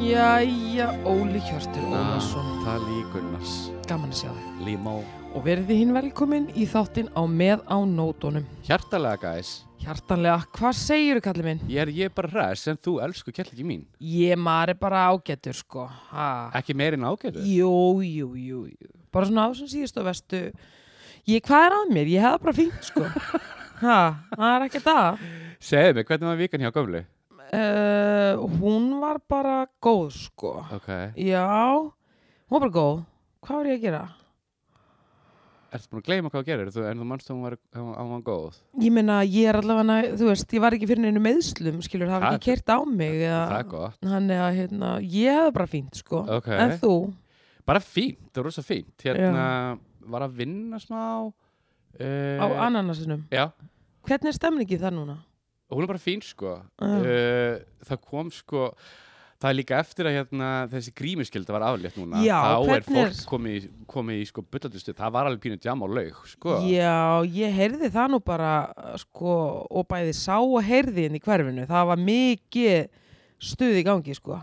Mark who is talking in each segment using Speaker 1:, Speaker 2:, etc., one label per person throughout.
Speaker 1: Jæja, Óli Hjörtur
Speaker 2: Ah.
Speaker 1: Ólason,
Speaker 2: Natali Gunnars
Speaker 1: gaman að sjá þig.
Speaker 2: Limó
Speaker 1: Og verði hinn velkomin í þáttinn á með á nótunum.
Speaker 2: Hjartalega guys
Speaker 1: Hjartanlega, hvað segirðu kallið minn?
Speaker 2: Ég er, ég er bara ræs en þú elsku kjallingi mín
Speaker 1: Ég maður er bara ágættur, sko. Ha.
Speaker 2: Ekki meir en ágæðu
Speaker 1: Jú, jú, jú, jú. Bara svona á sem síðust og vestu. Ég, hvað er að mér? Ég hefða bara fínt, sko. ha, það er ekki það.
Speaker 2: Segðu mig, hvernig var vikan hjá gömlu?
Speaker 1: Uh, hún var bara góð, sko.
Speaker 2: Ok
Speaker 1: Já, hún var bara góð. Hvað var ég að gera?
Speaker 2: Ertu búin að gleyma hvað þú gerir? Þú, en þú manst að hún var, að hún var góð
Speaker 1: Ég meina, ég er allavega, þú veist, ég var ekki fyrir neinu meðslum, skilur, það var
Speaker 2: Það-
Speaker 1: ekki kert á mig.
Speaker 2: Það
Speaker 1: eða-
Speaker 2: er gott
Speaker 1: Þannig að, hérna, ég hefði bara fínt, sko.
Speaker 2: Ok
Speaker 1: En þú?
Speaker 2: Bara fínt, það var rosa fínt Hérna var að vinna smá
Speaker 1: Á
Speaker 2: uh,
Speaker 1: ananasinum.
Speaker 2: Já,
Speaker 1: Hvernig er stemningi það núna?
Speaker 2: hún er bara fín sko
Speaker 1: Já.
Speaker 2: uh, það kom sko það er líka eftir að hérna, þessi grímiskylda var aflétt núna
Speaker 1: Já,
Speaker 2: þá er
Speaker 1: hvernig er-
Speaker 2: fólk komið í, komið í sko byllandustu, það var alveg pínu jam á laug sko,
Speaker 1: Já, ég heyrði það nú bara, sko, og bæði sá og heyrði inn í hverfinu. Það var mikið stuð í gangi, sko.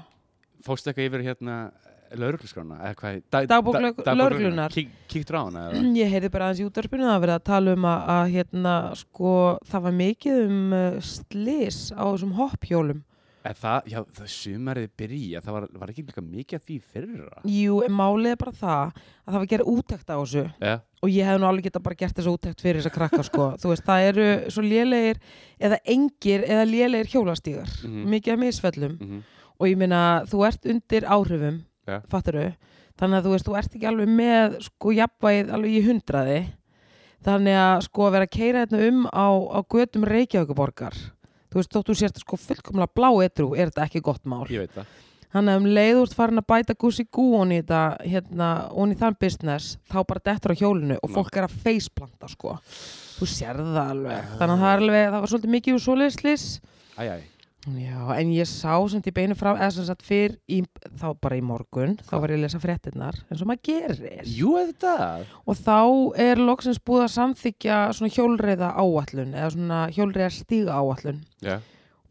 Speaker 2: fórstu eitthvað yfir hérna laurugluskrána, eða hvað
Speaker 1: Dagbók lög- lögreglunnar. Mm.
Speaker 2: kík, kíktur á hana eða?
Speaker 1: Ég heyrði bara aðeins í útvarpinu það að vera að tala um að, að hérna, sko, það var mikið um uh, slis á þessum hopphjólum.
Speaker 2: en það, já, það sumarið byrja það var, var ekki líka mikið af því í fyrra
Speaker 1: Jú, en málið er bara það að það var að gera útækt á þessu.
Speaker 2: ja.
Speaker 1: og ég hef nú alveg geta bara gert þessa úttekt fyrir þessa krakka sko, þú veist, það eru svo lélegir eða engir eða lélegir hjólastígar,
Speaker 2: Mhm.
Speaker 1: mikið af misfellum
Speaker 2: mm
Speaker 1: og ég meina, þú ert undir áhrifum
Speaker 2: Ja.
Speaker 1: fattaru, þannig að þú veist, þú ert ekki alveg með, sko, jafnvægið alveg í hundraði, þannig að sko, að vera að keira þetta um á, á götum Reykjavíkuborgar, þú veist, þótt þú sért sko fullkomlega blá eitrú, er þetta ekki gott mál
Speaker 2: ég veit það
Speaker 1: Þannig að um leið úr farin að bæta gúsi gú hún í þetta, hérna, hún í þann business, þá bara dettur á hjólinu og
Speaker 2: Ná.
Speaker 1: fólk er að faceplanta, sko. Þú sérð það alveg. Þannig að það, er alveg, það var svolítið mikið úr svoleiðslis.
Speaker 2: æj, æj,
Speaker 1: Já, en ég sá sem til beinu frá, eða sem sagt fyrr, í, þá bara í morgun, þá var ég að lesa fréttinnar, eins og maður gerir.
Speaker 2: jú þetta
Speaker 1: Og þá er loksins búið að samþykja svona hjólreiða áallun, eða svona hjólreiða stíga áallun.
Speaker 2: já,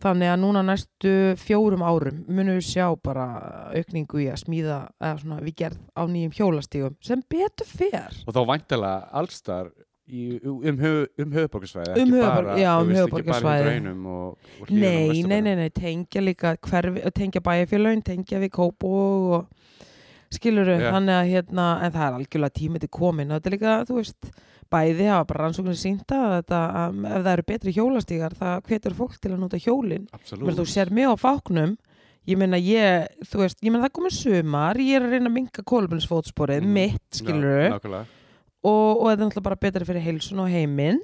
Speaker 1: Þannig að núna næstu fjórum árum munum við sjá bara aukningu í að smíða eða svona við gerð á nýjum hjólastígum sem betur fer.
Speaker 2: og þá væntalega allstar í, um, höf, um höfuborgarsvæði
Speaker 1: Um
Speaker 2: ekki
Speaker 1: höfuðborg-
Speaker 2: bara,
Speaker 1: já,
Speaker 2: þú
Speaker 1: um
Speaker 2: veist,
Speaker 1: höfuðborgarsvæði.
Speaker 2: ekki bara raunum og, og hlíðunum á
Speaker 1: Nei, nei,
Speaker 2: Vesturbænum.
Speaker 1: nei, nei, tengja líka hverfi, tengja bæjarfélagin, tengja við kópog og skiluru,
Speaker 2: Já.
Speaker 1: þannig að hérna, en það er algjörlega tími til komin og þetta er líka, þú veist, bæði hafa bara rannsóknir sínta að þetta, að, ef það eru betri hjólastígar, það hvetur fólk til að nota hjólin. Mér, þú
Speaker 2: Absolutt.
Speaker 1: sér mig á fáknum ég meina ég, þú veist, ég meina það komið sumar ég er að reyna að minka kólubinsfótsporið
Speaker 2: Mhm.
Speaker 1: mitt, skilur
Speaker 2: Ná, nákvæmlega.
Speaker 1: og, og þetta er náttúrulega bara betra fyrir heilsun og heiminn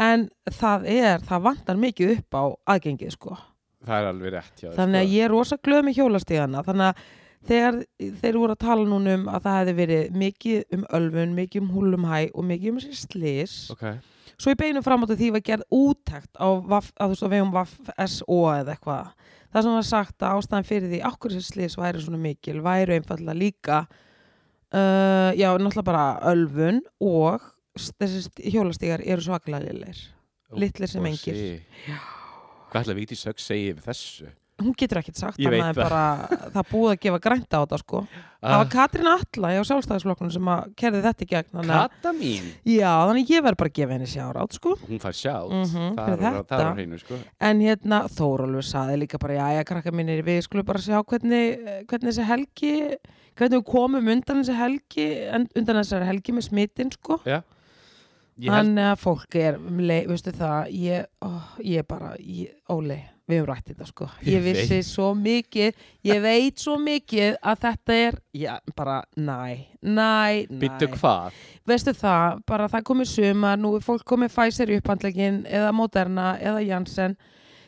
Speaker 1: en það er, það vantar mikið upp á aðgengið, sko
Speaker 2: Það er alveg rétt hjá þér,
Speaker 1: þannig að
Speaker 2: sko.
Speaker 1: ég er rosa glöð með hjólastíðana þannig að þegar þeir voru að tala núna um að það hefði verið mikið um ölfun mikið um húlumhæ og mikið um slis
Speaker 2: Ok,
Speaker 1: svo í beinum fram áttu því var gerð úttækt á, vaff, að þú veist, á vegum Vaff SO eða eitthvað. Það sem var sagt að ástæðan fyrir því okkur sem slis væri svona mikil væri einfallega líka uh, já, náttúrulega bara ölfun og s- þessi st- hjólastígar eru svaklega lilir.
Speaker 2: Ó, oh,
Speaker 1: Littlir sem
Speaker 2: og
Speaker 1: engir.
Speaker 2: sí. Hvað ætla Vigdís Sögg segi yfir þessu?
Speaker 1: Hún getur ekkert sagt
Speaker 2: Ég
Speaker 1: annað en
Speaker 2: veit það. Ah.
Speaker 1: bara það búið að gefa grænta á þetta sko. Það var Katrín Alla hjá sjálfstæðisflokknum sem að kerði þetta í gegn. Þannig, að-
Speaker 2: Kata mín
Speaker 1: já, þannig að ég verð bara að gefa henni sjárátt sko.
Speaker 2: Hún fær sjátt
Speaker 1: Mhm,
Speaker 2: Það
Speaker 1: fyrir
Speaker 2: er á- það er á
Speaker 1: þetta.
Speaker 2: hreinu sko
Speaker 1: En hérna, Þórólfur saði líka bara, jæja, krakka mínir, við skulum bara sjá hvernig, hvernig þessi helgi, hvernig við komum undan þessi helgi, en- undan þessari helgi með smittin, sko.
Speaker 2: Ég held,
Speaker 1: Þannig að fólk er, um leið, veistu það, ég, ó, ég bara, ég, óli, við höfum rætt þetta, sko. Ég
Speaker 2: Ég
Speaker 1: vissi svo mikið, ég veit svo mikið að þetta er, já, bara, næ, næ, næ.
Speaker 2: byttu hvað
Speaker 1: Veistu það, bara það komið suma, nú er fólk komið Pfizer í upphandlegin eða Moderna eða Janssen,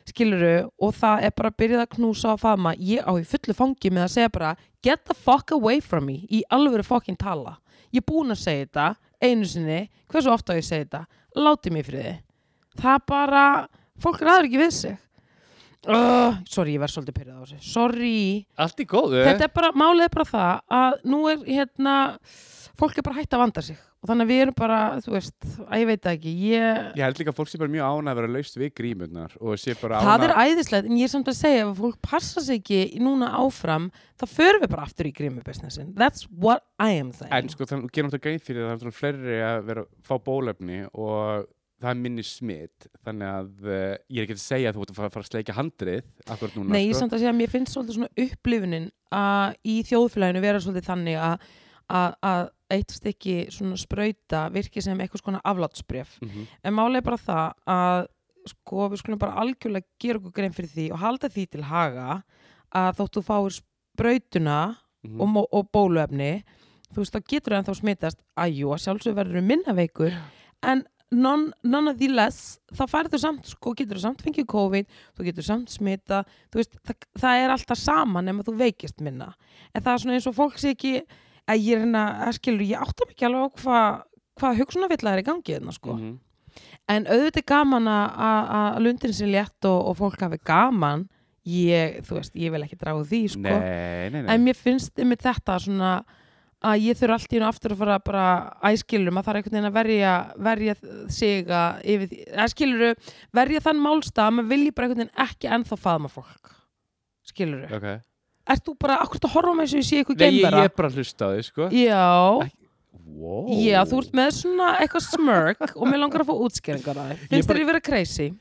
Speaker 1: skiluru, og það er bara byrjað að knúsa og faðma. Ég á í fullu fangi með að segja bara, get the fuck away from me, í alvöru fokkin tala. Ég er búin að segja þetta, einu sinni, hversu ofta á ég að segja þetta, láti mig fyrir þið. Það bara, fólk ræður ekki við sig. uh, sorry, ég verð svolítið pyrrað á þessu sorry,
Speaker 2: Allt í góðu.
Speaker 1: þetta er bara, málið er bara það að nú er hérna fólk er bara hætt að vanda sig og þannig að við erum bara, þú veist, að ég veit það ekki ég,
Speaker 2: Ég held líka að fólk sé bara mjög ánað að vera laust við grímurnar og sé bara
Speaker 1: það er
Speaker 2: ánað
Speaker 1: æðislegt, en ég er samt að segja ef að fólk passa sig ekki núna áfram þá förum við bara aftur í grímubusinessin that's what I am saying
Speaker 2: En sko, þannig, gerum þetta grein fyrir það, það er náttúrulega fleiri að vera, fá bólefni og það er minni smitt, þannig að uh, ég er ekki að segja að þú ert að fara, fara að sleika handrið akkurat núna,
Speaker 1: Nei, ég er
Speaker 2: sko.
Speaker 1: samt að segja að mér finnst svolítið svona upplifunin að í þjóðfélaginu vera svolítið þannig að, að, að eitt stykki svona sprauta virki sem eitthvað svona aflátsbref.
Speaker 2: mm -hmm.
Speaker 1: En máli er bara það að sko við skulum bara algjörlega gera okkur grein fyrir því og halda því til haga að þótt þú fáir sprautuna
Speaker 2: mhm. Mm.
Speaker 1: og, mó- og bóluefni þú veist, þá getur það ennþá smitast æjú, að sjálfsög verður minna veikur en none, none of the less þá færðu samt, sko, getur þú samt fengið COVID, þú getur samt smita þú veist, það, það er alltaf sama nema þú veikist minna, en það er svona eins og fólk sé ekki, að ég er hérna að skilur, ég áttam ekki alveg á hvað hvað hugsunarvilla er í gangi þarna, sko
Speaker 2: Mhm.
Speaker 1: en auðvitað er gaman að- að að lundin sé létt og, og fólk hafi gaman ég, þú veist, ég vil ekki draga úr því, sko
Speaker 2: Nei, nei, nei.
Speaker 1: en mér finnst yfir þetta svona að ég þurfa allt í hún aftur að fara bara æskilum að það er einhvern veginn að verja, verja sig að yfir því, að skiluru verja þann málstað að maður vilji bara einhvern veginn ekki ennþá faðma fólk skiluru,
Speaker 2: Ok.
Speaker 1: ert þú bara akkur að horfa með þessu ég sé eitthvað
Speaker 2: Nei, ég, ég
Speaker 1: geimvera
Speaker 2: er bara að hlusta á því, sko.
Speaker 1: já,
Speaker 2: Ekki- Wow.
Speaker 1: já, þú ert með svona eitthvað smörk og mér langar að fá útskeringar að þið,
Speaker 2: Ég
Speaker 1: finnst
Speaker 2: bara-
Speaker 1: þér ég vera crazy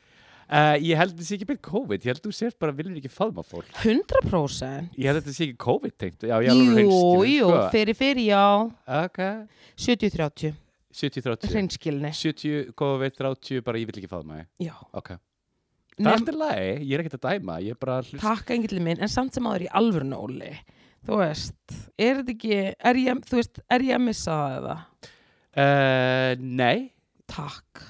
Speaker 2: Uh, ég held þetta sé ekki beint COVID, ég held þú sér bara viljur ekki faðma fólk.
Speaker 1: 100%
Speaker 2: Ég held þetta sé ekki COVID-tengt. Já, ég er alveg
Speaker 1: jú,
Speaker 2: hreinskilin,
Speaker 1: jú,
Speaker 2: sko.
Speaker 1: fyrir, fyrir, já
Speaker 2: Ok,
Speaker 1: 70-30,
Speaker 2: 70-30.
Speaker 1: hreinskilni
Speaker 2: 70 COVID, 30, bara ég vil ekki faðma þig.
Speaker 1: já,
Speaker 2: Ok. Það er alltaf lagi, ég er ekkert að dæma, ég er bara að hlusta.
Speaker 1: takk engillin minn, en samt sem áður í alvörun óli, þú veist er þetta ekki, er ég, þú veist er ég að missa það eða?
Speaker 2: Uh, nei,
Speaker 1: Takk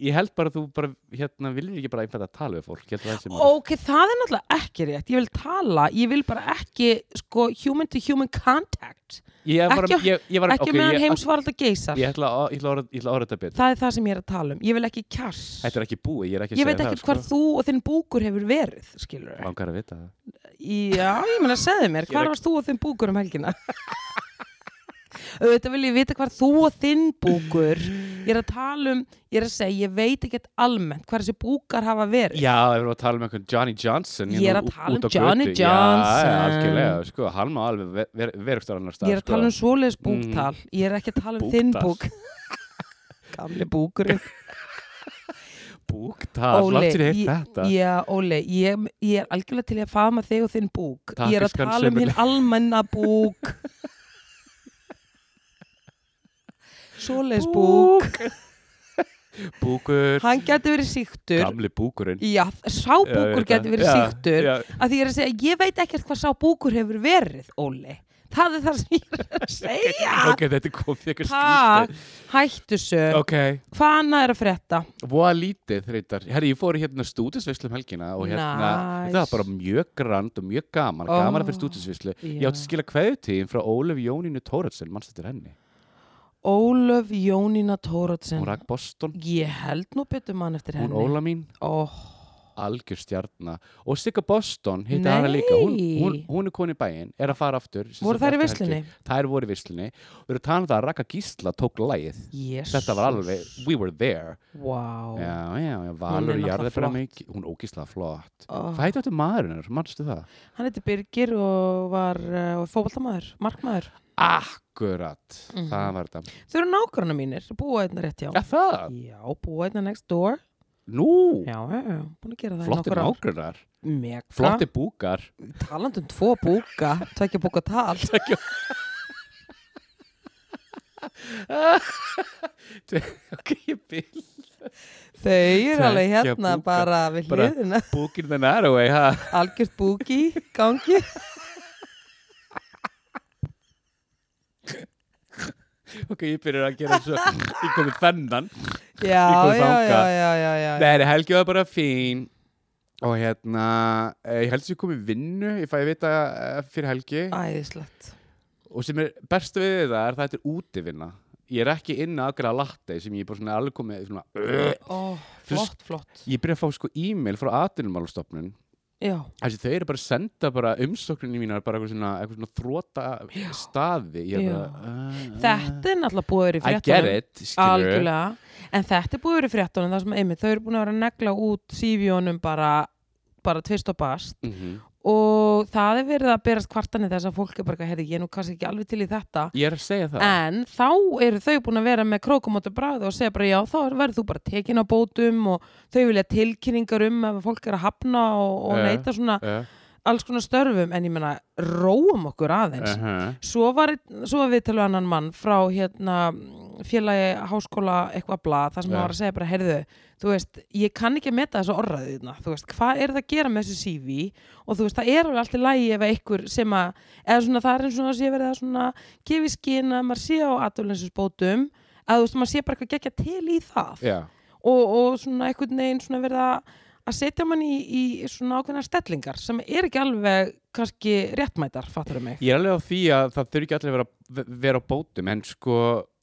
Speaker 2: ég held bara að þú bara, hérna, viljur ekki bara einhvern að tala við fólk. hérna, Ég held að það sem
Speaker 1: Ok, það er náttúrulega ekki rétt, ég vil tala ég vil bara ekki, sko, human to human contact,
Speaker 2: Ég var,
Speaker 1: ekki-
Speaker 2: ég, ég var,
Speaker 1: ekki
Speaker 2: ok,
Speaker 1: meðan
Speaker 2: ég-
Speaker 1: heimsvaralda geisar,
Speaker 2: Ég ætla að- ég ætla að orða- ég ætla að orða þetta betur.
Speaker 1: það er það sem ég er að tala um ég vil ekki kjass,
Speaker 2: Þetta er sko. ekki búið, ég er ekki
Speaker 1: ég
Speaker 2: að segja
Speaker 1: veit
Speaker 2: það.
Speaker 1: ekki hvar þú og þinn búkur hefur verið, skilur
Speaker 2: Langar að vita það.
Speaker 1: Já, ég meina, segðu mér,
Speaker 2: Ég er
Speaker 1: hvar
Speaker 2: að-
Speaker 1: varst þú og þinn búkur um helgina? Þetta vil ég vita hvar þú og þinn búkur Ég er að tala um, ég er að segja, ég veit ekkert almennt hvar þessi búkar hafa verið
Speaker 2: Já, við erum að tala um einhvern Johnny Johnson
Speaker 1: Ég er
Speaker 2: hérna
Speaker 1: að
Speaker 2: ú-
Speaker 1: tala um
Speaker 2: út á götu.
Speaker 1: Johnny
Speaker 2: Já,
Speaker 1: Johnson.
Speaker 2: algjörlega, sko, hann má alveg ver- ver- vera eitthvað annar stað
Speaker 1: Ég er að tala um svoleiðis búktal Ég er ekki að tala um þinn búk
Speaker 2: Búktal.
Speaker 1: Gamli búkurinn
Speaker 2: Búktal, langt sér
Speaker 1: ég-
Speaker 2: heitt þetta
Speaker 1: Já, Óli, ég, ég er algjörlega til í að faðma þig og þinn búk
Speaker 2: Takk,
Speaker 1: Ég er að
Speaker 2: elskan,
Speaker 1: tala um hinn almenna búk Svoleiðis búk
Speaker 2: Búkur,
Speaker 1: hann gæti verið síktur
Speaker 2: gamli búkurinn
Speaker 1: já, sá búkur gæti verið síktur
Speaker 2: já,
Speaker 1: að því ég er að segja, ég veit ekkert hvað sá búkur hefur verið, Óli það er það sem ég er að segja
Speaker 2: Ok, þetta kom því eitthvað
Speaker 1: takk,
Speaker 2: skrítið
Speaker 1: hættu sög
Speaker 2: Ok,
Speaker 1: hvað annað er að frétta
Speaker 2: voða lítið þreytar Herri, ég fór í hérna stúdisvislu um helgina og hérna,
Speaker 1: Nice.
Speaker 2: þetta var bara mjög grand og mjög gaman,
Speaker 1: Ó.
Speaker 2: gaman að fyrir stúdisvislu Ég átti að skila kveðutíðin frá Ólef Jónínu Tóratsen, mannst þetta henni
Speaker 1: Ólöf Jónína Tóratsen
Speaker 2: Hún rak Boston,
Speaker 1: ég held nú betur mann eftir
Speaker 2: hún
Speaker 1: henni
Speaker 2: Óla mín
Speaker 1: oh,
Speaker 2: algjör stjarna og Sigga Boston hitti hana líka, hún, hún,
Speaker 1: Nei.
Speaker 2: hún er koni bæinn er að fara aftur sem
Speaker 1: voru
Speaker 2: sagt
Speaker 1: þær í
Speaker 2: eftir
Speaker 1: visslunni?
Speaker 2: helgi. þær voru í visslunni við erum talað um það að Raka Gísla tók lægið
Speaker 1: Jesus.
Speaker 2: þetta var alveg, we were there
Speaker 1: wow.
Speaker 2: já, já, já, Valur
Speaker 1: náttúrulega
Speaker 2: Jarðabera
Speaker 1: flott.
Speaker 2: mikið, hún er ógísla flott
Speaker 1: oh.
Speaker 2: hvað heitir þetta maðurinn, hennar, mannstu það?
Speaker 1: hann heiti Birgir og var uh, fóbaltamaður, markmaður
Speaker 2: Akkurat,
Speaker 1: Mhm.
Speaker 2: það var þetta
Speaker 1: þau eru nákvæmna mínir, búa einna rétt hjá
Speaker 2: ja, það,
Speaker 1: Já, búa einna next door
Speaker 2: nú,
Speaker 1: Já, já, já, búin að gera það
Speaker 2: flottir nágrunar
Speaker 1: Mega,
Speaker 2: flottir búkar
Speaker 1: talandum tvo búka Tvekja búka tal
Speaker 2: ok, ég byrð
Speaker 1: Þau eru alveg
Speaker 2: Tveggja
Speaker 1: hérna
Speaker 2: búka.
Speaker 1: bara við
Speaker 2: Bara-
Speaker 1: hliðina
Speaker 2: búkir the narrow way, ha
Speaker 1: Algjört búki, í gangi
Speaker 2: ok, ég byrjar að gera svo ég komið þennan
Speaker 1: Já,
Speaker 2: kom
Speaker 1: já,
Speaker 2: þangað.
Speaker 1: já, já, já, já, já.
Speaker 2: Nei, helgi var bara fín og hérna, eh, ég held sem ég kom í vinnu ég fæ að vita eh, fyrir helgi
Speaker 1: Æðislegt
Speaker 2: og sem er best við þetta er það þetta er útivinna ég er ekki inn að gera latte sem ég er bara svona alveg komið svona,
Speaker 1: Ó, flott, flott
Speaker 2: ég byrja að fá sko e-mail frá aðdunumálastofnun
Speaker 1: já,
Speaker 2: Þessi, þau eru bara að senda bara umsókninni mínar bara eitthvað svona, eitthvað svona þróta staði Ég er
Speaker 1: Já.
Speaker 2: bara, uh,
Speaker 1: þetta er náttúrulega búið að vera í
Speaker 2: I get
Speaker 1: fréttunum
Speaker 2: it, skilur
Speaker 1: algjörlega, en þetta er búið að vera í fréttunum þar sem einmitt, þau eru búin að vera að negla út sífjónum bara, bara tvist og bast
Speaker 2: mm -hmm.
Speaker 1: og það er verið að berast kvartanir þess að fólk er bara, herri, ég er nú kannski ekki alveg til í þetta
Speaker 2: Ég er að segja það
Speaker 1: en þá eru þau búin að vera með krókumóti bræði og segja bara já, þá verður þú bara tekin á bótum og þau vilja tilkynningar um ef fólk er að hafna og, og
Speaker 2: Eh,
Speaker 1: neyta svona
Speaker 2: uh,
Speaker 1: alls konar störfum en ég meina, róum okkur aðeins
Speaker 2: uh -huh.
Speaker 1: svo var, svo var við til annan mann frá hérna félagi háskóla eitthvað bla, þar sem
Speaker 2: Já.
Speaker 1: hann var að segja bara, heyrðu, þú veist, ég kann ekki að meta þessu orðaðina, þú veist, hvað er það að gera með þessu CV og þú veist, það er alveg allt í lagi ef einhver sem að, eða svona það er eins og það sé verið að svona gefi skinn að maður sé á aðdólensinsbótum, að þú veist, maður sé bara eitthvað gegja til í það
Speaker 2: Já,
Speaker 1: og, og svona einhvern veginn svona verið að að setja mann í, í svona ákveðna stellingar sem er ekki alveg kannski réttmætar, fattar mig.
Speaker 2: ég er alveg á því að það þurfi ekki allir að vera, vera á bótum en sko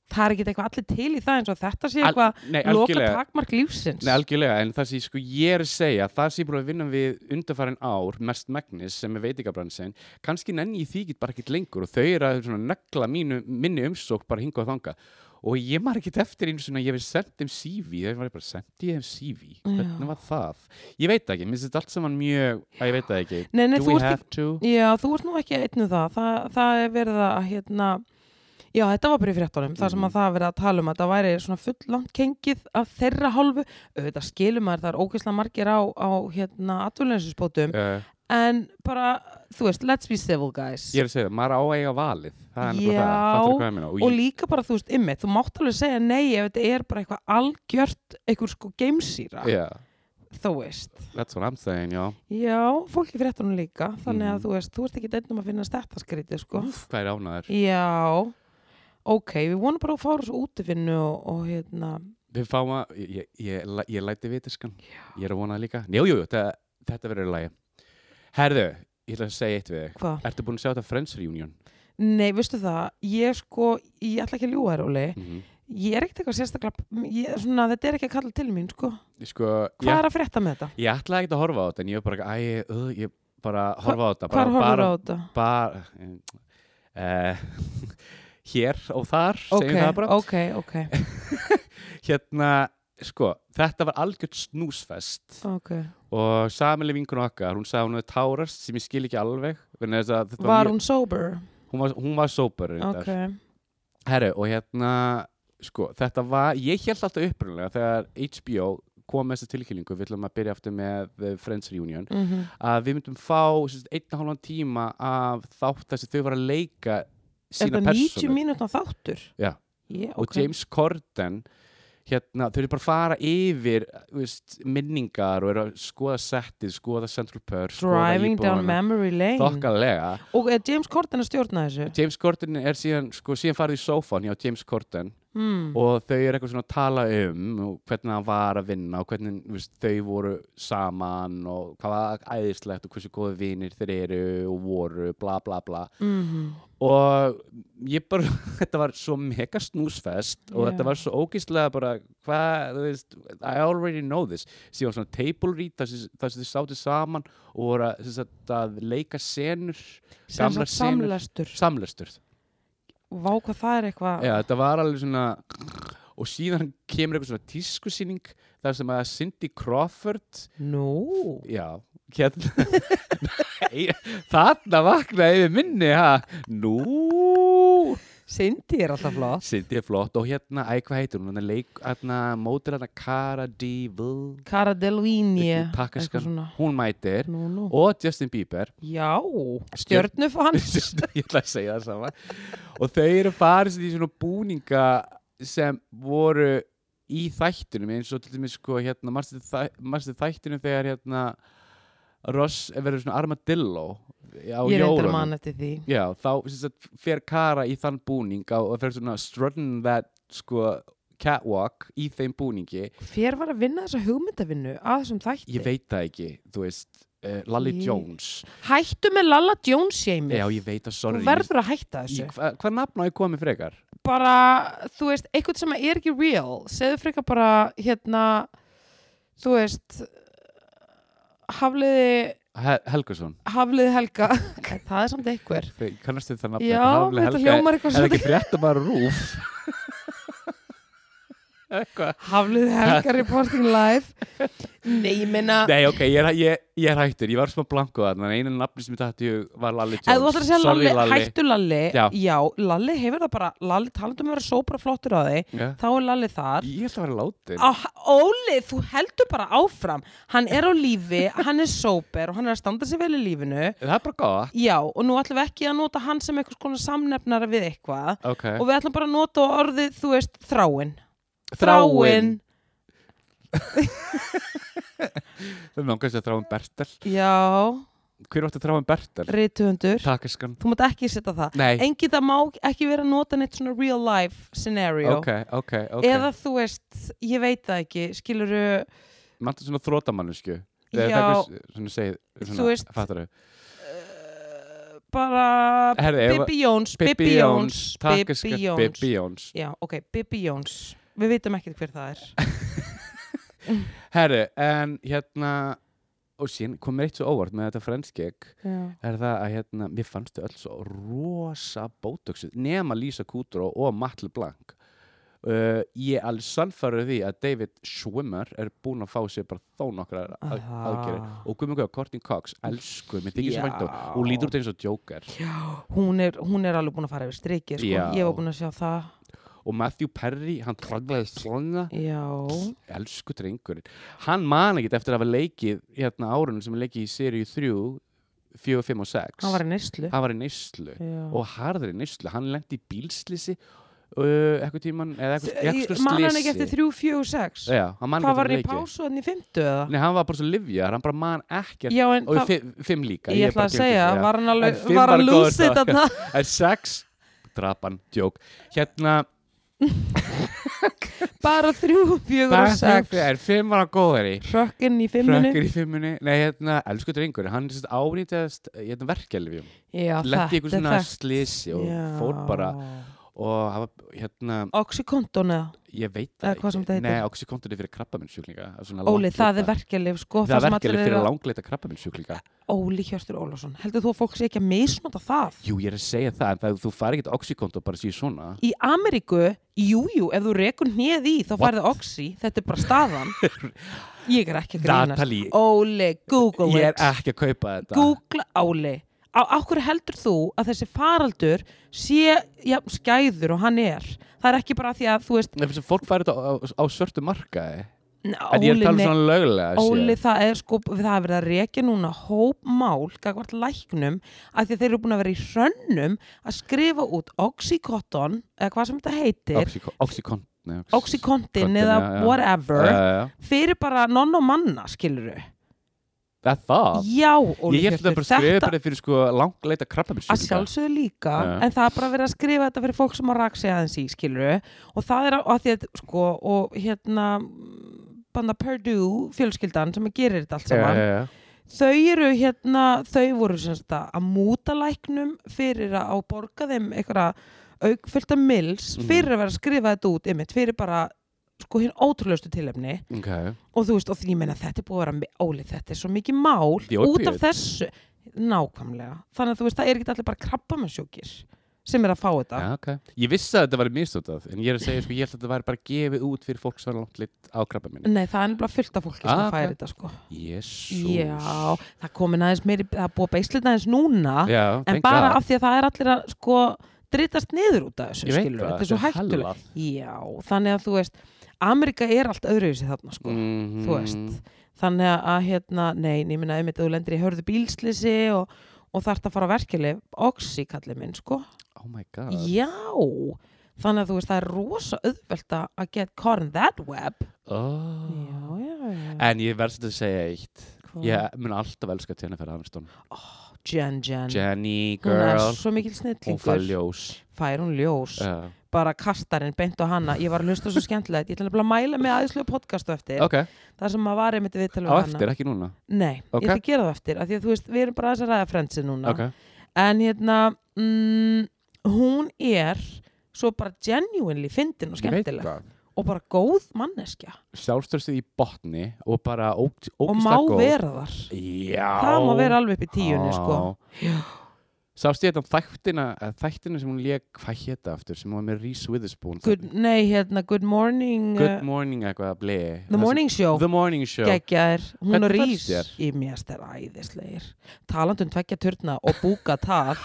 Speaker 1: það er ekkert eitthvað allir til í það eins og þetta sé eitthvað
Speaker 2: nei,
Speaker 1: loka
Speaker 2: algjörlega,
Speaker 1: takmark lífsins
Speaker 2: nei, algjörlega en það sem sko ég er að segja það sem ég er búin að vinna við undarfærin ár mest megnis sem er veitingabransin kannski nenni ég því ekki bara ekkert lengur og þau eru að svona negla mínu, minni umsók bara hinga og þanga og ég maður ekkert eftir einu svona ég hef sendt þeim CV þegar var ég bara sendi ég þeim CV hvernig var það? Ég veit það ekki, minnst þetta allt saman mjög að ég veit það ekki
Speaker 1: nei, nei,
Speaker 2: Do
Speaker 1: þú,
Speaker 2: we
Speaker 1: ert,
Speaker 2: have to?
Speaker 1: ekki- já, þú ert nú ekki einn um það. það það er verið að hérna, já þetta var bara í fréttunum þar sem
Speaker 2: Mhm.
Speaker 1: að það er verið að tala um að það væri svona full langt kengið af þeirra hálfu auðvitað skilum maður það er ógeðslega margir á, á hérna atvinnulegisbótum
Speaker 2: Uh,
Speaker 1: en bara þú veist let's be civil guys
Speaker 2: ég er að segja það, maður á að eiga valið það er nefnilega það,
Speaker 1: Já,
Speaker 2: fattur hvað ég meina
Speaker 1: og líka bara þú veist ymmi þú mátt alveg segja nei ef þetta er bara eitthvað algjört eitthvað sko geimsýra
Speaker 2: yeah,
Speaker 1: þú veist
Speaker 2: that's what I'm saying, já
Speaker 1: Já, fólk í fréttunum líka þannig að
Speaker 2: Mhm.
Speaker 1: þú veist, þú ert ekki deinnum að finna þetta skrítið sko.
Speaker 2: hvað er ánæður?
Speaker 1: Já Ok, við vonum bara að fá þessu útifinnu og, og hérna
Speaker 2: Við fáum að, ég, ég, ég, læ- ég læti vitiskan ég er að vona það líka, jú, jú, jú, þetta, þetta verður í lagi Herðu, ég ætla að segja eitt við þig
Speaker 1: Hvað?
Speaker 2: Ertu búin að sjá þetta Friends Reunion?
Speaker 1: Nei, veistu það, ég sko ég ætla ekki að ljúga þér, Óli
Speaker 2: Mm
Speaker 1: ég er ekkert eitthvað sérstaklega ég, svona, þetta er ekki að kalla til mín, sko
Speaker 2: Sko,
Speaker 1: Hvað
Speaker 2: ég,
Speaker 1: er að frétta með þetta?
Speaker 2: ég ætla ekki að horfa á þetta en ég var bara, æ, uh, ég bara horfa á þetta
Speaker 1: Hvað
Speaker 2: bara,
Speaker 1: er horfður
Speaker 2: bara,
Speaker 1: á þetta?
Speaker 2: bara uh, hér og þar
Speaker 1: Ok,
Speaker 2: segjum það bara
Speaker 1: ok, ok,
Speaker 2: hérna, sko, þetta var algjört snúsfest
Speaker 1: ok
Speaker 2: og samileg vinkun okkar, hún sagði hún hefði tárast sem ég skil ekki alveg vegna þess að þetta
Speaker 1: Var
Speaker 2: mjög-
Speaker 1: hún sober?
Speaker 2: hún var, hún var sópar
Speaker 1: Ok,
Speaker 2: herru, og hérna sko, þetta var, ég held alltaf upprunalega þegar HBO kom með þessa tilkynningu við ætlum að byrja aftur með eh, Friends Reunion
Speaker 1: mhm
Speaker 2: að við myndum fá sérst, einn og hálfan tíma af þátt þar sem þau var að leika
Speaker 1: Er
Speaker 2: sína
Speaker 1: þetta 90
Speaker 2: persónu
Speaker 1: mínútna þáttur?
Speaker 2: Já.
Speaker 1: yeah,
Speaker 2: og James Corden hérna, þau eru bara að fara yfir þú veist, minningar og eru að skoða settið, skoða Central Perk
Speaker 1: Driving down memory lane
Speaker 2: þokkalega
Speaker 1: Og er James Corden að stjórna þessu?
Speaker 2: James Corden er síðan, sko, síðan farið í sófan hjá James Corden
Speaker 1: Mm.
Speaker 2: og þau eru eitthvað svona að tala um og hvernig hann var að vinna og hvernig þú veist, þau voru saman og hvað var æðislegt og hversu góði vinir þeir eru og voru, bla bla bla
Speaker 1: Mm
Speaker 2: og ég bara, þetta var svo mega snúsfest og
Speaker 1: Já.
Speaker 2: þetta var svo ógeðslega bara, hvað, þú veist I already know this, síðan svona table read þar sem þar sem þau sátu saman og voru að, sem sagt, að leika senur
Speaker 1: Sem
Speaker 2: Gamlar
Speaker 1: sagt
Speaker 2: senur.
Speaker 1: samlæstur
Speaker 2: samlistur
Speaker 1: Vá hvað það er eitthvað
Speaker 2: Já, þetta var alveg svona og síðan kemur eitthvað svona tískusýning þar sem að Cindy Crawford
Speaker 1: Nú
Speaker 2: já, hérna Nei, þarna vaknaði yfir minni ha, nú
Speaker 1: Cindy er alltaf flott
Speaker 2: Cindy er flott og hérna, æ, hvað heitir hún, hérna leik hérna, mótir hérna Cara Deville
Speaker 1: Cara Delvini
Speaker 2: Einhver pakkaskan.
Speaker 1: svona
Speaker 2: hún mætir
Speaker 1: Nú nú
Speaker 2: og Justin Bieber
Speaker 1: Já
Speaker 2: Stjörn-
Speaker 1: Stjörnufans
Speaker 2: ég ætla að segja það sama og þau eru farið í svona búninga sem voru í þættunum eins og til dæmis sko hérna marstu þættunum þegar hérna Ross verður svona armadillo
Speaker 1: Ég
Speaker 2: á
Speaker 1: reyndar
Speaker 2: jólunum.
Speaker 1: að mann eftir því
Speaker 2: já, þá sem sagt, fer Kara í þann búning á- og fer svona strutting that sko catwalk í þeim búningi
Speaker 1: Hver var að vinna þessa hugmyndavinnu að þessum þætti?
Speaker 2: ég veit það ekki, þú veist uh, Lally
Speaker 1: Ég-
Speaker 2: Jones
Speaker 1: Hættu með Lalla Jones heimi
Speaker 2: já, ég veit það,
Speaker 1: Þú
Speaker 2: sorry ég-
Speaker 1: verður að hætta þessu
Speaker 2: ég- hva- hvað nafn á ég komið frekar?
Speaker 1: bara, þú veist, eitthvað sem er ekki real, segðu frekar bara hérna, þú veist hafliði
Speaker 2: He Helgason
Speaker 1: Hafliði Helga Það er samt einhver
Speaker 2: Þau- Kannastu það nafn
Speaker 1: Já,
Speaker 2: Hafliði
Speaker 1: þetta
Speaker 2: Helga er-
Speaker 1: hljómar eitthvað
Speaker 2: Er það
Speaker 1: svolítið.
Speaker 2: ekki frétta bara rúf? Eitthvað
Speaker 1: Hafliði Helga reporting live Nei, ég minna
Speaker 2: Nei, ok, ég er, ég, ég er hættur, ég var smá blanku þarna, en einu nafni sem ég dætti í hug var Lalli Jones.
Speaker 1: Ef þú ætlar að segja
Speaker 2: Sorry,
Speaker 1: Lalli, hættu Lalli já.
Speaker 2: Já.
Speaker 1: Lalli hefur það bara Lalli talandum að vera sópra flottur á þig
Speaker 2: Já.
Speaker 1: Þá er Lalli þar
Speaker 2: Ég ætla að vera látin.
Speaker 1: á, Óli, þú heldur bara áfram Hann er á lífi, hann er sóper og hann er að standa sér vel í lífinu
Speaker 2: Það er bara gott.
Speaker 1: Já, og nú ætlum við ekki að nota hann sem eitthvað skona samnefnara við eitthvað
Speaker 2: Ok.
Speaker 1: og við ætlum bara að nota orðið, þú veist, þráin
Speaker 2: Það er náttúrulega að þráin Bertel.
Speaker 1: Já,
Speaker 2: Hver átti að þráin Bertel?
Speaker 1: rithöfundur
Speaker 2: Takiskan.
Speaker 1: Þú mátt ekki setja það
Speaker 2: Nei.
Speaker 1: Engi það má ekki vera að nota neitt svona real life scenario
Speaker 2: Ok, ok, ok.
Speaker 1: Eða þú veist, ég veit það ekki, skiluru,
Speaker 2: Mantu svona þrótamannisku.
Speaker 1: Já.
Speaker 2: Svona segið, svona,
Speaker 1: Þú veist-
Speaker 2: Fattar þau?
Speaker 1: bara
Speaker 2: Herði, ef-
Speaker 1: Bibi Jóns, Bibi Jóns, Bibi
Speaker 2: Takiskan,
Speaker 1: Jóns.
Speaker 2: Bibi Jóns.
Speaker 1: Já, ok, Bibi Jóns. Við vitum ekkert hver það er.
Speaker 2: Herri, en hérna, og sín kom mér eitt svo óvart með þetta franskegg. er það að hérna, mér fannst þau öll svo rosa bótöksuð nema Lisa Kudrow og Matt LeBlanc uh, ég alveg sannfæruð því að David Schwimmer er búinn að fá sér bara þó nokkra að,
Speaker 1: Ah.
Speaker 2: aðgerið og guðmur guða Courtney Cox, elsku mér þykir svo fænt á,
Speaker 1: Já.
Speaker 2: hún lítur út eins og Joker
Speaker 1: Hún er, hún er alveg búin að fara yfir strikið, sko.
Speaker 2: Já.
Speaker 1: Ég var búin að sjá það.
Speaker 2: og Matthew Perry, hann tröndlaði svona
Speaker 1: Já.
Speaker 2: elsku drengurinn hann man ekkert eftir að hafa leikið hérna árunum sem er leikið í seríu 3 4, 5 og 6
Speaker 1: Hann var í neyslu.
Speaker 2: hann var í neyslu
Speaker 1: Já.
Speaker 2: og harðri neyslu, hann lendi í bílslisi uh, eitthvað tíman eða eitthvað, eitthvað
Speaker 1: Man hann ekki eftir 3, 4, 6
Speaker 2: Já, hann man
Speaker 1: Hvað var hann í
Speaker 2: ekki eftir leiki.
Speaker 1: pásu hann í 50 eða?
Speaker 2: Nei, hann var bara svo livjar, hann bara man ekkert
Speaker 1: Já, en
Speaker 2: og í
Speaker 1: það-
Speaker 2: fimm, fimm líka
Speaker 1: ég
Speaker 2: er
Speaker 1: ætla
Speaker 2: bara
Speaker 1: að
Speaker 2: gefið
Speaker 1: segja,
Speaker 2: fyrir, já.
Speaker 1: var hann alveg,
Speaker 2: En fimm
Speaker 1: var hann
Speaker 2: góður
Speaker 1: lúsið
Speaker 2: dagur.
Speaker 1: þarna?
Speaker 2: En sex, drapan, djók Hérna,
Speaker 1: Bara 3, 4 og
Speaker 2: bara þrjú
Speaker 1: 6
Speaker 2: fyrir- en fimm var hann góður í
Speaker 1: Hrökkinn í 5 minni
Speaker 2: Frökkur í fimmunni, nei hérna, elsku drengur hann sérst árítast, hérna verkelfjum
Speaker 1: Já,
Speaker 2: lendi ykkur
Speaker 1: þetta
Speaker 2: svona
Speaker 1: er þekkt
Speaker 2: slisi og fór bara og hafa, hérna,
Speaker 1: Oxycontin eða,
Speaker 2: ég veit
Speaker 1: Eða hvað sem þetta heitir.
Speaker 2: Nei, oxykontin er fyrir krabbaminsjúklinga
Speaker 1: Óli, það er verkelif sko,
Speaker 2: Það er
Speaker 1: sem
Speaker 2: verkefni
Speaker 1: allir
Speaker 2: fyrir
Speaker 1: eru að-
Speaker 2: langleita krabbaminsjúklinga
Speaker 1: Óli Hjörstur Ólafsson, heldur þú að fólk sé ekki að misnota það?
Speaker 2: Jú, ég er að segja það, en það þú fari ekkert oxykont og bara sé svona
Speaker 1: Í Ameríku, jújú, jú, ef þú rekur neð í þá
Speaker 2: What?
Speaker 1: færðu oxy, þetta er bara staðan Ég er ekki að grínast
Speaker 2: Datali,
Speaker 1: Óli, Google
Speaker 2: ég er
Speaker 1: it
Speaker 2: ekki að kaupa þetta
Speaker 1: Google áli á, á hverju heldur þú að þessi faraldur sé ja, skæður og hann er það er ekki bara því að þú veist
Speaker 2: Ef þess að fólk fari þetta á, á, á svörtu markaði
Speaker 1: n-
Speaker 2: En ég er
Speaker 1: Óli,
Speaker 2: talað
Speaker 1: nei,
Speaker 2: svona lögulega
Speaker 1: Óli það er sko það er verið að reykja núna hópmál gagvart læknum að því að þeir eru búin að vera í hrönnum að skrifa út oxycotton eða hvað sem þetta heitir
Speaker 2: Oxykont
Speaker 1: oxycontin
Speaker 2: Contin,
Speaker 1: eða
Speaker 2: já, Eh. já.
Speaker 1: whatever fyrir bara nonn og manna skiluru
Speaker 2: Það er það
Speaker 1: já Óli
Speaker 2: Ég held að
Speaker 1: Hjörtur,
Speaker 2: bara skrifa þetta fyrir sko langleita
Speaker 1: að
Speaker 2: krabbaminsjúklinga
Speaker 1: sjálfsögðu líka
Speaker 2: Já.
Speaker 1: en það er bara verið að skrifa þetta fyrir fólk sem að raksa aðeins í skiluru og það er á- að því að sko og hérna banda Purdue fjölskyldan sem gerir þetta allt saman
Speaker 2: Já, já, já.
Speaker 1: þau eru hérna þau voru semst að að múta læknum fyrir að á borga þeim einhverja aukfölda mils
Speaker 2: Mhm.
Speaker 1: fyrir að vera að skrifa þetta út ymmit fyrir bara sko hinn ótrúlaustu tilefni
Speaker 2: Ok,
Speaker 1: og þú veist og því ég meina þetta er búið að vera mi- Óli þetta er svo mikið mál
Speaker 2: The
Speaker 1: út af
Speaker 2: opiates.
Speaker 1: þessu nákvæmlega þannig að þú veist það er ekki allir bara krabba með sjúkir sem er að fá þetta
Speaker 2: já, ok Ég vissi að þetta var mistótað En ég er að segja, sko, ég held að þetta var bara gefið út fyrir fólk svona langleitt á krabbaminni
Speaker 1: Nei, það er nefnilega fullt af fólki sem
Speaker 2: Ah,
Speaker 1: fær
Speaker 2: ok.
Speaker 1: þetta sko.
Speaker 2: Jésús
Speaker 1: Já, það komin aðeins meiri, það er búið að beislita aðeins núna
Speaker 2: Já,
Speaker 1: en
Speaker 2: thank
Speaker 1: bara
Speaker 2: God.
Speaker 1: af því að það er allir að sko drittast niður út af þessu
Speaker 2: Ég veit
Speaker 1: skilur,
Speaker 2: það,
Speaker 1: þetta er svo sko.
Speaker 2: þetta er
Speaker 1: hættulega
Speaker 2: hallað.
Speaker 1: Já, þannig að þú veist Amerika er allt öðruvísi þarna sko
Speaker 2: mm
Speaker 1: þú veist þannig að hérna, nei, ég minna einmitt að þú lendir í hörðu bílslisi og, og þarft að fara á verkelif, oxy kallið minn sko,
Speaker 2: oh my god
Speaker 1: já þannig að þú veist, það er rosa auðvelt að að get caught in that web
Speaker 2: oh.
Speaker 1: já, já, já,
Speaker 2: en ég verðs að segja eitt
Speaker 1: Hvað?
Speaker 2: ég mun alltaf elska Jennifer Aniston
Speaker 1: Jen Jen,
Speaker 2: Jenny
Speaker 1: hún er
Speaker 2: girl,
Speaker 1: svo mikil
Speaker 2: hún fær
Speaker 1: snillingur
Speaker 2: ljós
Speaker 1: fær hún ljós,
Speaker 2: uh,
Speaker 1: bara kastarinn beint á hana, ég var að hlusta svo skemmtilegt ég ætla nefnilega að mæla með aðeinslega podcastu eftir
Speaker 2: ok,
Speaker 1: þar sem maður var einmitt viðtalið
Speaker 2: á
Speaker 1: við hana
Speaker 2: eftir, ekki núna
Speaker 1: nei,
Speaker 2: Ok.
Speaker 1: ég ætla að gera það eftir, af því að þú veist, við erum bara aðeins að ræða frendsi núna
Speaker 2: ok,
Speaker 1: en hérna mm, hún er svo bara genuinely fyndin og
Speaker 2: ég veit
Speaker 1: skemmtileg
Speaker 2: það
Speaker 1: og bara góð manneskja
Speaker 2: sjálfstöðsið í botni og bara ók,
Speaker 1: og
Speaker 2: ókisla
Speaker 1: má
Speaker 2: góð
Speaker 1: vera þar
Speaker 2: Já,
Speaker 1: það má vera alveg upp í tíunni sko. Já.
Speaker 2: Sástu ég þetta þættina, eh, þættina sem hún lék, hvað hétta aftur, sem hún var með Reese Witherspoon
Speaker 1: good, nei, hérna, good morning
Speaker 2: Good
Speaker 1: uh,
Speaker 2: Morning eitthvað, blei
Speaker 1: the morning show
Speaker 2: The Morning Show
Speaker 1: geggjaðir, hún
Speaker 2: Hvernig
Speaker 1: er
Speaker 2: fannst
Speaker 1: rís
Speaker 2: þér?
Speaker 1: í mjöst er æðislegir talandum tveggja turna og búka tal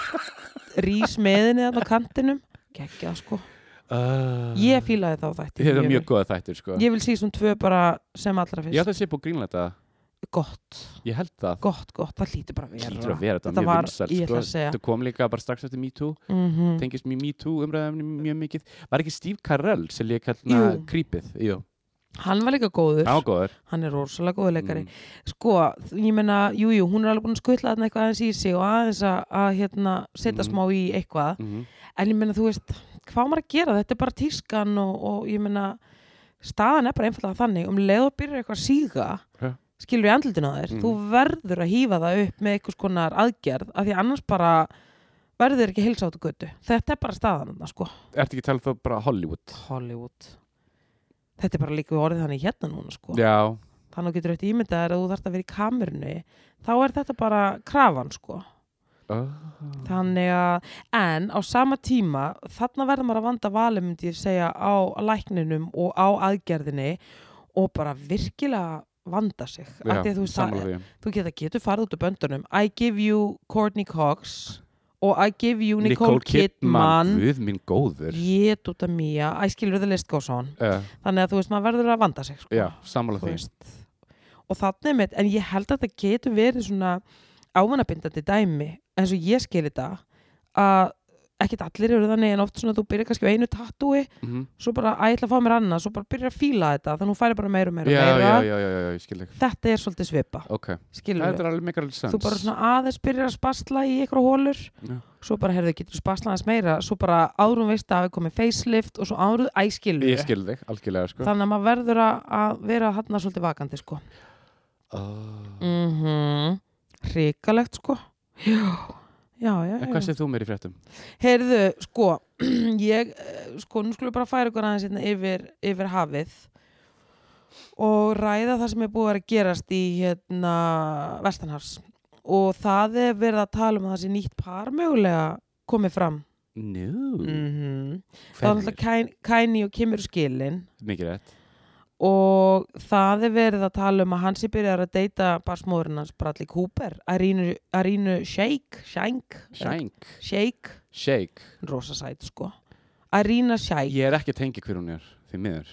Speaker 1: rís meðinni þarna á kantinum geggjað sko,
Speaker 2: uh,
Speaker 1: ég fílaði þá þætti
Speaker 2: Þetta er
Speaker 1: mjög.
Speaker 2: mjög góða þættir sko
Speaker 1: ég vil síðan tvö bara sem allra
Speaker 2: Ég
Speaker 1: fyrst
Speaker 2: ætla að sé búið grínleita
Speaker 1: gott,
Speaker 2: Ég held það
Speaker 1: gott, gott, það hlýtur bara að vera
Speaker 2: Hlýtur að vera þetta,
Speaker 1: Þetta
Speaker 2: mjög
Speaker 1: var-
Speaker 2: vinsælt
Speaker 1: ég ætla
Speaker 2: sko.
Speaker 1: að segja.
Speaker 2: Þetta kom líka bara strax eftir Me Too
Speaker 1: Mhm.
Speaker 2: Tengist mjög Me Too umræðum mjög mikið Var ekki Steve Carell sem líka hérna
Speaker 1: Jú.
Speaker 2: Creepið, jú,
Speaker 1: hann var líka góður,
Speaker 2: ágóður
Speaker 1: hann er rosalega góður leikari
Speaker 2: Mm.
Speaker 1: sko, þ- ég meina, jújú jú, hún er alveg búin að skutla þarna eitthvað aðeins í sig og aðeins að, að hérna, setja
Speaker 2: Mhm.
Speaker 1: smá í eitthvað
Speaker 2: Mhm.
Speaker 1: en ég meina þú veist, hvað á maður að gera þetta er bara tískan og, og ég meina staðan er bara einfallega þannig um leið og byrjar eitthvað að síga
Speaker 2: Ja.
Speaker 1: skilur í andlutin á þér,
Speaker 2: Mhm.
Speaker 1: þú verður að hýfa það upp með einhvers konar aðgerð af því annars bara verður ekki heilsa á þetta götu, þetta er bara staðan þarna, sko.
Speaker 2: Ertu ekki að tala þá bara Hollywood
Speaker 1: Hollywood þetta er bara líka orðið þannig hérna núna sko.
Speaker 2: Já,
Speaker 1: þannig að þú getur eftir ímyndað þér að þú þarft að vera í kamerunni þá er þetta bara krafan sko.
Speaker 2: oh.
Speaker 1: þannig að, en á sama tíma þarna verður maður að vanda valið myndi ég segja á lækninum og á aðgerðinni og bara virkilega vanda sig
Speaker 2: Já,
Speaker 1: af því að þú, veist,
Speaker 2: Ah. sammála
Speaker 1: það,
Speaker 2: því.
Speaker 1: þú getur, getur farið út úr böndunum I give you Courtney Cox og I give you Nicole, Kidman, Kidman.
Speaker 2: Guð minn góður
Speaker 1: Jét út af mía, æ skilur það list góðsson
Speaker 2: uh,
Speaker 1: þannig að þú veist maður verður að vanda sig sko,
Speaker 2: Já, sammála
Speaker 1: þú
Speaker 2: því
Speaker 1: veist og þannig mitt, en ég held að það getur verið svona ávanabindandi dæmi eins og ég skil þetta að ekkert allir eru þannig en oft svona þú byrjar kannski á einu tattúi
Speaker 2: Mhm.
Speaker 1: svo bara, að ég ætla að fá mér annað, svo bara byrjar að fíla þetta þannig að hún færi bara meira og
Speaker 2: já,
Speaker 1: meira og
Speaker 2: já,
Speaker 1: meira
Speaker 2: já, já, já, ég skil ekki
Speaker 1: þetta er svolítið svipa,
Speaker 2: Ok,
Speaker 1: skilur
Speaker 2: þetta er alveg mikil sens
Speaker 1: þú bara svona aðeins byrjar að spasla í ykkur hólur
Speaker 2: Já.
Speaker 1: svo bara herðu getur spaslað aðeins meira svo bara árum veist að hafi komið facelift og svo árum æskilur
Speaker 2: Ég skil þig, algjörlega sko
Speaker 1: þannig að maður verður að- að vera hann svolítið vakandi sko
Speaker 2: oh.
Speaker 1: mm hrikalegt sko já, já, já,
Speaker 2: En
Speaker 1: já.
Speaker 2: hvað séð þú mér í fréttum?
Speaker 1: heyrðu, sko ég, eh, sko, nú skulum við bara færa ykkur aðeins hérna yfir, yfir hafið og ræða það sem er búið að vera að gerast í hérna Vestanhafs og það er verið að tala um að það sé nýtt par mögulega komið fram
Speaker 2: Nú,
Speaker 1: mm -hmm. það er
Speaker 2: hvernig?
Speaker 1: alltaf Kæni og Kimur skilin
Speaker 2: Mikið rétt
Speaker 1: og það er verið að tala um að hann sé byrjar að deyta barsmóðurinn hans Bradley Cooper Arínu, Arínu Shake Shank
Speaker 2: Shank,
Speaker 1: Shake,
Speaker 2: shake
Speaker 1: rosa sæt sko Arína Shake,
Speaker 2: Ég er ekki að tengja hver hún er, því miður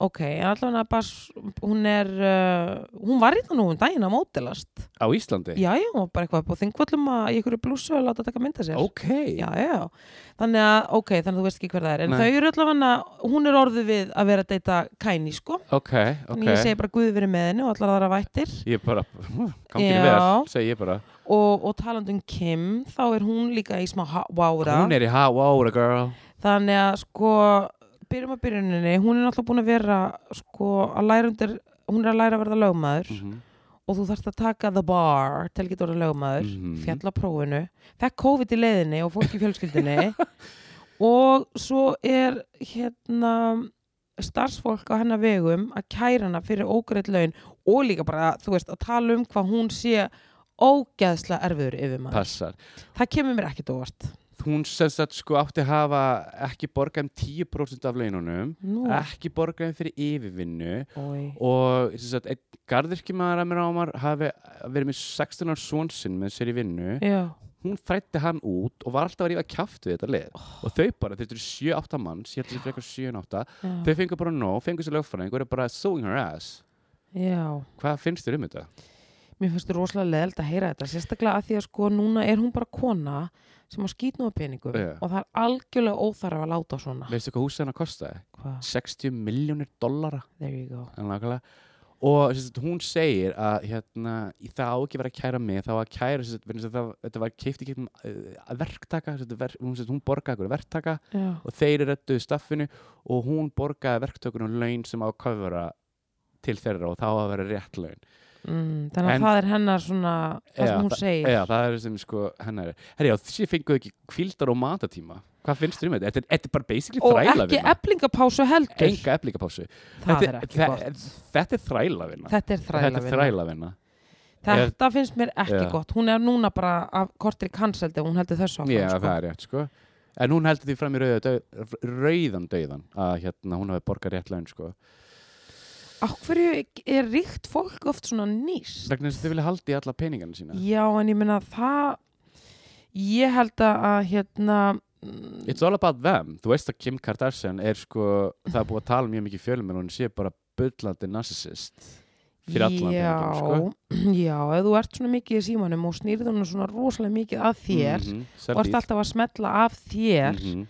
Speaker 1: ok en allavega bars, hún er uh, hún var hérna nú um daginn að mótilast
Speaker 2: Á Íslandi?
Speaker 1: já, já, hún var bara eitthvað upp á þingvöllum að í einhverju blússu að láta taka mynda sér
Speaker 2: Ok
Speaker 1: Já, já, þannig að, ok, þannig að þú veist ekki hver það er en
Speaker 2: Nei.
Speaker 1: þau eru allavega, hún er orðið við að vera að deyta kæni, sko
Speaker 2: Ok, ok
Speaker 1: þannig að ég segi bara guði verið með henni og allar aðra vættir
Speaker 2: Ég bara,
Speaker 1: Já.
Speaker 2: gangið vel, segi ég bara
Speaker 1: og, og talandi um Kim þá er hún líka í smá vára
Speaker 2: Hún er í Hawaii, girl
Speaker 1: þannig að sko byrjum að byrjuninni, hún er náttúrulega búin að vera sko að læra undir hún er að læra að verða lögmaður
Speaker 2: Mhm.
Speaker 1: og þú þarfst að taka the bar til að geta orða lögmaður,
Speaker 2: Mhm.
Speaker 1: fjalla prófinu fekk COVID í leiðinni og fólk í fjölskyldinni og svo er hérna starfsfólk á hennar vegum að kæra hana fyrir ógreitt laun og líka bara, þú veist, að tala um hvað hún sé ógeðslega erfiður yfir maður
Speaker 2: Passar
Speaker 1: Það kemur mér ekkert óvart.
Speaker 2: hún sem sagt sko átti að hafa ekki borgað um 10% af laununum
Speaker 1: Nú,
Speaker 2: ekki borgað um fyrir yfirvinnu
Speaker 1: oi.
Speaker 2: og sem sagt, einn gardirkimaður að mér ámar hafi verið með 16 árs són sinn með sér í vinnu
Speaker 1: Já,
Speaker 2: hún þrætti hann út og var alltaf að rífa kjaft við þetta lið og þau bara, þetta eru 7-8 manns ég held að þetta frekar 7-8
Speaker 1: já,
Speaker 2: þau fengur bara nóg, fengur sér lögfræðing og eru bara sewing her ass
Speaker 1: já.
Speaker 2: hvað finnst þér um þetta?
Speaker 1: Mér finnst þú rosalega leðild að heyra þetta, sérstaklega að því að sko núna er hún bara kona sem á skýtnum á peningum
Speaker 2: Já.
Speaker 1: og það er algjörlega óþarf að láta svona.
Speaker 2: veistu hvað húsið hennar kostaði?
Speaker 1: Hvað?
Speaker 2: 60 miljónir dollara
Speaker 1: There you go.
Speaker 2: En nákvæmlega. Og sérst, hún segir að hérna, í- það á ekki að vera að kæra mig, það á að kæra, sérst, verið, sérst, það, þetta var keift í keipt um uh, verktaka, sérst, ver, hún, sérst, hún borgaði einhverju verktaka
Speaker 1: Já,
Speaker 2: og þeir rettuðu staffinu og hún borgaði verktökunum laun sem á að kofra til þeirra og þá á að vera rétt laun.
Speaker 1: mm, þannig að
Speaker 2: En-
Speaker 1: það er hennar svona það
Speaker 2: Já,
Speaker 1: sem hún
Speaker 2: það-
Speaker 1: segir
Speaker 2: Eða, það er sem sko hennar er. Herri, já, þessi fenguðu ekki kvíldar og matatíma. Hvað finnst þér um þetta? Þetta er- þetta er bara basically
Speaker 1: og
Speaker 2: þræla
Speaker 1: ekki eblingapásu heldur
Speaker 2: Enga eflíkapásu.
Speaker 1: það
Speaker 2: þetta
Speaker 1: er
Speaker 2: er-
Speaker 1: ekki
Speaker 2: það-
Speaker 1: gott
Speaker 2: Þetta er þræla vinna.
Speaker 1: þetta er
Speaker 2: Þetta
Speaker 1: þræla
Speaker 2: er þræla vinna.
Speaker 1: þetta finnst mér ekki
Speaker 2: Já.
Speaker 1: gott hún er núna bara af kortri kanseldi hún heldur þessu áfram,
Speaker 2: Já,
Speaker 1: sko.
Speaker 2: það er rétt, sko. En hún heldur því fram í rauða dauð, rauðan dauðan að hérna, hún hafi borgað rétt laun, sko.
Speaker 1: Á hverju er ríkt fólk oft svona nýst?
Speaker 2: Vegna þess að þau vilja haldi í alla peningana sína.
Speaker 1: Já, en ég meina það, ég held að að, hérna, mm,
Speaker 2: It's all about them. Þú veist að Kim Kardashian er sko, það er búið að tala mjög mikið í fjölum en hún sé bara bullandi narcissist fyrir allan sko.
Speaker 1: já,
Speaker 2: peningum,
Speaker 1: já, ef þú ert svona mikið í símanum og snýrð hún svona rosalega mikið að þér
Speaker 2: mm
Speaker 1: og ert alltaf að smetla af þér,
Speaker 2: Mhm.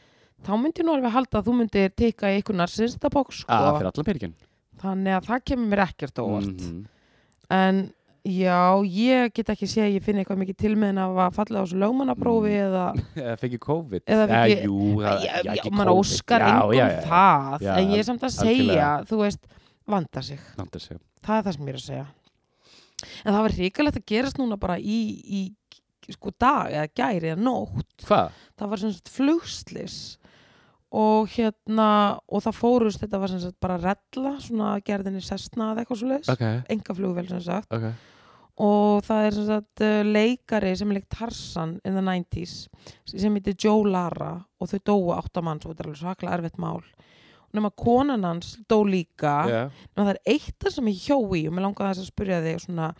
Speaker 1: þá myndi ég nú alveg halda að þú myndir teika í einhvernar sinsta bóks, sko,
Speaker 2: að Ah, fyrir allan peningin
Speaker 1: þannig að það kemur mér ekkert á óvart.
Speaker 2: Mhm.
Speaker 1: En já, ég get ekki séð að ég finn eitthvað mikið til með en að var fallið á þessu lögmannaprófi
Speaker 2: Mhm.
Speaker 1: eða
Speaker 2: eða fengi COVID
Speaker 1: Eða fengi-
Speaker 2: Eh, jú, það,
Speaker 1: já, já,
Speaker 2: ekki
Speaker 1: maður
Speaker 2: COVID.
Speaker 1: óskar
Speaker 2: Já, já, já,
Speaker 1: engum
Speaker 2: já.
Speaker 1: það
Speaker 2: Já,
Speaker 1: en ég
Speaker 2: al-
Speaker 1: er samt að segja,
Speaker 2: algjörlega.
Speaker 1: þú veist vanda sig,
Speaker 2: Vanda sig.
Speaker 1: það er það sem ég er að segja en það var hrikalegt að gerast núna bara í, í sko dag eða gæri eða nótt
Speaker 2: Hvað?
Speaker 1: það var sem sagt flugslis og hérna og það fórust, þetta var sem sagt bara rella svona gerðinni sestna eða eitthvað svo leis
Speaker 2: Ok,
Speaker 1: enga flugvél sem sagt
Speaker 2: ok
Speaker 1: og það er sem sagt uh, leikari sem leik Tarsan in the 90s sem heitir Joe Lara og þau dóu áttamann svo þetta er alveg svaklega erfitt mál nema konan hans dó líka
Speaker 2: Já.
Speaker 1: nema það er eitt það sem ég hjó í og mér langaði þess að spyrja þig svona,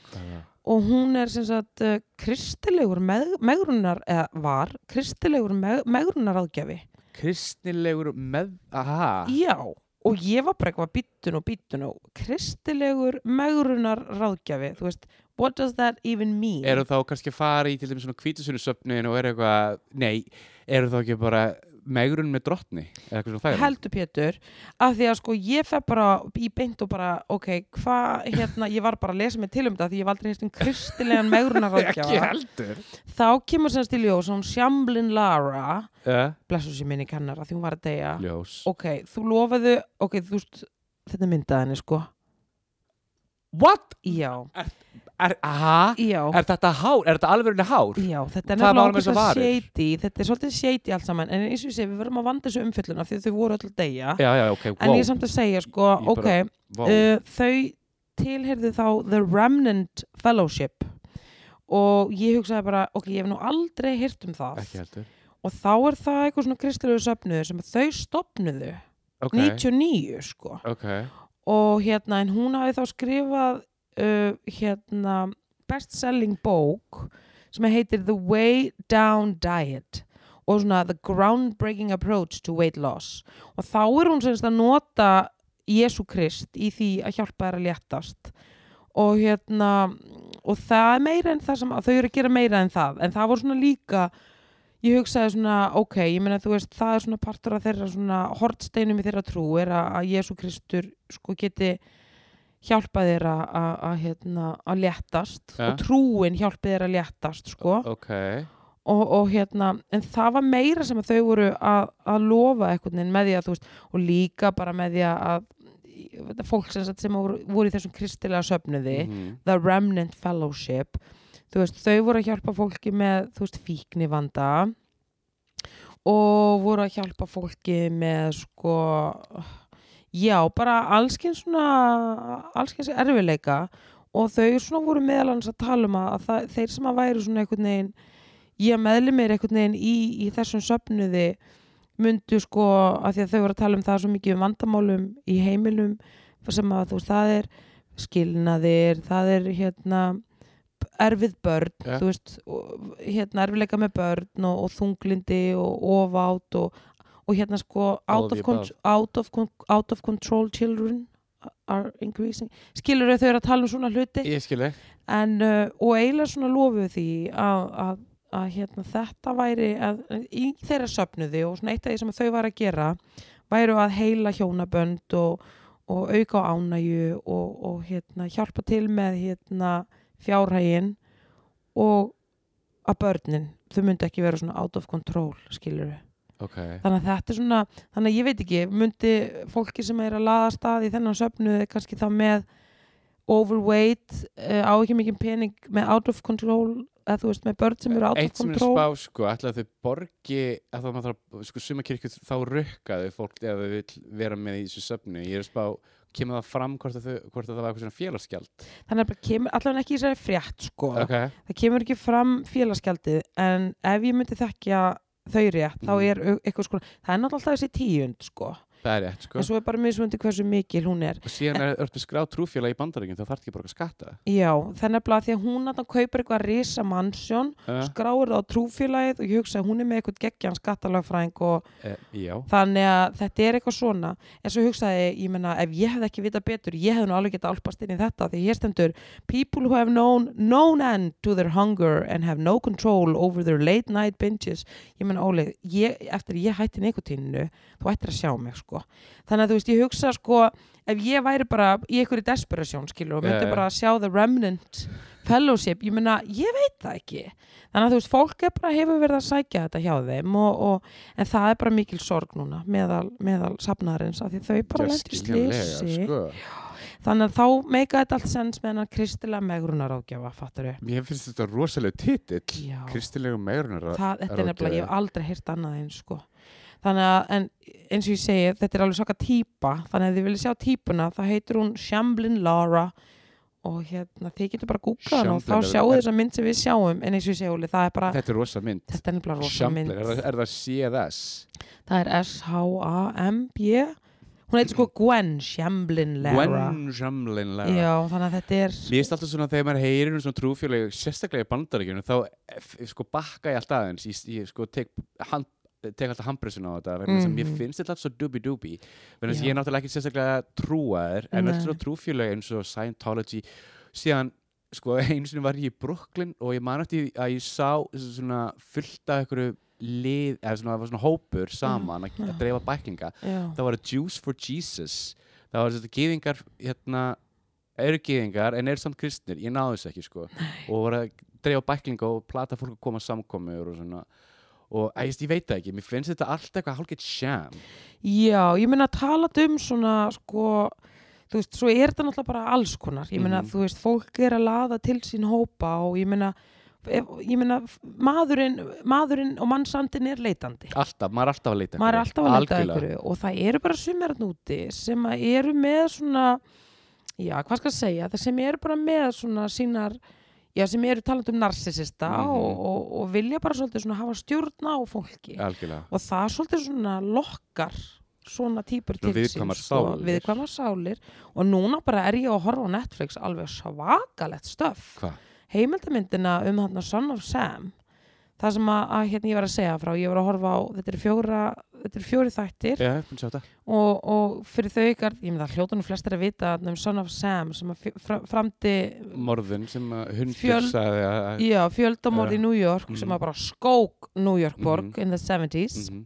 Speaker 1: og hún er sem sagt uh, kristilegur með, megrunar eða var kristilegur með, megrunar aðgjafi
Speaker 2: Kristnilegur með Aha
Speaker 1: já og ég var bara eitthvað býttun og býttun og kristilegur megrunar ráðgjafi, þú veist, what does that even mean?
Speaker 2: Eru þá kannski að fara í til dæmis svona kvítusunusöfnin og eru eitthvað Nei, eru þá ekki bara megrun með drottni? Eða eitthvað svona þær?
Speaker 1: heldur Pétur af því að sko ég fer bara í beint og bara ok, hvað hérna ég var bara að lesa mig til um þetta því ég var aldrei hérst um kristilegan
Speaker 2: Ekki
Speaker 1: megrunarráðgjafa
Speaker 2: heldur
Speaker 1: þá kemur semst í ljós hún Sjamblin Lara
Speaker 2: Já.
Speaker 1: blessu sér minni kennar að því hún var að deyja
Speaker 2: Ljós
Speaker 1: ok, þú lofaðu, ok, þú veist þetta er myndað henni sko
Speaker 2: What?
Speaker 1: já,
Speaker 2: Er, aha,
Speaker 1: já,
Speaker 2: er þetta hár? Er þetta alveg hár?
Speaker 1: já þetta er
Speaker 2: Það var
Speaker 1: nefnilega
Speaker 2: alveg eins og
Speaker 1: ógeðslega
Speaker 2: varir.
Speaker 1: shady þetta er svolítið shady allt saman en eins og ég segi, við verðum að vanda þessu umfylluna því að þau voru öll að deyja
Speaker 2: Já, já, ok,
Speaker 1: en
Speaker 2: wow,
Speaker 1: ég er samt að segja sko,
Speaker 2: Ég
Speaker 1: ok,
Speaker 2: bara- wow.
Speaker 1: uh, þau tilheyrðu þá The Remnant Fellowship og ég hugsaði bara, ok, ég hef nú aldrei hýrt um það
Speaker 2: ekki heldur
Speaker 1: og þá er það eitthvað svona kristilegu söfnuður sem að þau stopnuðu
Speaker 2: Ok,
Speaker 1: 99 sko
Speaker 2: ok,
Speaker 1: og hérna, en hún hafi þá skrifað uh, hérna bestselling bók sem heitir The Way Down Diet og svona The Groundbreaking Approach to Weight Loss og þá er hún semst að nota Jésu Krist í því að hjálpa þær að léttast og hérna og það er meira en það sem þau eru að gera meira en það en það voru svona líka ég hugsaði svona ok, ég meina þú veist það er svona partur af þeirra svona hortsteinum í þeirra trú er að, að Jésu Kristur sko geti hjálpað þeirra að, að, hérna, að léttast
Speaker 2: Ja.
Speaker 1: og trúin hjálpið þeirra að léttast sko
Speaker 2: ok
Speaker 1: og, og hérna, en það var meira sem að þau voru að, að lofa eitthvað með því að þú veist, og líka bara með því að þetta fólk sem, sagt sem voru, voru í þessum kristilega söfnuði
Speaker 2: Mhm.
Speaker 1: The Remnant Fellowship þú veist, þau voru að hjálpa fólki með þú veist, fíknivanda og voru að hjálpa fólki með sko já, bara allskins svona allskins erfileika og þau svona voru meðal hans að tala um að að það, þeir sem að væri svona einhvern veginn ég meðli mér einhvern veginn í, í þessum söfnuði myndu sko að því að þau voru að tala um það svo mikið um vandamálum í heimilum sem að þú veist, það er skilnaðir, það er hérna erfið börn,
Speaker 2: Ja.
Speaker 1: þú veist og, hérna erfileika með börn og, og þunglindi og ofátt og, og hérna sko
Speaker 2: All
Speaker 1: out
Speaker 2: of
Speaker 1: of,
Speaker 2: the
Speaker 1: con-
Speaker 2: above.
Speaker 1: out, of con- out of control children are increasing skilur þau eru að tala um svona hluti
Speaker 2: Ég skil þig
Speaker 1: en, uh, og eiginlega svona lofuðu því að, að, að hérna, þetta væri að, í þeirra söfnuði og svona eitt af því sem þau var að gera væru að heila hjónabönd og, og auka á ánægju og, og hérna, hjálpa til með hérna, fjárhægin og að börnin þau myndu ekki vera svona out of control skilur
Speaker 2: Ok,
Speaker 1: þannig að þetta er svona þannig að ég veit ekki, myndi fólki sem er að laða stað í þennan söfnuði kannski þá með overweight uh, á ekki mikið pening með out of control eða þú veist með börn sem eru out
Speaker 2: Eitt
Speaker 1: of
Speaker 2: sem er
Speaker 1: control
Speaker 2: spá, sko, ætla að þau borgi að það maður þarf, sko, suma kirkju þá rukka þau fólk ef þau vil vera með í þessu söfnu. Ég er að spá, kemur það fram hvort að, þau, hvort að það var eitthvað svona félagsgjald?
Speaker 1: þannig að bara kemur allavega ekki í þessari frétt sko
Speaker 2: Ok,
Speaker 1: það kemur ekki fram félagsgjaldið en ef ég myndi þekkja þau rétt þá
Speaker 2: Mhm.
Speaker 1: er au- eitthvað sko það er náttúrulega alltaf þessi tíund sko
Speaker 2: það er rétt, sko.
Speaker 1: en svo er bara mismundi hversu mikil hún er
Speaker 2: Og síðan er öll skráð trúfélag í bandaríkjum, þá þarf ekki að borga skatta.
Speaker 1: já, það er nefnilega því að hún að kaupir eitthvað risa mansjón,
Speaker 2: Uh,
Speaker 1: skráir það á trúfélagið og ég hugsa að hún er með eitthvað geggjan skattalagfræðing og
Speaker 2: uh, já,
Speaker 1: þannig að þetta er eitthvað svona en svo hugsaði, ég, ég meina, ef ég hefði ekki vita betur ég hefði nú alveg getað álpast inn í þetta því hér stendur, people who have known known end to their hunger and have no control over their late night binges ég meina, Óli, ég, eftir ég hætti neikotíninu, þú ættir að sjá mig sko, þannig að þú veist, ég hugsa sko ef ég væri bara í einhverju desperasjón skilur og myndi
Speaker 2: Já, já.
Speaker 1: bara að sjá the remnant fellowship, ég meina, ég veit það ekki þannig að þú veist, fólk er bara hefur verið að sækja þetta hjá þeim og, og En það er bara mikil sorg núna meðal, meðal safnaðarins af því þau bara lendur í
Speaker 2: skiljanlega,
Speaker 1: slisi.
Speaker 2: sko.
Speaker 1: Þannig að þá meika þetta allt sens með hennar kristilega megrunar ágjafa, fattur við.
Speaker 2: Mér finnst þetta rosalega titill,
Speaker 1: Já,
Speaker 2: kristilegu meirunar.
Speaker 1: það, þetta er nefnilega,
Speaker 2: ráðgjafi.
Speaker 1: ég hef aldrei heyrt annað eins, sko. Þannig að, en eins og ég segi, þetta er alveg svaka típa, þannig að þið viljið sjá típuna, þá heitir hún Shamblin Lara og hérna, þið getur bara að googla hana og þá
Speaker 2: Shamblin
Speaker 1: sjáu
Speaker 2: Lara.
Speaker 1: þessa mynd sem við sjáum, en eins og ég segi, Óli, það er bara,
Speaker 2: Þetta er rosa mynd.
Speaker 1: þetta er nefnilega rosa
Speaker 2: Shamblin, er, það-
Speaker 1: mynd.
Speaker 2: er það CLS?
Speaker 1: Það er S-H-A-M-B Hún heitir sko Gwen Shamblin Lara
Speaker 2: Gwen Shamblin Lara.
Speaker 1: Já, þannig að þetta er
Speaker 2: Mér finnst alltaf svona þegar maður heyrir um svona trúfélög, sérstaklega í bandaríkjunum, þá f- sko bakka ég alltaf aðeins, ég, ég sko tek, hand, tek alltaf handbreysin á þetta, vegna þess að mér
Speaker 1: Mhm.
Speaker 2: finnst þetta alltaf svo dubi-dubi, vegna þess að
Speaker 1: Já.
Speaker 2: ég er náttúrulega ekki sérstaklega trúaður, en öll
Speaker 1: Nei.
Speaker 2: svona trúfélög eins og Scientology, síðan sko einu sinni var ég í Brooklyn og ég man eftir því að ég sá svona fullt af einhverju lið, eða svona, það var svona hópur saman að,
Speaker 1: Mm.
Speaker 2: að dreifa bæklinga
Speaker 1: já,
Speaker 2: það var Jews for Jesus það var þetta gýðingar hérna, eru gýðingar en eru samt kristnir ég náðu þessu ekki sko og var að dreifa bæklinga og plata fólk að koma á samkomur og svona og æ, ég, veist, ég veit það ekki, mér finnst þetta allt eitthvað hálfgeitt sham
Speaker 1: já, ég meina að tala um svona sko þú veist, svo er þetta náttúrulega bara alls konar ég meina,
Speaker 2: Mhm.
Speaker 1: þú veist, fólk er að laða til sín hópa og ég meina ef- ég meina, maðurinn, maðurinn og mannsandinn er leitandi
Speaker 2: alltaf, maður er alltaf að leita
Speaker 1: maður er
Speaker 2: einhverju.
Speaker 1: alltaf að leita að
Speaker 2: Algjörlega.
Speaker 1: einhverju og það eru bara sumir að núti sem að eru með svona já, hvað skal ég segja, það sem eru bara með svona sínar já, sem eru talandi um narsisista
Speaker 2: Mhm.
Speaker 1: og, og, og vilja bara svolítið svona hafa stjórna á fólki
Speaker 2: algjörlega
Speaker 1: og það svolítið svona lokkar svona típur til
Speaker 2: Svona viðkvæmar
Speaker 1: sko,
Speaker 2: sálir.
Speaker 1: viðkvæmar sálir og núna bara er ég að horfa á Netflix alveg svakalett stöf
Speaker 2: Hvað?
Speaker 1: heimildamyndina um hann Son of Sam það sem að, að hérna ég var að segja frá ég var að horfa á, þetta er fjóra þetta er fjóri þættir
Speaker 2: Já, ég er búin að sjá þetta.
Speaker 1: og, og fyrir þau ykkar, ég með það hljótunum flestir að vita þarna um Son of Sam sem að fjö- fra- framdi
Speaker 2: Morðin sem að hundur
Speaker 1: Fjöl-
Speaker 2: sagði að...
Speaker 1: já, fjöldamorð í New York
Speaker 2: Mhm.
Speaker 1: sem að bara skók New York borg
Speaker 2: Mhm.
Speaker 1: in the 70s
Speaker 2: Mhm.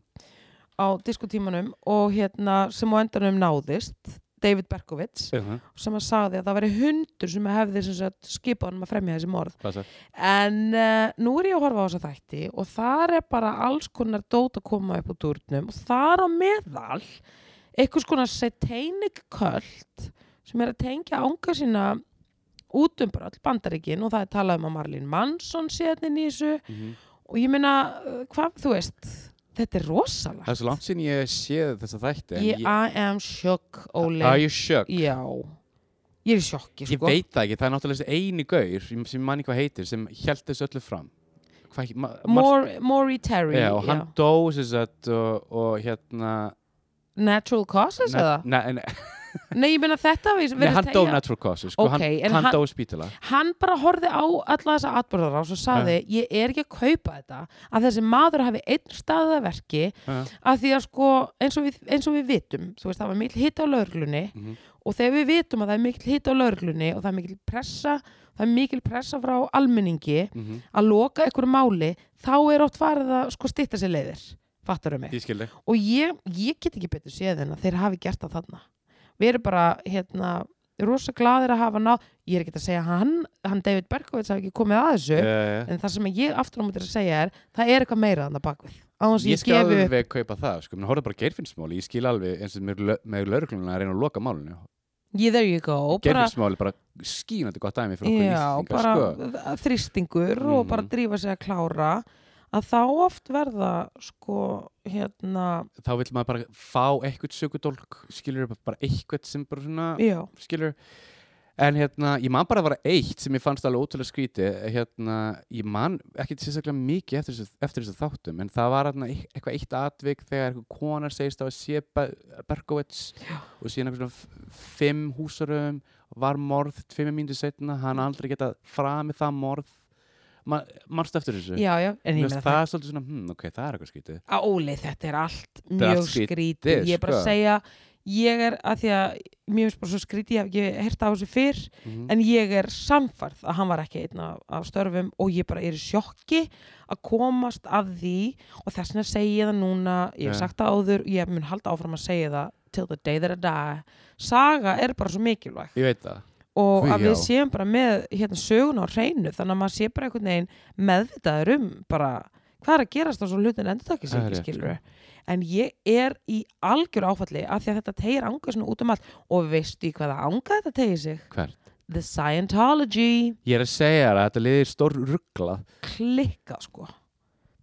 Speaker 1: á diskotímanum og hérna sem á endanum náðist David Berkovits
Speaker 2: Mhm.
Speaker 1: sem að sagði að það væri hundur sem hefði sem sagt, skipað hann að fremja þessi morð
Speaker 2: Hvað það?
Speaker 1: En uh, nú er ég að horfa á þessa þætti og þar er bara alls konar dót að koma upp úr durnum og þar á meðal einhvers konar satanic cult sem er að tengja ánga sína út um bara all bandaríkin og það er talað um að Marlene Manson sé þetta í þessu
Speaker 2: Mhm.
Speaker 1: og ég meina, eh, hvað, þú veist, þetta er rosalegt.
Speaker 2: Það er svo langt sinn ég séð þessa þætti. en
Speaker 1: Ég, I am shook, Óli.
Speaker 2: Are you shook?
Speaker 1: Já, ég er í sjokki,
Speaker 2: Ég
Speaker 1: sko.
Speaker 2: veit það ekki, það er náttúrulega þessi eini gaur sem sem ég manni hvað heitir, sem held þessu öllu fram Hvað ekki, ma,
Speaker 1: Maury Maury Terry,
Speaker 2: já, og hann
Speaker 1: já.
Speaker 2: dó sem sagt og, og hérna
Speaker 1: Natural causes eða?
Speaker 2: ne, ne,
Speaker 1: Nei, ég meina þetta við-
Speaker 2: ne,
Speaker 1: verðist
Speaker 2: hann dó
Speaker 1: tegja-
Speaker 2: natural causes sko,
Speaker 1: Ok, en
Speaker 2: hann, hann
Speaker 1: hann-
Speaker 2: dó á spítala
Speaker 1: Hann bara horfði á alla þessa atbyrðar og svo saði, ég er ekki að kaupa þetta að þessi maður hafi einn staða verki
Speaker 2: Ha.
Speaker 1: að því að sko eins og við, eins og við vitum, þú veist, það var mikil hitt á lauglunni
Speaker 2: Mhm.
Speaker 1: og þegar við vitum að það er mikil hitt á lauglunni og það er mikil pressa það er mikil pressa frá almenningi
Speaker 2: mm -hmm.
Speaker 1: að loka einhverju máli þá er oft farið að sko stytta sér leiðir fattarum mig
Speaker 2: Ég skildi
Speaker 1: og ég, ég get ekki betur séð en að þeir hafi gert það þarna við erum bara hérna rosa glaðir að hafa náð ég er ekki að segja að hann, hann David Berkowitz hafi ekki komið að þessu
Speaker 2: uh,
Speaker 1: en það sem ég aftur á mútið að segja er það er eitthvað meira þannig að bakvið á þess að
Speaker 2: Ég
Speaker 1: ég,
Speaker 2: skal
Speaker 1: gefi
Speaker 2: alveg kaupa það, sko, menn horfðu bara á geirfinnsmáli, ég skil alveg eins og með, lö- með lögreglunum að reyna að loka málinu
Speaker 1: yeah, there you go bara,
Speaker 2: gerðismáli bara skínandi gott dæmi fyrir
Speaker 1: já,
Speaker 2: okkur Íslendinga,
Speaker 1: bara
Speaker 2: sko.
Speaker 1: að þrýstingur og
Speaker 2: Mhm.
Speaker 1: bara drífa sig að klára að þá oft verða sko hérna
Speaker 2: þá vil maður bara fá eitthvað sökudólk skilur bara eitthvað sem bara svona
Speaker 1: já,
Speaker 2: skilur en hérna, ég man bara að vara eitt sem ég fannst alveg ótrúlega skrítið hérna, ég man ekki sérstaklega mikið eftir þessu, eftir þessu þáttum en það var hérna, eit- eitthvað eitt atvik þegar eitthvað kona segist á að sé Be- Berkowitz og síðan eitthvað svona f- fimm húsarum var morð tveimur mínútur setna, hann
Speaker 1: Mm.
Speaker 2: aldrei getað framið það morð Ma, manstu eftir þessu?
Speaker 1: já, já en
Speaker 2: Mér
Speaker 1: ég
Speaker 2: finnst
Speaker 1: meina
Speaker 2: það
Speaker 1: það
Speaker 2: er svolítið svona, hm, ok, það er eitthvað skrítið
Speaker 1: að Óli, þetta er allt
Speaker 2: er allt
Speaker 1: mjög skrítið ég er bara að
Speaker 2: sko.
Speaker 1: segja ég er að því að mjög finnst bara svo skrítið ég hef ekki heyrt af þessu fyrr
Speaker 2: Mhm.
Speaker 1: en ég er samfærð að hann var ekki einn af, af störfum og ég bara er í sjokki að komast að því og þess vegna segi ég það núna ég hef
Speaker 2: Já.
Speaker 1: sagt það áður, ég mun halda áfram að segja það till the day that I die saga er bara svo mikilvæg
Speaker 2: Ég veit það
Speaker 1: og
Speaker 2: Hví,
Speaker 1: að við
Speaker 2: já.
Speaker 1: séum bara með hérna, sögun á hreinu þannig að maður sé bara einhvern veginn meðvitaður um bara hvað er að gerast á svo hlutin endurtaki sig
Speaker 2: Það
Speaker 1: ekki
Speaker 2: er rétt, sko.
Speaker 1: skilur en ég er í algjör áfalli af því að þetta tegir anga svona út um allt og veistu í hvaða anga þetta tegir sig
Speaker 2: Hvern?
Speaker 1: The Scientology
Speaker 2: Ég er að segja þér að þetta liðir stór ruggla
Speaker 1: klikka sko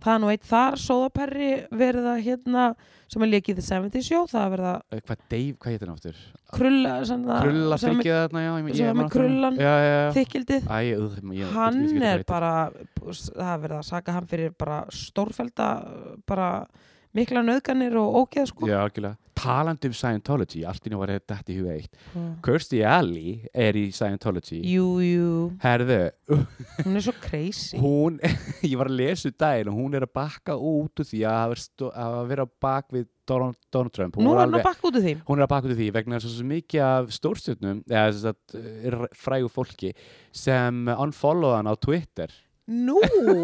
Speaker 1: það er nú eitt þar sóðaperri verða hérna sem er lekið The 70 Show það er verða
Speaker 2: Eh, Hvað Dave, hvað heitir hann áttur?
Speaker 1: krulla sem það-
Speaker 2: Krulla
Speaker 1: sem er með
Speaker 2: fríkið þarna, já
Speaker 1: sem
Speaker 2: ég- ég
Speaker 1: var
Speaker 2: man
Speaker 1: með
Speaker 2: eftir honum.
Speaker 1: krullan.
Speaker 2: Já, já, já
Speaker 1: þykildið
Speaker 2: Æ, uh, ég, ég-
Speaker 1: hann
Speaker 2: ég veit ekki hvað
Speaker 1: er
Speaker 2: heitir.
Speaker 1: bara það er verið að saka hann fyrir bara stórfelda bara mikla nöðganir og ógeð sko
Speaker 2: Já, algjörlega Talandi um Scientology, allt í nú var þetta í huga eitt
Speaker 1: Mm.
Speaker 2: Kirstie Alley er í Scientology
Speaker 1: jú, jú,
Speaker 2: Herðu,
Speaker 1: hún er svo crazy
Speaker 2: hún, ég var að lesa um daginn og hún er að bakka út úr því að hafa stó- að vera á bak við Donald, Donald Trump Hún
Speaker 1: nú
Speaker 2: var
Speaker 1: er hann
Speaker 2: alveg-
Speaker 1: að bakka út af því
Speaker 2: hún er að baka út af því vegna þess að svo mikið af stórstjörnum eða þess að frægu fólki sem unfollowa hann á Twitter
Speaker 1: nú,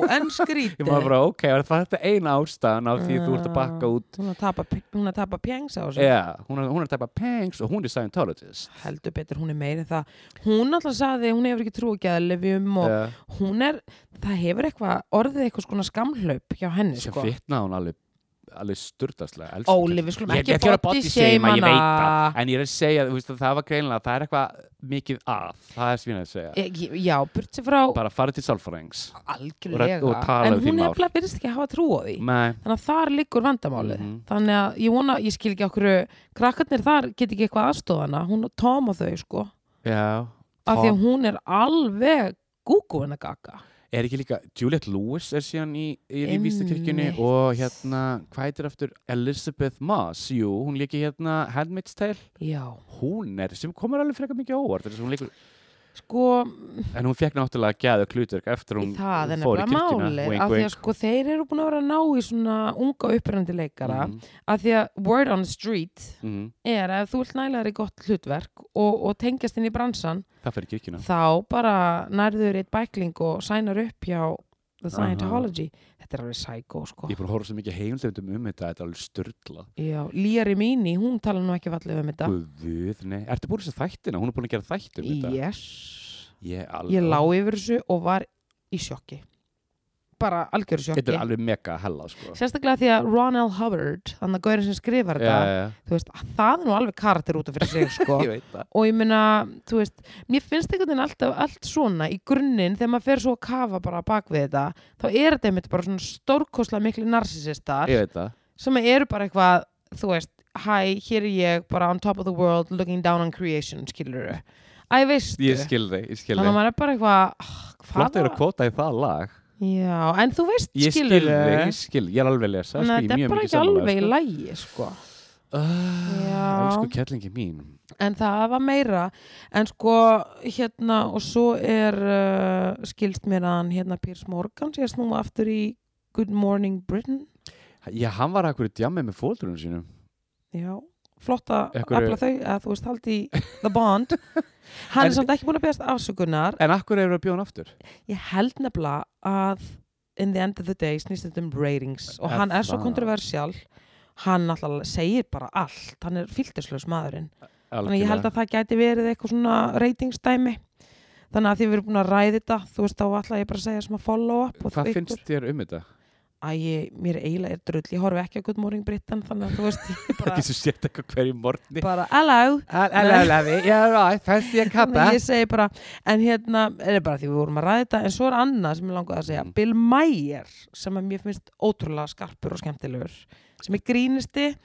Speaker 1: en skrítið
Speaker 2: ég maður bara ok, var það þetta eina ástæðan af því að þú ert að
Speaker 1: Ah,
Speaker 2: baka út
Speaker 1: hún er að tapa, hún er að tapa pjengs á þessu
Speaker 2: yeah, hún, er, hún er að tapa pengs og hún er Scientologist
Speaker 1: heldur betur, hún er meira en það hún alltaf sagði, hún hefur ekki trú að geða lefjum og
Speaker 2: yeah.
Speaker 1: hún er, það hefur eitthvað orðið eitthvað skona skamhlaup hjá henni
Speaker 2: sem
Speaker 1: sko.
Speaker 2: fitna hún alveg alveg sturdaslega
Speaker 1: Óli, við skulum ekki
Speaker 2: ekki að
Speaker 1: body
Speaker 2: body
Speaker 1: shame
Speaker 2: shame ég veit
Speaker 1: hana.
Speaker 2: það en ég er að segja, þú veist að það var greinlega það er eitthvað mikið að, það er svín að segja
Speaker 1: e, já, burt sér frá
Speaker 2: bara farið til sálfræðings
Speaker 1: algjörlega,
Speaker 2: og tala
Speaker 1: en
Speaker 2: um þín
Speaker 1: hún
Speaker 2: mál.
Speaker 1: hefla byrðist ekki að hafa trú á því
Speaker 2: Nei,
Speaker 1: þannig að þar liggur vandamálið
Speaker 2: Mhm.
Speaker 1: þannig að ég vona, ég skil ekki okkur krakkarnir þar get ekki eitthvað aðstofana hún og Tom og þau sko
Speaker 2: já,
Speaker 1: af því
Speaker 2: Tom.
Speaker 1: að hún er alveg gúgú en að gaga
Speaker 2: er ekki líka Juliette Lewis er síðan í, er í
Speaker 1: Einmitt.
Speaker 2: Vístakirkjunni og hérna, hvað heitir aftur Elizabeth Moss, jú, hún líki hérna Handmaid's Tale,
Speaker 1: já,
Speaker 2: hún er sem komur alveg frekar mikið á óvart þess að hún leikur,
Speaker 1: sko
Speaker 2: en hún fekk náttúrulega gæðu klutverk eftir hún
Speaker 1: það er
Speaker 2: fór í
Speaker 1: nefnilega
Speaker 2: kirkjuna
Speaker 1: máli
Speaker 2: Wink,
Speaker 1: af því að
Speaker 2: wink.
Speaker 1: sko þeir eru búin að vera að ná í svona unga upprennandi leikara
Speaker 2: Mhm,
Speaker 1: af því að word on the street
Speaker 2: mhm.
Speaker 1: er að ef þú ert nælaður í gott hlutverk og, og tengjast inn í bransan
Speaker 2: það fer í kirkjuna
Speaker 1: þá bara nærður eitt bækling og sænar upp hjá The Scientology þetta er alveg sækó sko
Speaker 2: ég er búin að horfa svo mikið heimlefndum um þetta, þetta er alveg störtla
Speaker 1: Já, Líari Míní, hún tala nú ekki fallið um þetta
Speaker 2: Guð, nei, ertu búin að segja þættina hún er búin að gera þætti um þetta
Speaker 1: yes.
Speaker 2: ég,
Speaker 1: ég
Speaker 2: alveg-
Speaker 1: lá yfir þessu og var í sjokki bara algjöru
Speaker 2: þetta
Speaker 1: sjokki
Speaker 2: er alveg mega hella sko.
Speaker 1: sérstaklega því að Ron L. Hubbard þannig að gaurin sem skrifar þetta
Speaker 2: já,
Speaker 1: þú veist, það er nú alveg karakter út af fyrir sig sko.
Speaker 2: ég veit það
Speaker 1: og ég meina, þú veist mér finnst einhvern veginn alltaf allt svona í grunninn þegar maður fer svo að kafa bara bak við þetta þá er þetta einmitt bara svona stórkosla miklu narsisistar
Speaker 2: ég veit það
Speaker 1: sem eru bara eitthvað, þú veist hæ, hér er ég, bara on top of the world looking down on creation, skilur þau Æ, veistu,
Speaker 2: Ég skil þig, ég skil
Speaker 1: þannig að
Speaker 2: þig.
Speaker 1: maður er bara eitthvað ah,
Speaker 2: Flott
Speaker 1: hvaða-
Speaker 2: er að kvota í það lag.
Speaker 1: Já, en þú veist,
Speaker 2: Ég skil
Speaker 1: skilur
Speaker 2: þig, ég skil, ég er alveg að lesa.
Speaker 1: Þannig að þetta
Speaker 2: sko, ég
Speaker 1: er
Speaker 2: mjög
Speaker 1: bara
Speaker 2: mikið
Speaker 1: ekki
Speaker 2: sammála,
Speaker 1: alveg í
Speaker 2: sko.
Speaker 1: lægi, sko. Já.
Speaker 2: Ah, Elsku kettlingi mín.
Speaker 1: En það var meira. En sko, hérna, og svo er, uh, skilst mér að hann, hérna, Piers Morgan, sé að snúma aftur í Good Morning Britain.
Speaker 2: Já, hann var að hverju djamið með fóldrunum sínum.
Speaker 1: Já, flott að
Speaker 2: Einhverju-
Speaker 1: afla þau, að þú veist, haldi í The Bond. Hann
Speaker 2: En-
Speaker 1: er samt ekki búin að beðast afsökunar.
Speaker 2: En akkur eru að bjóða hann aftur?
Speaker 1: Ég held nefnilega að in the end of the day snýst þetta um ratings og
Speaker 2: Er
Speaker 1: hann er svo
Speaker 2: það?
Speaker 1: kontroversial. Hann alltaf segir bara allt. Hann er filterslaus maðurinn. Þannig að ég held að það gæti verið eitthvað svona reytingsdæmi. Þannig að því við erum búin að ræði þetta, þú veist, þá ætla ég bara að segja sem að follow up. og
Speaker 2: Hvað
Speaker 1: ykkur-
Speaker 2: finnst þér um þetta?
Speaker 1: Æ, ég, mér eiginlega er drull, ég horfi ekki á Good Morning Britain þannig að þú veist, ég bara,
Speaker 2: ekki sem sétt eitthvað hverju morgni
Speaker 1: bara hello
Speaker 2: Hello, lovey, yeah, right, fancy a
Speaker 1: Þannig að ég segi bara, en hérna er bara því við vorum að ræða þetta, en svo er annað sem ég langaði að segja,
Speaker 2: Mm.
Speaker 1: Bill Mayer sem að mér finnst ótrúlega skarpur og skemmtilegur sem er grínisti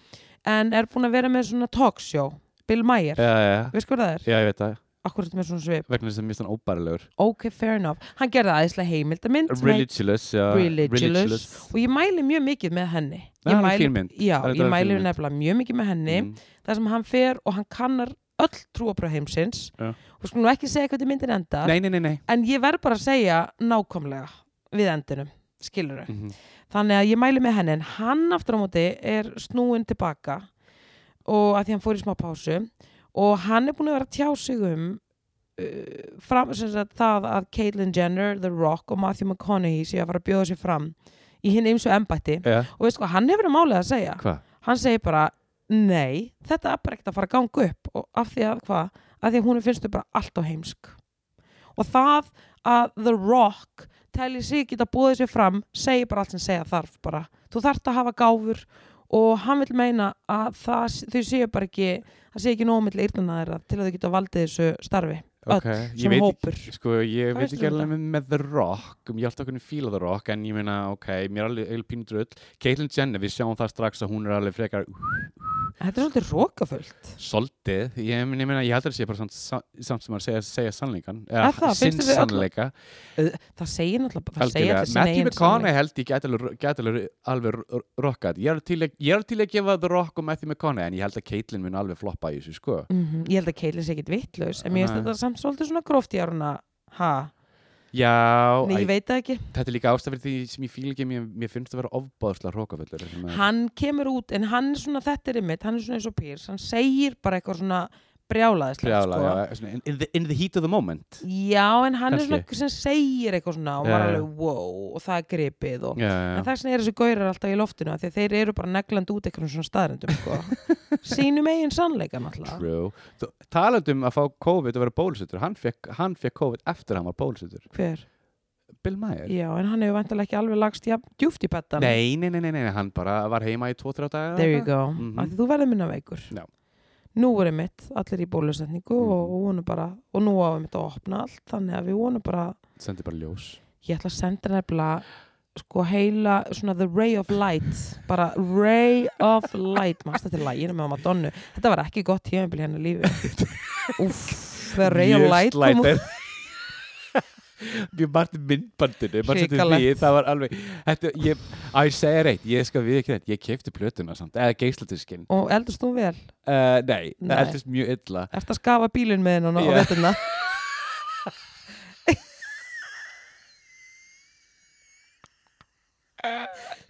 Speaker 1: en er búin að vera með svona talkshow Bill Mayer,
Speaker 2: Já, já,
Speaker 1: veist hvað það er?
Speaker 2: já, ég veit það,
Speaker 1: Akkur þetta með svona svip,
Speaker 2: vegna þess að mér finnst hann óbærilegur
Speaker 1: ok, fair enough hann gerði aðeinslega heimildamind sem heitir
Speaker 2: Religious, já
Speaker 1: Religious. og ég mæli mjög mikið með henni
Speaker 2: uh, Það er
Speaker 1: ég
Speaker 2: alveg
Speaker 1: mæli,
Speaker 2: fín mynd.
Speaker 1: já,
Speaker 2: Það er
Speaker 1: ég
Speaker 2: alveg
Speaker 1: mæli
Speaker 2: fín mynd.
Speaker 1: nefnilega mjög mikið með henni
Speaker 2: Mm.
Speaker 1: þar sem hann fer og hann kannar öll trúabröð heimsins
Speaker 2: Já.
Speaker 1: og sko nú ekki segja hvernig myndin endar
Speaker 2: Nei, nei, nei, nei
Speaker 1: en ég verð bara að segja nákvæmlega við endinum, skilur þau
Speaker 2: Mhm.
Speaker 1: þannig að ég mæli með henni en hann aftur á móti er snúin tilbaka og að því hann fór í smá pásu og hann er búin að vera að tjá sig um uh, fram, sem sagt, það að Caitlyn Jenner, The Rock og Matthew McConaughey séu að fara að bjóða sér fram í hinn eins og embætti
Speaker 2: Já,
Speaker 1: og veist hvað, hann hefur um málið að segja
Speaker 2: hvað?
Speaker 1: hann segir bara, nei, þetta er bara ekkert að fara að ganga upp og af því að hvað, af því að hún finnst þau bara allt á heimsk og það að The Rock telji sig geta búið sér fram segir bara allt sem segja þarf bara þú þarft að hafa gáfur og hann vil meina að það, þau séu bara ekki það séu ekki nómiðlega yrnuna þeirra til að þau geta valdið þessu starfi
Speaker 2: Ok, ég
Speaker 1: sem
Speaker 2: veit ekki-
Speaker 1: hópur
Speaker 2: Sko,
Speaker 1: Hvað
Speaker 2: ég veit
Speaker 1: veistu
Speaker 2: ekki
Speaker 1: um
Speaker 2: alveg með, með The Rock um, Ég held okkur að fíla The Rock En ég meina, ok, mér er alveg eiginlega pínu drull Caitlyn Jenner, við sjáum það strax að hún er alveg frekar uh,
Speaker 1: þetta er svolítið rókafullt
Speaker 2: Soldið, ég meina, ég, meina, ég held að það sé bara samt, sa- samt sem að segja, segja sannleikan
Speaker 1: Er það?
Speaker 2: sinn
Speaker 1: Finnst þér við öll-
Speaker 2: sannleika
Speaker 1: það segir náttúrulega það segir
Speaker 2: Algjörlega,
Speaker 1: allir sína
Speaker 2: Matthew
Speaker 1: eigin sannleik.
Speaker 2: McConaughey held ég gæti alveg- gæti alveg alveg ro- ro- rockað Ég er til að- ég er til að gefa The Rock og Matthew McConaughey en ég held að Caitlyn mun alveg floppa í þessu sko
Speaker 1: Mhm, ég held að Keili sé ekkit vittlaus en mér finnst
Speaker 2: Nei.
Speaker 1: þetta samt svolítið svona gróft í áruna ha,
Speaker 2: Já,
Speaker 1: nei
Speaker 2: æ,
Speaker 1: ég veit það ekki
Speaker 2: þetta er líka ástafir því sem ég fíl ekki mér, mér finnst að vera ofbáðslega rokafullur
Speaker 1: hann kemur út en hann er svona þetta er ymmit, hann er svona eins og Pírs hann segir bara eitthvað svona brjálaðislega
Speaker 2: Trjála,
Speaker 1: sko.
Speaker 2: já, svona in, in, the, in the heat of the moment
Speaker 1: já en hann er svona
Speaker 2: Kannski.
Speaker 1: einhver sem segir eitthvað svona og maður
Speaker 2: Já, já.
Speaker 1: alveg wow og það er gripið og En
Speaker 2: Já, já, já.
Speaker 1: þess vegna er þessu gaurar alltaf í loftinu af því að þeir eru bara negland út eitthvað svona staðrendum sko. sínum eigin sannleika náttúrulega
Speaker 2: True Þú- Talandi um að fá COVID og vera bólusettur hann fekk, hann fekk COVID eftir að hann var bólusettur
Speaker 1: hver?
Speaker 2: Bill Maher
Speaker 1: Já, en hann hefur vantilega ekki alveg lagst ja, djúft í pettan
Speaker 2: nei, nei, nei, nei, nei, hann bara var heima í 2-3 daga
Speaker 1: There you go,
Speaker 2: Mhm.
Speaker 1: af því þú verður minna veikur
Speaker 2: Já.
Speaker 1: Nú voru mitt, allir í bólusetningu og,
Speaker 2: Mhm.
Speaker 1: og vonum bara, og nú áfum mitt að opna allt, þannig að við vonum bara
Speaker 2: Sendi bara ljós
Speaker 1: ég ætla að senda nefnilega sko heila, svona the ray of light bara ray of light mannst þetta er læginu með Madonnu þetta var ekki gott hérna tímabili hennar lífi uff, the ray of
Speaker 2: Mjög
Speaker 1: light kom út.
Speaker 2: slæter. Mjög margt í myndbandinu margt eftir
Speaker 1: Hrikalegt.
Speaker 2: því, Það var alveg þetta, ég, Að ég segja reitt, ég skal við ekki þetta Ég kefti plötuna samt, eða geislatiskin
Speaker 1: og eldast þú vel,
Speaker 2: uh, Nei,
Speaker 1: Nei.
Speaker 2: það eldist mjög illa
Speaker 1: eftir að skafa bílinn með hennar
Speaker 2: Já.
Speaker 1: og veturna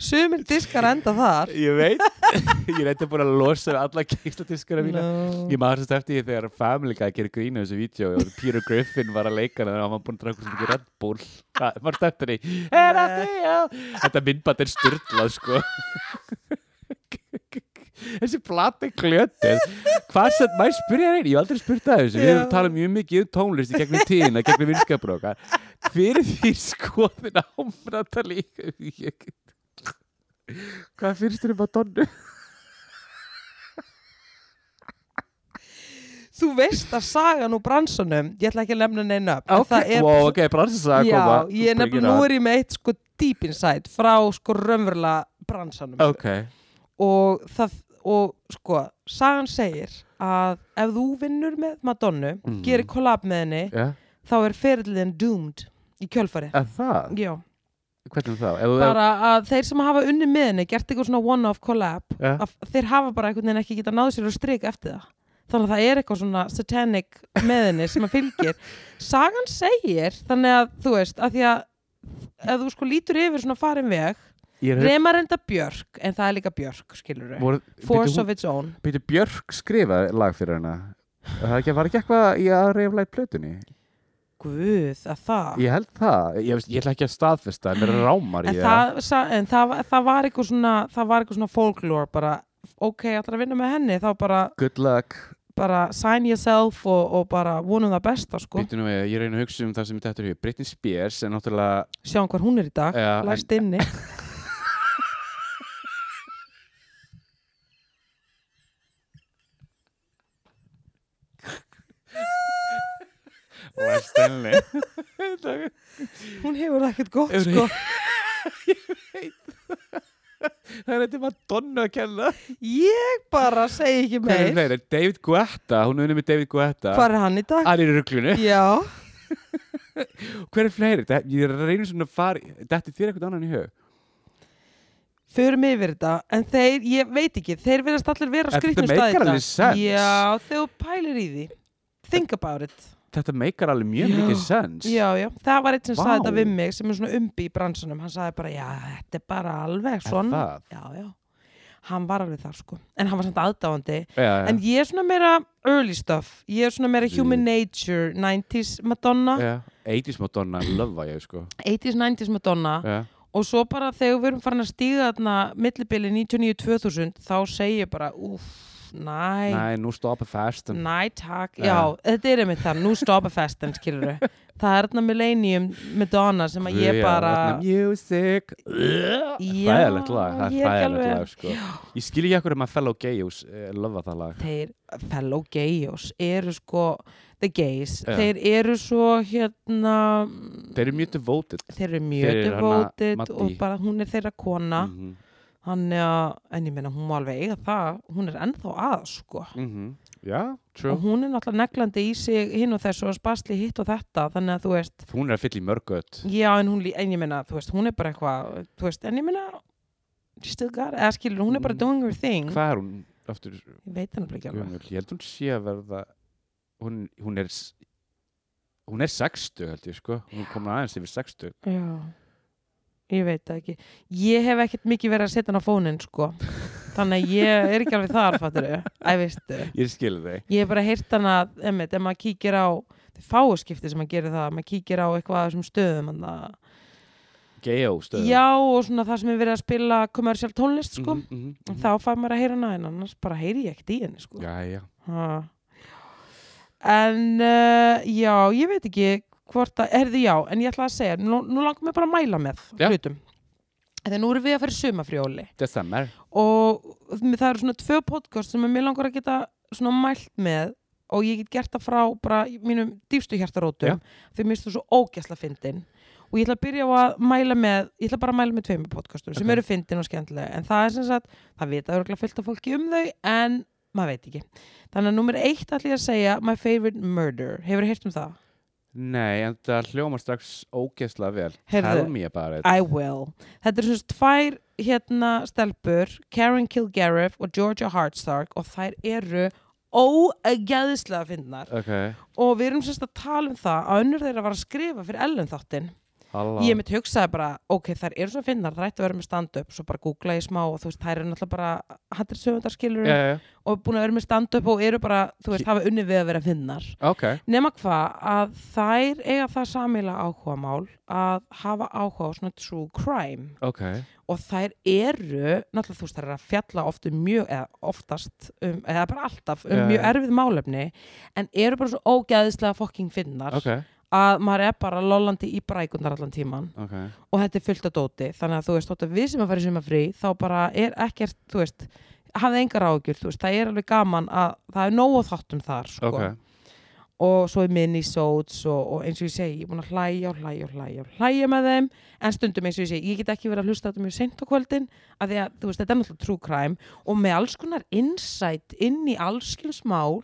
Speaker 1: sumir diskar enda þar
Speaker 2: Ég veit, ég reyndi búin að losa við alla geisladiskara mína
Speaker 1: no.
Speaker 2: Ég maður þess eftir því þegar Family Guy gerir grínu þessu vídeo og Peter Griffin var að leika þannig að hann var búin að draga hversu mikið Red Bull Það var þetta því Er að því, já Þetta myndband er styrlað, sko Þessi plati kljötið Hvað sem, maður spyrja reyni, ég hef aldrei spurt að þessu Við
Speaker 1: Já.
Speaker 2: hefum talað mjög mikið um tónlist í gegnum tíðina, gegnum vinskapur okkar Hver er því skoðin ámrata líka Ég- Hvað finnst þér um að donnu?
Speaker 1: þú veist að sagan úr bransunum ég ætla ekki að nefna neina upp en það er
Speaker 2: wow, ok, bransins að koma
Speaker 1: Já, ég er nefnilega, nú er ég með eitt sko deep inside frá sko raunverulega bransanum sko.
Speaker 2: Ok,
Speaker 1: og það, og sko sagan segir að ef þú vinnur með Madonnu,
Speaker 2: Mhm.
Speaker 1: gerir kollab með henni
Speaker 2: já,
Speaker 1: þá er ferillin doomed í kjölfari.
Speaker 2: er það?
Speaker 1: Já,
Speaker 2: Hvernig þá? Ef, þú-
Speaker 1: bara að þeir sem hafa unni með henni, gert eitthvað svona one-off collab,
Speaker 2: Já.
Speaker 1: að þeir hafa bara einhvern veginn ekki geta náð sér og strik eftir það. Þannig að það er eitthvað svona satanic með henni sem að fylgir. Sagan segir, þannig að þú veist, að því að ef þú sko lítur yfir svona farin veg,
Speaker 2: ég er
Speaker 1: reyma reynda Björk, en það er líka Björk, skilur við.
Speaker 2: voru,
Speaker 1: Force
Speaker 2: byrju,
Speaker 1: of its own.
Speaker 2: byrju Björk skrifa lag fyrir hana Er það ekki, var ekki eitthvað í að reyflæt plötunni
Speaker 1: Guð, að það.
Speaker 2: ég held það, ég, veist, ég ætla ekki að staðfesta mér rámar
Speaker 1: en,
Speaker 2: ég
Speaker 1: það, sa- en það, það var eitthvað svona það var eitthvað svona folklore bara ok, ætlar að vinna með henni þá bara,
Speaker 2: good luck,
Speaker 1: bara sign yourself og, og bara vonum það besta sko
Speaker 2: býtu nú við ég reyna að hugsa um það sem þetta er hér, Britney Spears er náttúrulega
Speaker 1: sjáum hvar hún er í dag,
Speaker 2: Já,
Speaker 1: læst inni
Speaker 2: Lars Stanley
Speaker 1: Hún hefur það ekkert gott
Speaker 2: Hefur-
Speaker 1: sko
Speaker 2: Það er þetta Madonna að kenna
Speaker 1: Ég bara segi ekki
Speaker 2: Hver er
Speaker 1: meir
Speaker 2: fleiri? David Guetta, hún er unni með David Guetta
Speaker 1: Hvar er hann í dag?
Speaker 2: Hann er í ruglunu
Speaker 1: Já
Speaker 2: Hver er fleiri? Þetta- Ég er að reyna svona að fara Þetta þér eitthvað annan í hug
Speaker 1: förum yfir þetta, en þeir, ég veit ekki þeir verðast allir vera á
Speaker 2: En
Speaker 1: skrýtnum
Speaker 2: þetta
Speaker 1: stað í dag.
Speaker 2: meikar alveg sens.
Speaker 1: Já, þegar þú pælir í því Think about it
Speaker 2: Þetta meikar alveg mjög
Speaker 1: Já.
Speaker 2: mikið sens
Speaker 1: Já, já, það var eitt sem saði
Speaker 2: Vá.
Speaker 1: þetta við mig sem er svona umbi í bransanum, hann saði bara já, þetta er bara alveg svona
Speaker 2: það?
Speaker 1: Já, já, hann var alveg þar sko en hann var samt aðdáandi
Speaker 2: Já, Mm.
Speaker 1: en ég er svona meira early stuff ég er svona meira human nature 90s Madonna,
Speaker 2: já. 80s Madonna, löfa ég sko
Speaker 1: 80s, 90s Madonna
Speaker 2: Já,
Speaker 1: og svo bara þegar við erum farin að stíga þarna millibili 99-2000 þá segi ég bara, uff, næ
Speaker 2: Nei, nú stoppa fastan
Speaker 1: næ, takk,
Speaker 2: Já.
Speaker 1: já, þetta er einmitt það nú stoppa festen, skilur við það er þarna Millennium Madonna sem að ég bara
Speaker 2: Music
Speaker 1: Já,
Speaker 2: Fæðilegt lag,
Speaker 1: ég er
Speaker 2: það er
Speaker 1: ekki
Speaker 2: fæðilegt
Speaker 1: alveg-
Speaker 2: lag sko Ég skil ekki ekkur um að fellow gayjús löfa það lag
Speaker 1: þeir fellow gayos eru sko, the gays
Speaker 2: Já.
Speaker 1: þeir eru svo hérna
Speaker 2: Þeir eru mjög devoted
Speaker 1: þeir eru
Speaker 2: Þeir
Speaker 1: mjög
Speaker 2: eru hana
Speaker 1: devoted
Speaker 2: Maddý.
Speaker 1: og bara hún er þeirra kona
Speaker 2: Mhm,
Speaker 1: þannig að, en ég meina hún má alveg eiga það, hún er ennþá að sko
Speaker 2: mhm. Já, true
Speaker 1: og hún er náttúrulega neglandi í sig hinn og þessu og spasli hitt og þetta þannig að þú veist,
Speaker 2: Hún er að fylla í mörgöt
Speaker 1: já en hún lí- en ég meina, þú veist, hún er bara eitthvað þú veist, en ég meina she still got, it, eða skilur, hún er bara
Speaker 2: Mm.
Speaker 1: doing her thing
Speaker 2: Hvað er hún aftur?
Speaker 1: ég veit hann ekki alveg
Speaker 2: Gömul? Ég held hún sé að verða Hún, hún er s- Hún er 60 held ég sko Hún er komin aðeins yfir 60
Speaker 1: já, ég veit það ekki ég hef ekkert mikið verið að setja hann á fónin sko, þannig að ég er ekki alveg þar, fattur þau, æ veistu
Speaker 2: Ég skil þig
Speaker 1: ég hef bara heyrt hann að, emmitt, ef maður kíkir á fáuskipti sem maður gerir það, maður kíkir á eitthvað af þessum stöðum, þannig
Speaker 2: Gayjó stöðum
Speaker 1: Já, og svona það sem er verið að spila kommersiál tónlist, sko.
Speaker 2: Mhm, mhm, mhm.
Speaker 1: Þá fær maður að heyra hana, en annars bara heyri ég ekkert í henni, sko.
Speaker 2: Jæja
Speaker 1: Ha. En, uh, já, ég veit ekki hvort að, erði já, en ég ætla að segja, nú, nú langar mér bara að mæla með
Speaker 2: Já.
Speaker 1: hlutum. Þegar nú erum við að fara í sumafrjóli
Speaker 2: Þetta er mér
Speaker 1: og það eru svona tvö podcast sem mér langar að geta svona mælt með og ég get gert það frá bara mínum dýfstu hjartarótum því mér stu svo ógæsla fyndin og ég ætla að byrja á að mæla með ég ætla bara að mæla með tveimur podcastum sem
Speaker 2: Ok.
Speaker 1: eru fyndin og skemmtilega en það er sem sagt, það vita örgulega fyllt af fólki um þau en maður veit ekki þannig að nummer eitt ætla ég að segja My Favorite Murder, hefur þú heyrt um það?
Speaker 2: Nei, en það hljómar strax ógeðslega vel
Speaker 1: Heyrðu.
Speaker 2: Tell me about it
Speaker 1: I will. Þetta er svona tvær hérna stelpur, Karen Kilgariff og Georgia Hartstark og þær eru ógeðislega finnar
Speaker 2: Ok,
Speaker 1: og við erum semst að tala um það að önnur þeirra var að skrifa fyrir Ellen þáttinn
Speaker 2: halló
Speaker 1: ég mitt hugsaði bara, ok, þær eru svo finnar þær ættu að vera með stand-up, svo bara googla ég smá og þú veist, þær eru náttúrulega bara, hattir sögundarskilur
Speaker 2: Já, já,
Speaker 1: og búin að vera með stand-up og eru bara, þú veist, hafa unni við að vera finnar
Speaker 2: ok
Speaker 1: nema hvað að þær eiga það samíla áhugamál að hafa áhuga á svona true crime
Speaker 2: Ok,
Speaker 1: og þær eru, náttúrulega þú veist, þær eru að fjalla oft um mjög, eða oftast um, eða bara alltaf, um
Speaker 2: Já,
Speaker 1: mjög
Speaker 2: já.
Speaker 1: erfið málefni en eru bara svo ógæðislega fokking finnar
Speaker 2: ok,
Speaker 1: að maður er bara lollandi í brækundar allan tíman
Speaker 2: ok
Speaker 1: og þetta er fullt að dóti, þannig að þú veist, þótt að við sem að fara í sumafrí, þá bara er ekkert þú veist, hafði engar ágjur, þú veist það er alveg gaman að það er nóg að þáttum þar, sko,
Speaker 2: Ok,
Speaker 1: og svo er minisodes og, og eins og ég segi, ég er búin að hlæja og hlæja og hlæja og hlæja með þeim en stundum eins og ég segi, ég get ekki verið að hlusta á þetta mjög seint á kvöldin af því að þú veist, þetta er náttúrulega true crime og með alls konar insight inn í allskilsmál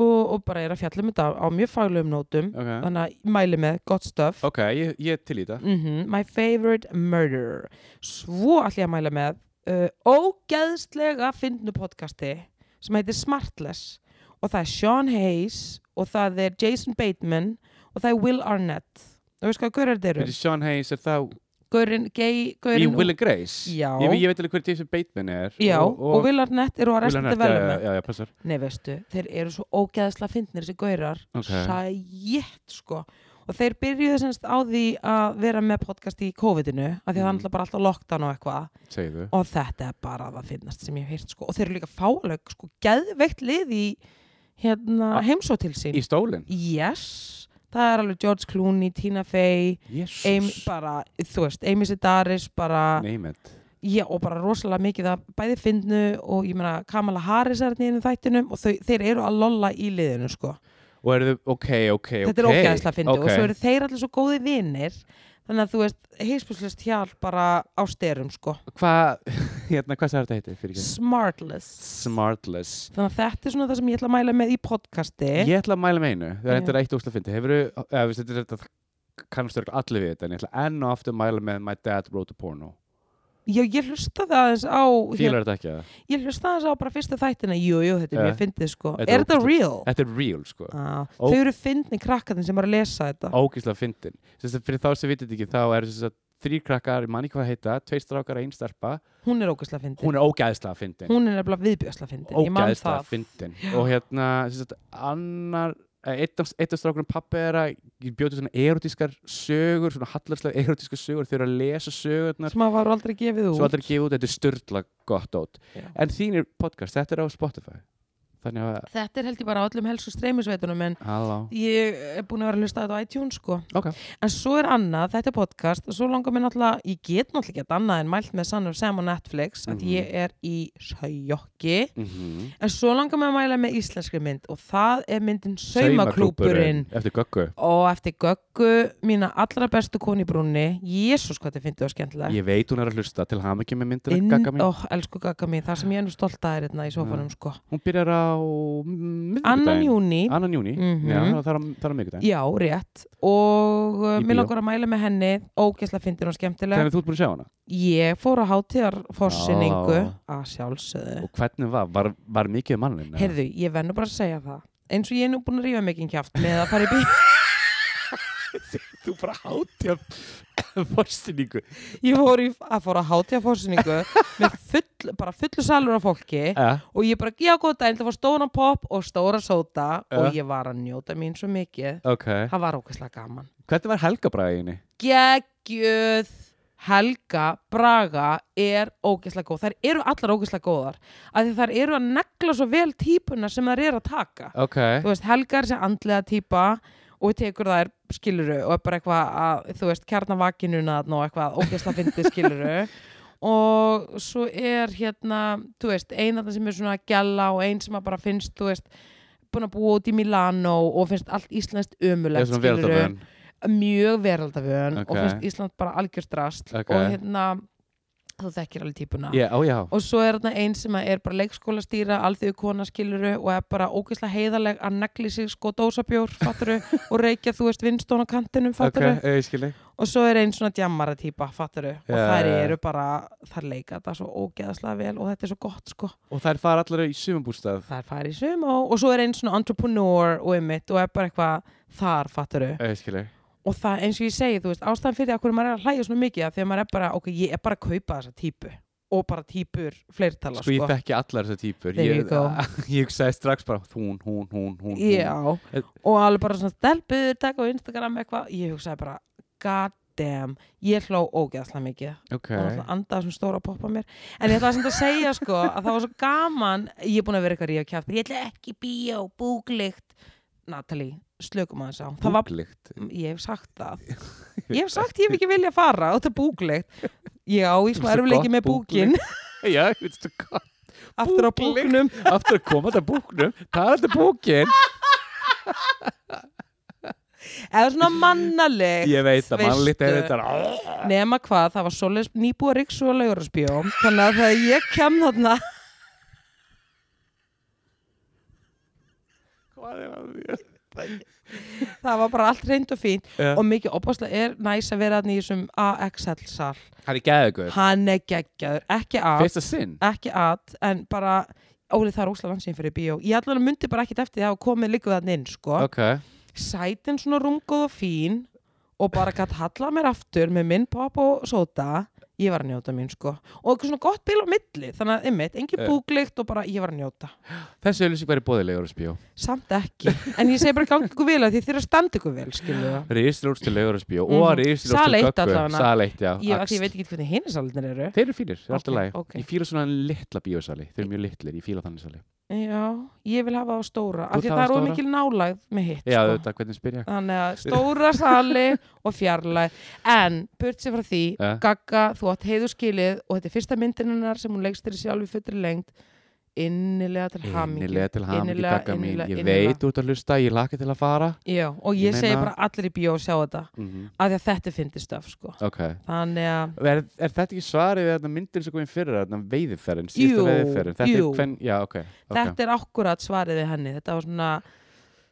Speaker 1: og, og bara er að fjalla um þetta á, á mjög faglegum nótum
Speaker 2: ok
Speaker 1: þannig að ég mæli með gott stuff
Speaker 2: Ok, ég, ég til í þetta
Speaker 1: Mhm, My Favorite Murder svo ætlum ég að mæla með uh, ógeðslega fyndnu podcasti sem heitir Smartless og það er Sean Hayes og það er Jason Bateman og það er Will Arnett og veist hvað gaurar þetta eru?
Speaker 2: Þetta er Sean Hayes, er það
Speaker 1: Gaurin, gay,
Speaker 2: í
Speaker 1: gaurin
Speaker 2: Will and Grace?
Speaker 1: Já.
Speaker 2: Ég, ég veit alveg hver Jason Bateman er
Speaker 1: Já, og, Will Arnett eru að
Speaker 2: Will
Speaker 1: resta
Speaker 2: Arnett,
Speaker 1: þetta velum
Speaker 2: já,
Speaker 1: með
Speaker 2: Já, já, já, passar
Speaker 1: Nei veistu, þeir eru svo ógeðslega fyndnir þessi gaurar
Speaker 2: Ok.
Speaker 1: sæjétt sko og þeir byrjuðu semst á því að vera með podcast í COVID-inu af því að það er
Speaker 2: Mhm.
Speaker 1: náttúrulega bara alltaf lockdown og eitthvað
Speaker 2: Segðu
Speaker 1: og þetta er bara að finnast sem ég hef hýrt sko. og þeir eru líka fáleg sko, geðveikt lið í hérna,
Speaker 2: Ah,
Speaker 1: heimsó til sín
Speaker 2: Í stólinn
Speaker 1: yes, það er alveg George Clooney Tina Fey,
Speaker 2: Jésús
Speaker 1: Amy, bara, þú veist, Amy Sedaris bara,
Speaker 2: Name it
Speaker 1: já, og bara rosalega mikið að bæði finnu og ég meina Kamala Harris er hérna í einum þættinum og þau, þeir eru að lolla í liðinu sko.
Speaker 2: og eru þau, ok, ok, ok
Speaker 1: þetta er ógæðslega fyndi
Speaker 2: ok.
Speaker 1: og svo eru þeir allir svo góði vinir þannig að þú veist heilspúslust hjálp bara á styrum sko
Speaker 2: Hvað, hérna, hvað sagði þetta heiti fyrir ekki?
Speaker 1: smartless
Speaker 2: Smartless
Speaker 1: þannig að þetta er svona það sem ég ætla að mæla með í podcasti
Speaker 2: Ég ætla að mæla með einu,
Speaker 1: Eh?
Speaker 2: það
Speaker 1: Já.
Speaker 2: er eitthvað eitt óslega fyndi Hefur þau, kannast þau allir við þetta en ég ætla enn og aftur að mæla með My Dad Wrote a Porno
Speaker 1: já ég hlusta það aðeins á hérna,
Speaker 2: Fílar þetta ekki að það?
Speaker 1: ég hlusta aðeins á bara fyrsta þættina jú, jú, þetta er
Speaker 2: Já.
Speaker 1: mjög fyndið sko
Speaker 2: Eh, Þetta er
Speaker 1: er þetta
Speaker 2: ógeðslega-
Speaker 1: real?
Speaker 2: Þetta er real, sko
Speaker 1: Á,
Speaker 2: Ó-
Speaker 1: þau eru fyndni krakkarnir sem eru að lesa þetta
Speaker 2: ógíslega fyndin Sess að fyrir þá sem vitið ekki þá er þess að þrýr krakkar, ég man ekki hvað heita tveir strákar, ein stelpa,
Speaker 1: hún er ógæslega fyndin
Speaker 2: hún er ógæðslega fyndin
Speaker 1: hún er nefnilega viðbjörslega fyndin ég man
Speaker 2: ógæðslega
Speaker 1: það
Speaker 2: fyndin og hérna, þess að annar eh, einn af, einn af strákunum pappi er að bjóti svona erotískar sögur svona hallarslega erotískar sögur, þau eru að lesa sögurnar
Speaker 1: sem að var aldrei gefið út
Speaker 2: svo aldrei gefa út, þetta er styrla gott át
Speaker 1: Já.
Speaker 2: en þínir podcast, þetta er á Spotify þannig að,
Speaker 1: þetta er held ég bara á öllum helstu streymisveitunum en
Speaker 2: halló
Speaker 1: ég er búin að vera að hlusta á þetta á iTunes sko
Speaker 2: ok,
Speaker 1: en svo er annað, þetta er podcast og svo langar mér náttúrulega, ég get náttúrulega ekki annað en mælt með Son of Sam á Netflix að
Speaker 2: Mhm.
Speaker 1: ég er í sjokki
Speaker 2: mm
Speaker 1: en svo langar mér að mæla með íslenskri mynd og það er myndin Saumaklúpurinn
Speaker 2: eftir Göggu,
Speaker 1: og eftir Göggu, mína allra bestu koni brúnni, jésus hvað þetta fyndi og skemmtilega
Speaker 2: ég veit hún er að hlusta til hama ekki með myndina
Speaker 1: Inn,
Speaker 2: Gagga mín.
Speaker 1: ó, elsku Gagga mín, það sem ég er nú stolt að er hérna í sofanum sko.
Speaker 2: Hún byrjar á miðvikudaginn.
Speaker 1: annan júni,
Speaker 2: Annan júni,
Speaker 1: Mhm.
Speaker 2: já, það er á- það er á miðvikudaginn.
Speaker 1: já rétt og uh,
Speaker 2: Í
Speaker 1: mér
Speaker 2: bíó.
Speaker 1: langar að mæla með henni ógeðslega fyndin og skemmtilega
Speaker 2: Þannig að þú ert búin að sjá hana.
Speaker 1: Ég fór á hátíðarforsinningu
Speaker 2: Já.
Speaker 1: að sjálfsögðu.
Speaker 2: Og hvernig var, var, var mikið um mannin?
Speaker 1: Heyrðu, ég vennu bara að segja það. Eins og ég er nú búin að rífa mikið kjáft með að fara í bíó.
Speaker 2: þú bara hátti af forstinningu.
Speaker 1: Ég fór, í, að fór á hátíðarforsinningu með full, bara fullu salur af fólki
Speaker 2: Uh,
Speaker 1: og ég bara, já góð daginn, það fór stóran pop og stóra sóta
Speaker 2: Ja.
Speaker 1: og ég var að njóta mín svo mikið.
Speaker 2: ok,
Speaker 1: Það var ókvæslega gaman.
Speaker 2: hvernig var Helga bræðinni?
Speaker 1: geggjöð Helga Braga er ógeðslega góð. Þær eru allar ógeðslega góðar. Af því þær eru að negla svo vel típuna sem þær eru að taka.
Speaker 2: Ok,
Speaker 1: Þú veist, Helga er þessi andlega típa og tekur þær skiluru og er bara eitthvað að, þú veist, kjarnavakinuna og eitthvað ógeðslega fyndið skiluru. og svo er hérna, þú veist, eina það sem er svona að gjalla og ein sem að bara finnst, þú veist, búin að búa út í Milano og finnst allt íslenskt
Speaker 2: ég er
Speaker 1: ömulegt
Speaker 2: svona
Speaker 1: skiluru
Speaker 2: verðarfröðin.
Speaker 1: mjög veraldavön
Speaker 2: Ok.
Speaker 1: og finnst Ísland bara algjörst rast
Speaker 2: Ok.
Speaker 1: og hérna þú þekkir alveg típuna
Speaker 2: Já, ó já.
Speaker 1: og svo er þarna einn sem að er bara leikskólastýra alþjóðu konaskiluru og er bara ógeðslega heiðaleg að negli sig sko dósabjór fatturu og reykja þú veist vinstón á kantinum
Speaker 2: Ok,
Speaker 1: fatturu
Speaker 2: eh, ég skilji.
Speaker 1: og svo er einn svona djammara típa fatturu og
Speaker 2: Já,
Speaker 1: þær
Speaker 2: já, já.
Speaker 1: eru bara, þær leika þetta svo ógeðslega vel og þetta er svo gott sko
Speaker 2: Og þær fara allar í sumumbústað.
Speaker 1: þær fari í sum og, og svo er einn svona entrepreneur og einmitt og er bara eitthvað þar fatturu
Speaker 2: Ég eh, skilji.
Speaker 1: og það eins og ég segi, þú veist, ástæðan fyrir að hverju maður er að hlæja svona mikið af því að maður er bara, ok, ég er bara að kaupa þessa típu og bara típur fleirtala,
Speaker 2: Sko
Speaker 1: sko,
Speaker 2: ég þekki allar þessar típur.
Speaker 1: There you
Speaker 2: Ég,
Speaker 1: go.
Speaker 2: ég hugsaði strax bara hún, hún, hún, hún, hún. Eh.
Speaker 1: Já, og alveg bara svona stelpur, taka á Instagram eitthvað, ég hugsaði bara god damn, ég hló ógeðslega mikið
Speaker 2: Ok.
Speaker 1: og alltaf andaði svona stóra poppa mér en ég ætlaði samt að segja sko að það var svo gaman ég er búin að vera eitthvað ríða kjátt ég ætla ekki í bíó, búglikt Natalie, slökum aðeins á það var Mm,
Speaker 2: Búklykt.
Speaker 1: ég hef sagt það ég hef sagt ég hef ekki vilja fara og þetta er búklegt já, ég
Speaker 2: Þú
Speaker 1: sko
Speaker 2: veist,
Speaker 1: erfleiki
Speaker 2: gott
Speaker 1: með búkin
Speaker 2: Já, ég veist þú hvað.
Speaker 1: aftur á
Speaker 2: Búklegt.
Speaker 1: búknum
Speaker 2: aftur að koma þetta búknum það er þetta búkin
Speaker 1: eða svona mannalegt
Speaker 2: ég veit að
Speaker 1: veistu.
Speaker 2: mannlít er þetta
Speaker 1: nema hvað, það var svoleiðis nýbúa ríksu og laugurasbjó þannig að þegar ég kem þarna
Speaker 2: hvað er að mér
Speaker 1: það var bara allt reynd og fínt
Speaker 2: Já.
Speaker 1: og mikið opaslega er næs að vera þarna í þessum AXL sal
Speaker 2: hann er gæðugur
Speaker 1: hann er geggjaður, ekki að
Speaker 2: fyrsta sinn
Speaker 1: ekki að, en bara Óli það er óslega langt sín fyrir bíó ég allan myndi bara ekkit eftir því að hafa komið líka þarna inn sko.
Speaker 2: ok
Speaker 1: sætin svona rungóð og fín og bara gætt halla mér aftur með minn pop og sóta ég var að njóta mín sko og eitthvað svona gott bil á milli þannig að einmitt, engin
Speaker 2: Já.
Speaker 1: búklikt og bara ég var að njóta
Speaker 2: þessi auðlýsing væri bóðilegur að spjó
Speaker 1: samt ekki, en ég segi bara gangi ykkur vel að því þeir að standa ykkur vel skilju
Speaker 2: riðistilórs til legur að spjó
Speaker 1: Mhm.
Speaker 2: og riðistilórs
Speaker 1: Sal
Speaker 2: til
Speaker 1: eitt
Speaker 2: gökku
Speaker 1: allavega.
Speaker 2: sal eitt já
Speaker 1: ég, af
Speaker 2: Axt.
Speaker 1: því ég veit ekki hvernig hinn salinir eru
Speaker 2: þeir eru fínir það er alltaf
Speaker 1: Ok,
Speaker 2: læg
Speaker 1: ok.
Speaker 2: ég fíla svona litla bíosali þeir eru mjög litlir ég fíla þannig sali
Speaker 1: já, ég vil hafa á stóra af
Speaker 2: Þú
Speaker 1: því
Speaker 2: vilt
Speaker 1: að það
Speaker 2: hafa
Speaker 1: er of
Speaker 2: stóra?
Speaker 1: mikil nálægð með hitt
Speaker 2: já
Speaker 1: sko.
Speaker 2: þetta hvernig spyrja
Speaker 1: þannig að stóra sali og fjarlægð en burt sér frá því
Speaker 2: Ja.
Speaker 1: Gagga, þú átt heiðu skilið og þetta er fyrsta myndin hennar sem hún leggst til sjálf í fullri lengd innilega til hamingi
Speaker 2: Innilega til hamingi,
Speaker 1: Innilega,
Speaker 2: kakka mín.
Speaker 1: innilega,
Speaker 2: Ég
Speaker 1: innilega.
Speaker 2: veit út að hlusta, ég laka til að fara.
Speaker 1: Já, og
Speaker 2: Ég
Speaker 1: ég, segi
Speaker 2: meina-
Speaker 1: bara allir í bíó að sjá þetta af því að þetta finnir stöf sko.
Speaker 2: Ok.
Speaker 1: þannig að
Speaker 2: Er, er þetta ekki svarið við þarna myndin sem komið fyrir þarna veiðiferðin, síðasta
Speaker 1: Jú,
Speaker 2: veiðiferðin? Þetta
Speaker 1: jú.
Speaker 2: er hvern, já, ok. okay.
Speaker 1: þetta er akkurat svarið við henni þetta var svona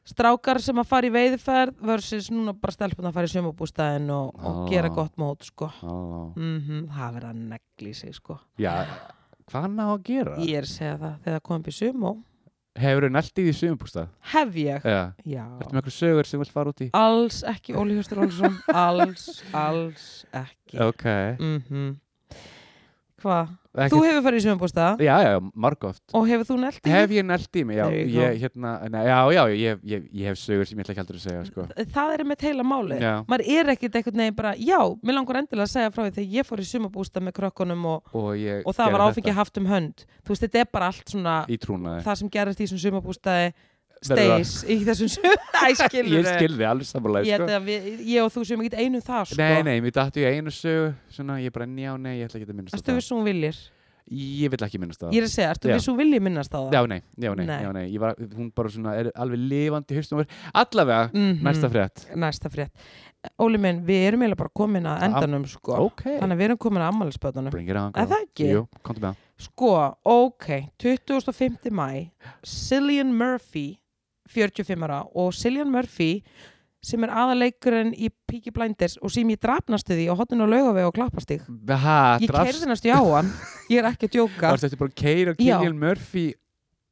Speaker 1: strákar sem að fara í veiðferð versus núna bara stelpun að fara í sömabústæðin og,
Speaker 2: Ah.
Speaker 1: og gera gott mót sko.
Speaker 2: Á,
Speaker 1: mm það verður að negli sig sko.
Speaker 2: já, hvað ná að gera?
Speaker 1: ég er að segja það þegar það kom upp í sömó
Speaker 2: Hefur þau nælt í því sumumbústað?
Speaker 1: hef ég
Speaker 2: Já.
Speaker 1: já
Speaker 2: Eh, Ertu með eitthvað sögur sem þú vilt fara út í?
Speaker 1: alls ekki Óli Hjóstur Olsson alls, alls ekki
Speaker 2: Ok.
Speaker 1: mm hvað?
Speaker 2: Ekki,
Speaker 1: þú hefur farið í sömabústæða
Speaker 2: Já, já, margóft.
Speaker 1: og hefur þú nelt í
Speaker 2: Hef ég nælt í mig? Já,
Speaker 1: There you go.
Speaker 2: ég, hérna, na, já, já, ég, ég, ég hef sögur sem ég ætla ekki aldrei að segja, sko.
Speaker 1: það er með teila málið
Speaker 2: Já,
Speaker 1: maður er ekkert einhvern veginn bara já, mér langur endilega að segja frá því þegar ég fór í sumabústa með krökkunum og,
Speaker 2: og ég
Speaker 1: og það
Speaker 2: gerði
Speaker 1: var
Speaker 2: þetta
Speaker 1: áfengi haft um hönd þú veist, þetta er bara allt svona
Speaker 2: Í trúnaði.
Speaker 1: það sem gerast í þessum sumabústaði
Speaker 2: Verður það-
Speaker 1: steis í þessum sumabústaði
Speaker 2: Ég skilði alveg samanlega,
Speaker 1: ég,
Speaker 2: sko.
Speaker 1: sko. við, ég og þú séum ekkert einu um það sko.
Speaker 2: Nei, nei, mér dættu ég einu sögu, svona, ég bara, njá, nei, ég ætla ekki að minnast á
Speaker 1: erstu
Speaker 2: það.
Speaker 1: viss og hún viljir
Speaker 2: Ég vil ekki minnast á það.
Speaker 1: ég er að segja, erstu
Speaker 2: Já.
Speaker 1: viss og hún viljir minnast á það
Speaker 2: Já, nei, já, nei,
Speaker 1: Nei.
Speaker 2: já, nei, ég var, hún bara svona er alveg lifandi í haustum og verið, allavega,
Speaker 1: Mhm.
Speaker 2: næsta frétt.
Speaker 1: næsta frétt Óli minn, við erum eiginlega bara komin að
Speaker 2: Am-
Speaker 1: endanum sko.
Speaker 2: Ok,
Speaker 1: þannig að við erum komin að ammælisbötunum
Speaker 2: bring it on,
Speaker 1: Er
Speaker 2: girl.
Speaker 1: það ekki?
Speaker 2: Jú, komdu með það.
Speaker 1: Sko, ok, 25. mæ, Cillian Murphy, 45 ára og Cillian Murphy sem er aðaleikurinn í Peaky Blinders og sem ég drafnastu því á hotninu og laugaveg og klappastík.
Speaker 2: Ha,
Speaker 1: Ég
Speaker 2: drafst-
Speaker 1: keirðinast í á hann, ég er ekki að djóka,
Speaker 2: Varstu eftir bara að keira og
Speaker 1: Já.
Speaker 2: Killian Murphy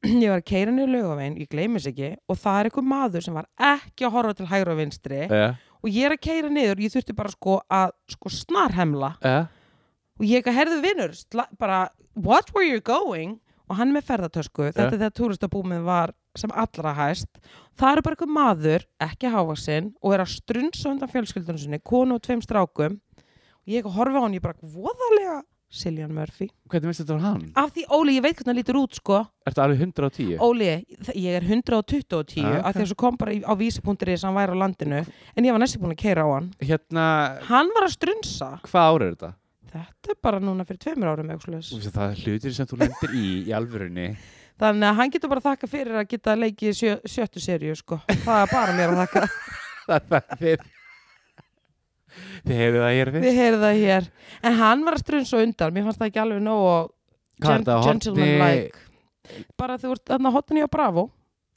Speaker 1: ég var keirinn í laugavegin, ég gleymis ekki og það er einhver maður sem var ekki að horfa til hægra og vinstri
Speaker 2: uh,
Speaker 1: og ég er að keira niður, ég þurfti bara sko að sko snarhemla
Speaker 2: uh,
Speaker 1: og ég eitthvað herðu vinnur sla- bara, what were you going og hann er með ferðartösku, þetta er þegar túristabúmið var sem allra hæst það eru bara eitthvað maður, ekki hávaksinn og er að strunsa undan fjölskyldunum sinni konu og tveim strákum og ég eitthvað horfa á hann, ég bara, voðalega Siljan Murphy,
Speaker 2: Hvernig veist þetta var hann?
Speaker 1: af því Óli, ég veit hvernig hann lítur út sko,
Speaker 2: Ertu alveg 110?
Speaker 1: Óli þ- ég er 120 og 10
Speaker 2: Ah, ok.
Speaker 1: af því að svo kom bara í- á vísi.is hann væri á landinu, en ég var næstu búin að keira á hann
Speaker 2: Hérna,
Speaker 1: hann var að strunsa
Speaker 2: hvað ára er þetta?
Speaker 1: þetta er bara núna fyrir tveimur árum eitthvað svoleiðis.
Speaker 2: Þú veist að það er hlutir sem þú lendir í í alvörunni
Speaker 1: Þannig að hann getur bara þakka fyrir að geta leikið sjö, sjöttu seríu, sko. Það er bara mér að þakka.
Speaker 2: Það er þið Þið hefðu það hér fyrst
Speaker 1: Við heyrðum það hér. En hann var að strun svo undan. Mér fannst það ekki alveg nóg og
Speaker 2: Hvað er þetta, á horni?
Speaker 1: gentleman-like. Bara þú ert þarna hotni á Bravo.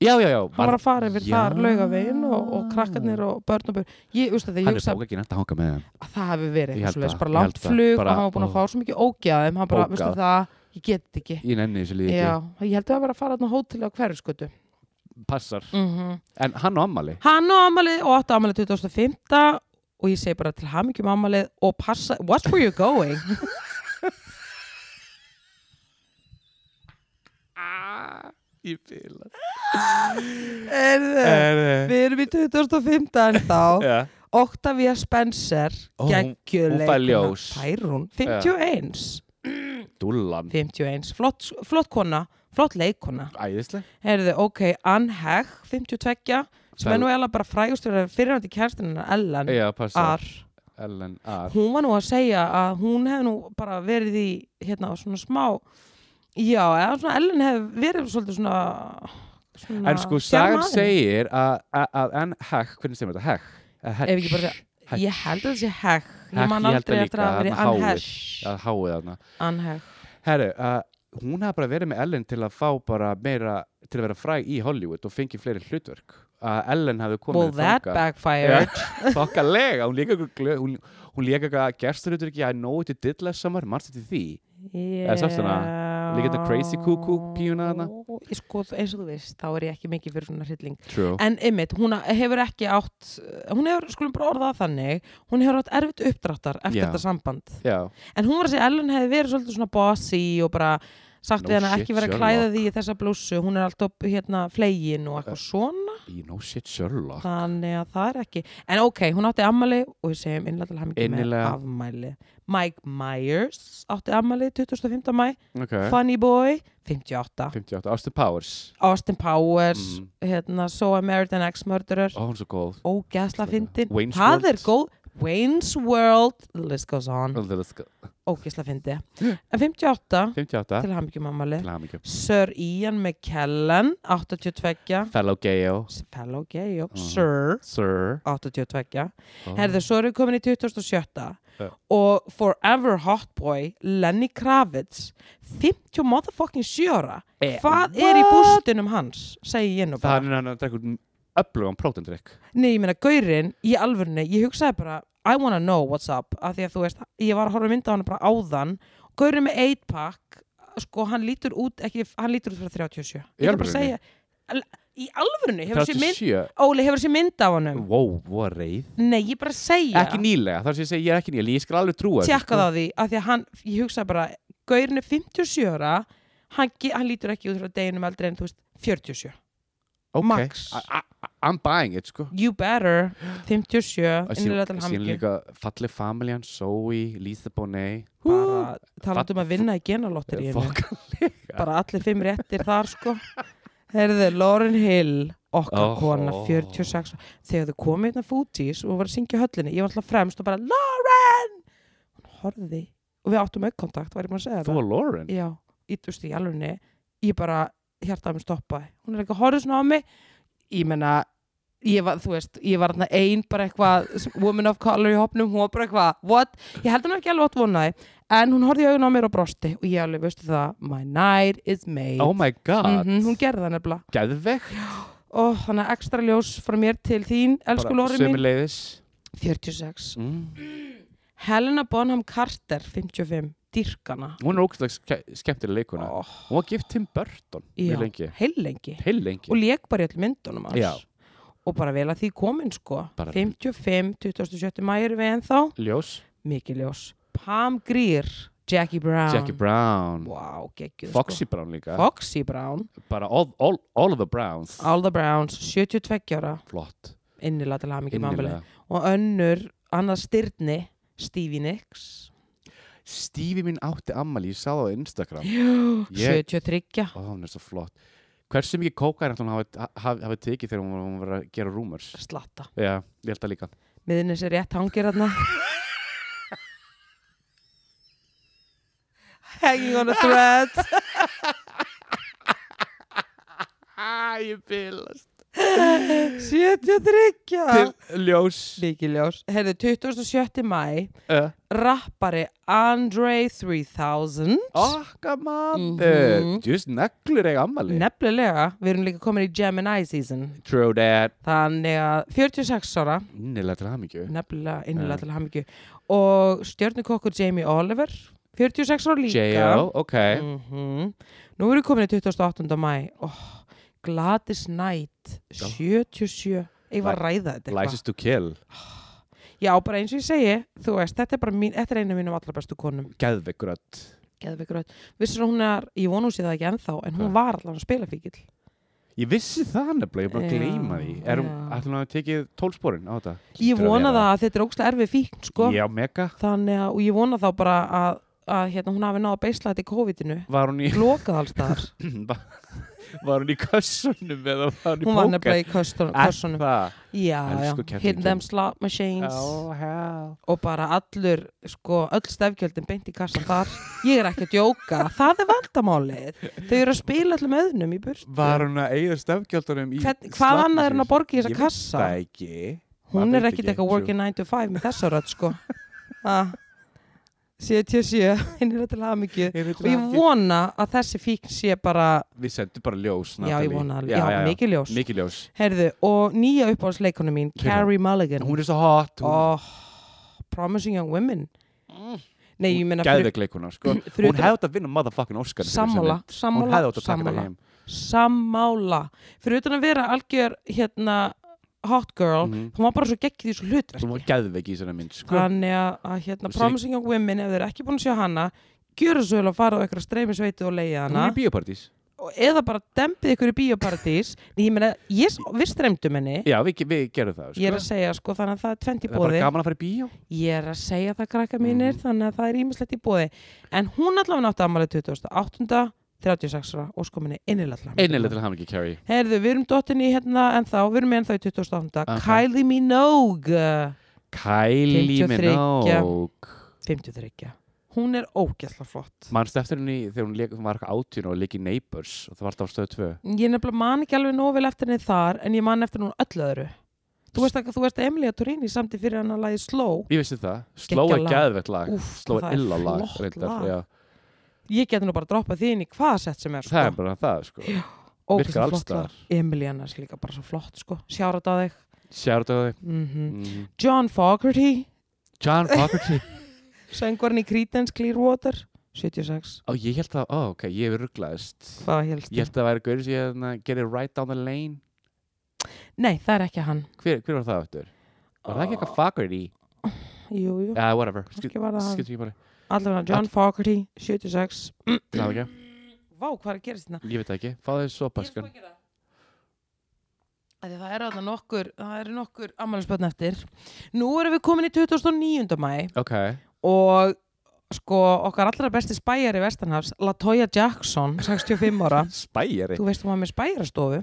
Speaker 2: Já, já, já
Speaker 1: Hann var að fara yfir
Speaker 2: Já.
Speaker 1: þar laugavegin og, og krakkarnir og börn og börn. Ég, veistu það, ég
Speaker 2: Hann er
Speaker 1: hugsa
Speaker 2: bók ekki nætt að hanga með hann
Speaker 1: að það hefur verið
Speaker 2: Ég
Speaker 1: eitthvað svoleiðis.
Speaker 2: held það,
Speaker 1: Bara
Speaker 2: ég held
Speaker 1: langt
Speaker 2: það.
Speaker 1: flug og
Speaker 2: Bara-
Speaker 1: hann var búin að
Speaker 2: ó.
Speaker 1: fá svo mikið ógjaðum. Hann bara,
Speaker 2: Ógað.
Speaker 1: veistu það, ég get þetta ekki.
Speaker 2: Ég nenni þessu líði
Speaker 1: Já,
Speaker 2: ekki
Speaker 1: ég held að það var að fara þarna á hóteli á hverfskötu.
Speaker 2: Passar
Speaker 1: Mm
Speaker 2: En hann og ammali
Speaker 1: Hann á amalið og átti amalið 2005 og ég segi bara til hamingjum amalið og passa, what were you going? Ah,
Speaker 2: Í bíla
Speaker 1: Erðu, við erum í 2005 en þá,
Speaker 2: Eh, Já,
Speaker 1: Octavia Spencer
Speaker 2: Ó, hún-
Speaker 1: geggjuleik
Speaker 2: hún fær ljós.
Speaker 1: fær hún, 51
Speaker 2: dúllan
Speaker 1: 51, flott, flott kona flott leikkona,
Speaker 2: Æðislega
Speaker 1: erðu, ok Ann Hegg, 52 sem
Speaker 2: Sæl.
Speaker 1: er nú eða bara frægustur fyrirhandi kærstinu Ellen
Speaker 2: Já, passar
Speaker 1: Arr
Speaker 2: Ellen R
Speaker 1: hún var nú að segja að hún hefði nú bara verið í hérna svona smá já, eða svona Ellen hefði verið svolítið svona, svona
Speaker 2: En sko, sagan
Speaker 1: sjarmaðin.
Speaker 2: segir að- að að en hekk, hvernig segir maður þetta? Hekk? Eða Hekk?
Speaker 1: Ef ekki bara segja-
Speaker 2: Hegg.
Speaker 1: ég held að það sé hegg
Speaker 2: Hegg,
Speaker 1: ég man
Speaker 2: ég held
Speaker 1: aldrei eftir
Speaker 2: það
Speaker 1: að
Speaker 2: líka,
Speaker 1: hafa verið
Speaker 2: þarna háið.
Speaker 1: anhegg
Speaker 2: að háið þarna.
Speaker 1: anhegg,
Speaker 2: Herru, uh, hún hafði bara verið með Ellen til að fá bara meira, til að vera fræg í Hollywood og fengi fleiri hlutverk. Að Ellen hafði komið
Speaker 1: well that backfired
Speaker 2: Þokkalega, hún léka eitthvað, hún, hún léka eitthvað gesturhlutverk í I know it did last summer, mannstu til því.
Speaker 1: yeah.
Speaker 2: sástu hana? Líka þetta crazy cuckoo píuna þarna?
Speaker 1: Ég sko, eins og þú veist, þá er ég ekki mikið fyrir svona hrylling
Speaker 2: True.
Speaker 1: en ymmit, hún hefur ekki átt hún hefur, skulum bara orða það þannig hún hefur átt erfitt uppdráttar eftir
Speaker 2: Já.
Speaker 1: þetta samband
Speaker 2: Já,
Speaker 1: En hún var að segja að Ellen hefði verið svolítið svona bossy og bara sagt
Speaker 2: No
Speaker 1: við henni að
Speaker 2: shit,
Speaker 1: ekki vera að
Speaker 2: Sherlock.
Speaker 1: klæða því í þessa blússu, hún er alltaf hérna flegin og
Speaker 2: Eh,
Speaker 1: eitthvað svona,
Speaker 2: you know shit Sherlock.
Speaker 1: þannig að það er ekki en ok, hún átti ammali og við segjum innlega til hamingi með
Speaker 2: Innilega.
Speaker 1: afmæli Mike Myers átti ammali 25. mæ,
Speaker 2: Ok,
Speaker 1: Funny Boy 58,
Speaker 2: 58, Austin Powers.
Speaker 1: Austin Powers
Speaker 2: Mm.
Speaker 1: hérna, So I Married an Ex-Murderer
Speaker 2: Ó, hún er svo góð.
Speaker 1: ógæðsla fyndin,
Speaker 2: Wayne's
Speaker 1: það
Speaker 2: World.
Speaker 1: er góð Wayne's World, the list goes on
Speaker 2: Og the list go-
Speaker 1: ógisla fyndi en 58
Speaker 2: 58
Speaker 1: til hammingjum ammali
Speaker 2: til hamingju.
Speaker 1: Sir Ian McKellen 82
Speaker 2: Fellow Gale
Speaker 1: fellow gay,
Speaker 2: Mhm.
Speaker 1: sir
Speaker 2: Sir
Speaker 1: 82
Speaker 2: Oh.
Speaker 1: Herðu, svo erum við komin í 2007
Speaker 2: Já.
Speaker 1: og Forever Hot Boy Lenny Kravitz 50 motherfucking 7 ára
Speaker 2: Eh,
Speaker 1: Hvað er í
Speaker 2: what?
Speaker 1: bústinum hans? segi ég nú bara.
Speaker 2: Það er hann að drekka út öflugan prótendrykk
Speaker 1: Nei, ég meina, gaurinn í alvörunni ég hugsaði bara, I wanna know what's up af því að þú veist, ég var að horfa mynda á hann bara áðan gaurinn með 8-pack sko, hann lítur út, ekki, hann lítur út frá 37.
Speaker 2: Í
Speaker 1: Ég er bara að
Speaker 2: alvörunni?
Speaker 1: segja al- Í alvörunni, hefur sér mynd
Speaker 2: 37
Speaker 1: Óli, hefur sér mynd af honum?
Speaker 2: Wow, hvað reið
Speaker 1: Nei, ég er bara að segja
Speaker 2: Ekki nýlega, þar sem ég segi ég er ekki nýlega Ég skal alveg trúa þessu, sko.
Speaker 1: tjekka það á því að því að hann, ég hugsa bara gaurin er 57 ára hann, ge- hann lítur ekki út frá deginum eldri en þú veist 47,
Speaker 2: Ok.
Speaker 1: max.
Speaker 2: I- I- I'm buying it sko
Speaker 1: you better 57,
Speaker 2: Og
Speaker 1: innlega
Speaker 2: síðan
Speaker 1: til
Speaker 2: síðan
Speaker 1: hamingju
Speaker 2: líka falleg familjan Zoe, Lisa Bonet
Speaker 1: bara taland
Speaker 2: fa-
Speaker 1: um að vinna í genalotteríinu
Speaker 2: Fokkalega
Speaker 1: bara allir fimm réttir þar sko heyrðu, Lauren Hill okkar
Speaker 2: Oh.
Speaker 1: kona, 46 þegar þau komið hérna fútís og var að syngja í höllinni ég var alltaf fremst og bara Lauren hún horfði og við áttum aukkontakt, var ég maður að segja
Speaker 2: Þú og Lauren
Speaker 1: já, ég, þú veist, í alvegni ég bara, hjartað mér stoppaði hún er ekki að horfa svona á mig ég menna, ég var, þú veist ég var þarna ein bara eitthvað woman of color í hopnum, hún var bara eitthvað what? ég held hann ekki alveg átt vonaði en hún horfði í augun á mér og brosti og ég alveg, veistu það, my night is made
Speaker 2: Oh my god,
Speaker 1: Mhm, hún gerði það nefnilega
Speaker 2: geðvegt
Speaker 1: og þannig að ekstra ljós frá mér til þín elsku
Speaker 2: Bara
Speaker 1: Lóri mín,
Speaker 2: sömuleiðis
Speaker 1: 46
Speaker 2: mm.
Speaker 1: Helena Bonham Carter, 55 dyrkana
Speaker 2: Hún er ógæslega skemmtileg leikuna Hún var gift Tim
Speaker 1: Oh.
Speaker 2: Burton
Speaker 1: Já.
Speaker 2: mjög lengi
Speaker 1: heil lengi
Speaker 2: Heil lengi
Speaker 1: og lék bara í öll myndunum
Speaker 2: Já.
Speaker 1: hans og bara vel að því komin sko
Speaker 2: Bara-
Speaker 1: 55, 27. mæri við ennþá
Speaker 2: Ljós
Speaker 1: mikið ljós Pam Greer, Jackie Brown
Speaker 2: Jackie Brown
Speaker 1: wow, geggjuð,
Speaker 2: Foxy Brown líka
Speaker 1: sko. Foxy Brown,
Speaker 2: Bara all, all, all of the Browns
Speaker 1: All the Browns 72 ára,
Speaker 2: Flott
Speaker 1: innilega til hamingi mamali
Speaker 2: Innilega
Speaker 1: og önnur, annað styrni Stevie Nicks
Speaker 2: Stífi mín átti ammali Ég sá það á Instagram Ég-
Speaker 1: 73
Speaker 2: Ó, hún er svo flott Hversu mikið kókaðir hún hafi, hafi, hafi tekið þegar hún var, hún var að gera rumors
Speaker 1: slatta,
Speaker 2: Já, ég held það líka
Speaker 1: miðin þessi rétt hangir þarna hanging on a thread
Speaker 2: Æ, ég bylast
Speaker 1: 73 ára.
Speaker 2: Til ljós
Speaker 1: Mikið ljós. Herðu, 27. mæ,
Speaker 2: uh,
Speaker 1: rappari Andre 3000.
Speaker 2: Okka maður
Speaker 1: Mhm.
Speaker 2: Just neglur eiga ammali
Speaker 1: Nefnilega, við erum líka komin í Gemini season.
Speaker 2: True that
Speaker 1: Þannig að 46 ára,
Speaker 2: Innilega til hamingju
Speaker 1: nefnilega
Speaker 2: Já.
Speaker 1: innlega til hamingju. Og stjörnukokkur Jamie Oliver, 46 ára líka.
Speaker 2: J.O. Ok
Speaker 1: Mhm. Nú erum við komin í 28. mæ. Oh, Gladys Knight, 77. Ég var að ræða þetta eitthvað.
Speaker 2: License to kill
Speaker 1: Já, bara eins og ég segi, þú veist, þetta er bara mín, þetta er einu mínum allra bestu konum.
Speaker 2: Geðveikur öll
Speaker 1: Geðveikur öll. Vissur hún er, ég vonu hún sé það ekki ennþá, en hún
Speaker 2: Hvað?
Speaker 1: var allan að spila fíkil.
Speaker 2: Ég vissi það nefnilega, ég er bara að
Speaker 1: Já,
Speaker 2: gleyma því Er hún,
Speaker 1: já.
Speaker 2: ætlum hún að tekið tólsporin á þetta?
Speaker 1: Ég
Speaker 2: Hlýtur að
Speaker 1: vona
Speaker 2: vera.
Speaker 1: það að þetta er ógstlega erfið fíkn, sko.
Speaker 2: Já, mega
Speaker 1: Þannig að, og ég vona þá bara að, að hérna, hún hafi náð að beisla þetta í COVID-inu.
Speaker 2: Var hún í,
Speaker 1: Lokað alls þar.
Speaker 2: var var hún í kössunum eða var hún í
Speaker 1: hún var
Speaker 2: póker?
Speaker 1: nefnilega í köstun-
Speaker 2: Er
Speaker 1: kössunum.
Speaker 2: það?
Speaker 1: Já, já.
Speaker 2: Elsku kettlingin.
Speaker 1: Hidden them slot machines.
Speaker 2: Oh, hell
Speaker 1: Og bara allur, sko, öll stefgjöldin beint í kassan þar. Ég er ekki að djóka. Það er vandamálið. Þau eru að spila allum öðnum í burtu.
Speaker 2: Var hún að eigða stefgjöldunum í
Speaker 1: Hvern, hvað annað er hún að borga í
Speaker 2: Ég
Speaker 1: þessa
Speaker 2: veit
Speaker 1: kassa?
Speaker 2: Það ekki
Speaker 1: Hún
Speaker 2: maður
Speaker 1: er
Speaker 2: veit
Speaker 1: ekkert
Speaker 2: ekki,
Speaker 1: eitthvað
Speaker 2: true.
Speaker 1: working 9 to 5 með þessa rödd sko. Ha. 77, hinn er til hamingju. Og ég vona að þessi fíkn sé bara,
Speaker 2: Við sendum bara ljós
Speaker 1: já ég
Speaker 2: Natalie.
Speaker 1: vona alveg, já, mikið ljós.
Speaker 2: Mikið ljós
Speaker 1: Heyrðu, og nýja uppáhaldsleikonu mín,
Speaker 2: Hver er
Speaker 1: Carrie Mulligan.
Speaker 2: Hún er svo hot hún-
Speaker 1: oh, Promising Young Women.
Speaker 2: Mm.
Speaker 1: Nei, ég meina fyrir,
Speaker 2: Geðveik leikuna sko
Speaker 1: fyrir
Speaker 2: Hún hefði átt að vinna motherfucking Oscar fyrir
Speaker 1: sammála,
Speaker 2: sinni. Hún hefði
Speaker 1: sammála,
Speaker 2: átt að taka þetta
Speaker 1: sammála,
Speaker 2: heim
Speaker 1: sammála. Fyrir utan að vera algjör, hérna, hot girl,
Speaker 2: Mhm.
Speaker 1: hún var bara svo geggið í svo hlutverki.
Speaker 2: Hún var geðveik í svona mynd sko
Speaker 1: þannig að, að hérna,
Speaker 2: Og sér-
Speaker 1: Promising Young Women ef þeir eru ekki búin að sjá hana gjöra svo vel að fara á eitthvað streymi sveitu og leiða
Speaker 2: Hún
Speaker 1: hana
Speaker 2: er í bíópartís
Speaker 1: og, eða bara dempið ykkur í bíóparadís Nei, ég meina, ég, s- við streymdum henni
Speaker 2: Já, við, ge- við gerum það sko
Speaker 1: ég er að segja sko, þannig að það er tvent í
Speaker 2: Það er bara
Speaker 1: bóði
Speaker 2: gaman Mhm. að fara í bíó
Speaker 1: ég er að segja það krakka mínir þannig að það er ímislegt í bóði en hún allavega átti ammali 2008 36 ára og sko minni innilega til hamingju.
Speaker 2: Einnilega til hamingi, Carrie
Speaker 1: Heyrðu, við erum dottinni hérna ennþá, við erum ennþá í 2008
Speaker 2: Ok.
Speaker 1: Kylie Minogue
Speaker 2: Kylie
Speaker 1: 53.
Speaker 2: Minogue
Speaker 1: 53. Hún er ógæsla flott.
Speaker 2: Manstu eftir henni þegar hún, leik, hún var eitthvað átjón og leik í Neighbors og það var alltaf á stöðu 2
Speaker 1: Ég nefnilega man ekki alveg nóg vel eftir henni þar en ég man eftir hún öllu öðru. Þú veist ekki að þú veist að Emilia Turini samti fyrir hann að lagi Slow.
Speaker 2: Ég vissi það, Sló
Speaker 1: Geggjað
Speaker 2: er
Speaker 1: lag.
Speaker 2: geðvett lag
Speaker 1: Úff,
Speaker 2: Sló
Speaker 1: það er
Speaker 2: er illa lag,
Speaker 1: flott lag.
Speaker 2: reyndar, já.
Speaker 1: Ég geti nú bara að droppa því inn í hvaða sett sem er. Sko.
Speaker 2: Það er bara það sko virkar
Speaker 1: Ógeðslega
Speaker 2: alls
Speaker 1: flott lag.
Speaker 2: staðar.
Speaker 1: Emiliana er líka bara svo flott sko. Sjárat á þig.
Speaker 2: Sjárat á þig
Speaker 1: Mm
Speaker 2: mm.
Speaker 1: John Fogerty,
Speaker 2: John Fogerty
Speaker 1: söngvarinn í Creedence Clearwater, 76.
Speaker 2: Ó, ég held að, ó, ok, ég hef rugglaðist
Speaker 1: Hvað helst?
Speaker 2: Ég held að það væri gaurið sem ég hérna, gerir right down the lane
Speaker 1: Nei, það er ekki hann.
Speaker 2: Hver, hver var það eftir? Var það ekki eitthvað Fogerty?
Speaker 1: Jú, jú,
Speaker 2: Uh, whatever, skil
Speaker 1: ekki var það hann.
Speaker 2: ekki bara
Speaker 1: Allavega John Fogerty, 76.
Speaker 2: Það er ekki,
Speaker 1: Vá, hvað er að gerast hérna? þetta?
Speaker 2: ég veit það ekki Fá þér sopaskan
Speaker 1: Ég skal gera það. Af því Það er alveg nokkur, það eru nokkur ammælisbötn eftir. Nú erum við komin í 2009. mæ
Speaker 2: Ok,
Speaker 1: og sko okkar allra besti spæjar í Vestanhafs, Latoya Jackson, 65 ára.
Speaker 2: spæjari
Speaker 1: Þú veist um hún var með spæjarastofu.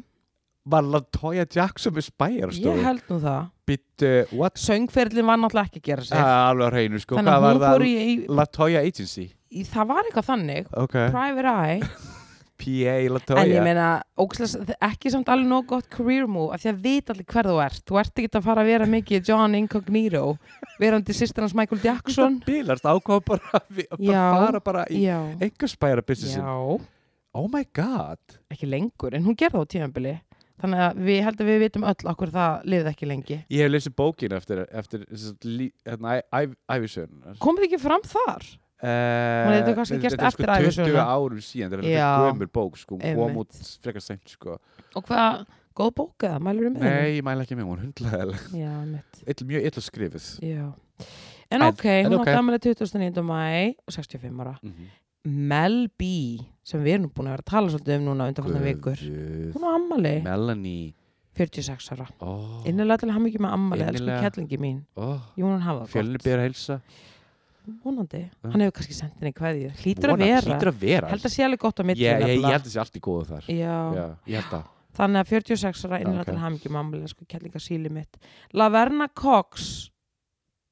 Speaker 2: Var Latoya Jackson með
Speaker 1: Ég
Speaker 2: spæjarstofu?
Speaker 1: held nú það.
Speaker 2: Bittu, what?
Speaker 1: Söngferðlin var náttúrulega ekki að gera
Speaker 2: Það
Speaker 1: sér.
Speaker 2: er alveg á hreinu sko
Speaker 1: Þannig
Speaker 2: Hvað
Speaker 1: að
Speaker 2: var
Speaker 1: hún fór
Speaker 2: það?
Speaker 1: í, í,
Speaker 2: Latoya Agency
Speaker 1: í, það var eitthvað þannig,
Speaker 2: Ok
Speaker 1: Private Eye,
Speaker 2: PA
Speaker 1: en ég
Speaker 2: Latoya
Speaker 1: meina, ókslega, ekki samt alveg nóg gott career move, af því að vita allir hver þú ert. Þú ert ekki að fara að vera mikið John Incognito, verandi sýstir hans Michael Jackson.
Speaker 2: Bílast ákvað bara að vi- að
Speaker 1: Já,
Speaker 2: fara bara í
Speaker 1: Já,
Speaker 2: einhver spæjara businessin
Speaker 1: já,
Speaker 2: Oh my god
Speaker 1: ekki lengur, en hún gerði það á tímabili. Þannig að við heldum við vitum öll okkur það lifði ekki lengi.
Speaker 2: Ég hef lesið bókin eftir, eftir sem sagt, lí- hérna, æfisöðunar
Speaker 1: Komið ekki fram þar?
Speaker 2: Hún
Speaker 1: Hún hefði kannski gerst eftir
Speaker 2: Eh, Þetta er sko
Speaker 1: ævisöguna.
Speaker 2: 20 árum síðan, þetta er
Speaker 1: Já.
Speaker 2: þetta gömur bók sko, hún kom
Speaker 1: Einmitt.
Speaker 2: út frekar seint sko.
Speaker 1: Og hvað, góð bókaða, mælur um
Speaker 2: Nei, ég mæla ekki með hún, hundlega
Speaker 1: Já, mitt.
Speaker 2: mjög illa skrifið
Speaker 1: Já. En
Speaker 2: En-
Speaker 1: ok,
Speaker 2: en
Speaker 1: hún
Speaker 2: ok.
Speaker 1: átti ammæli 29. mæ og 65 ára. Mel B, sem við erum búin að vera að tala svolítið um núna undanfaldna vikur.
Speaker 2: Guð,
Speaker 1: Hún á ammæli,
Speaker 2: Melanie
Speaker 1: 46 ára.
Speaker 2: Ó,
Speaker 1: Innilega til hann ekki með ammæli, elsku
Speaker 2: Innilega.
Speaker 1: kellingi mín.
Speaker 2: ó,
Speaker 1: Jónan hafa það
Speaker 2: Fjölnir
Speaker 1: gott.
Speaker 2: byrja að helsa
Speaker 1: Húnandi,
Speaker 2: Mm.
Speaker 1: hann hefur kannski sendt henni kveðið. Hlýtur að
Speaker 2: Vona-
Speaker 1: vera.
Speaker 2: Hlýtur að vera
Speaker 1: Held að sé alveg gott á
Speaker 2: ég,
Speaker 1: milli.
Speaker 2: ég, ég
Speaker 1: nefnilega.
Speaker 2: held að sé allt í góðu þar
Speaker 1: Já.
Speaker 2: Já, ég held að
Speaker 1: þannig að 46 ára innilega
Speaker 2: Ok.
Speaker 1: til hann ekki með ammæli, sko kellinga síli mitt. Laverna Cox,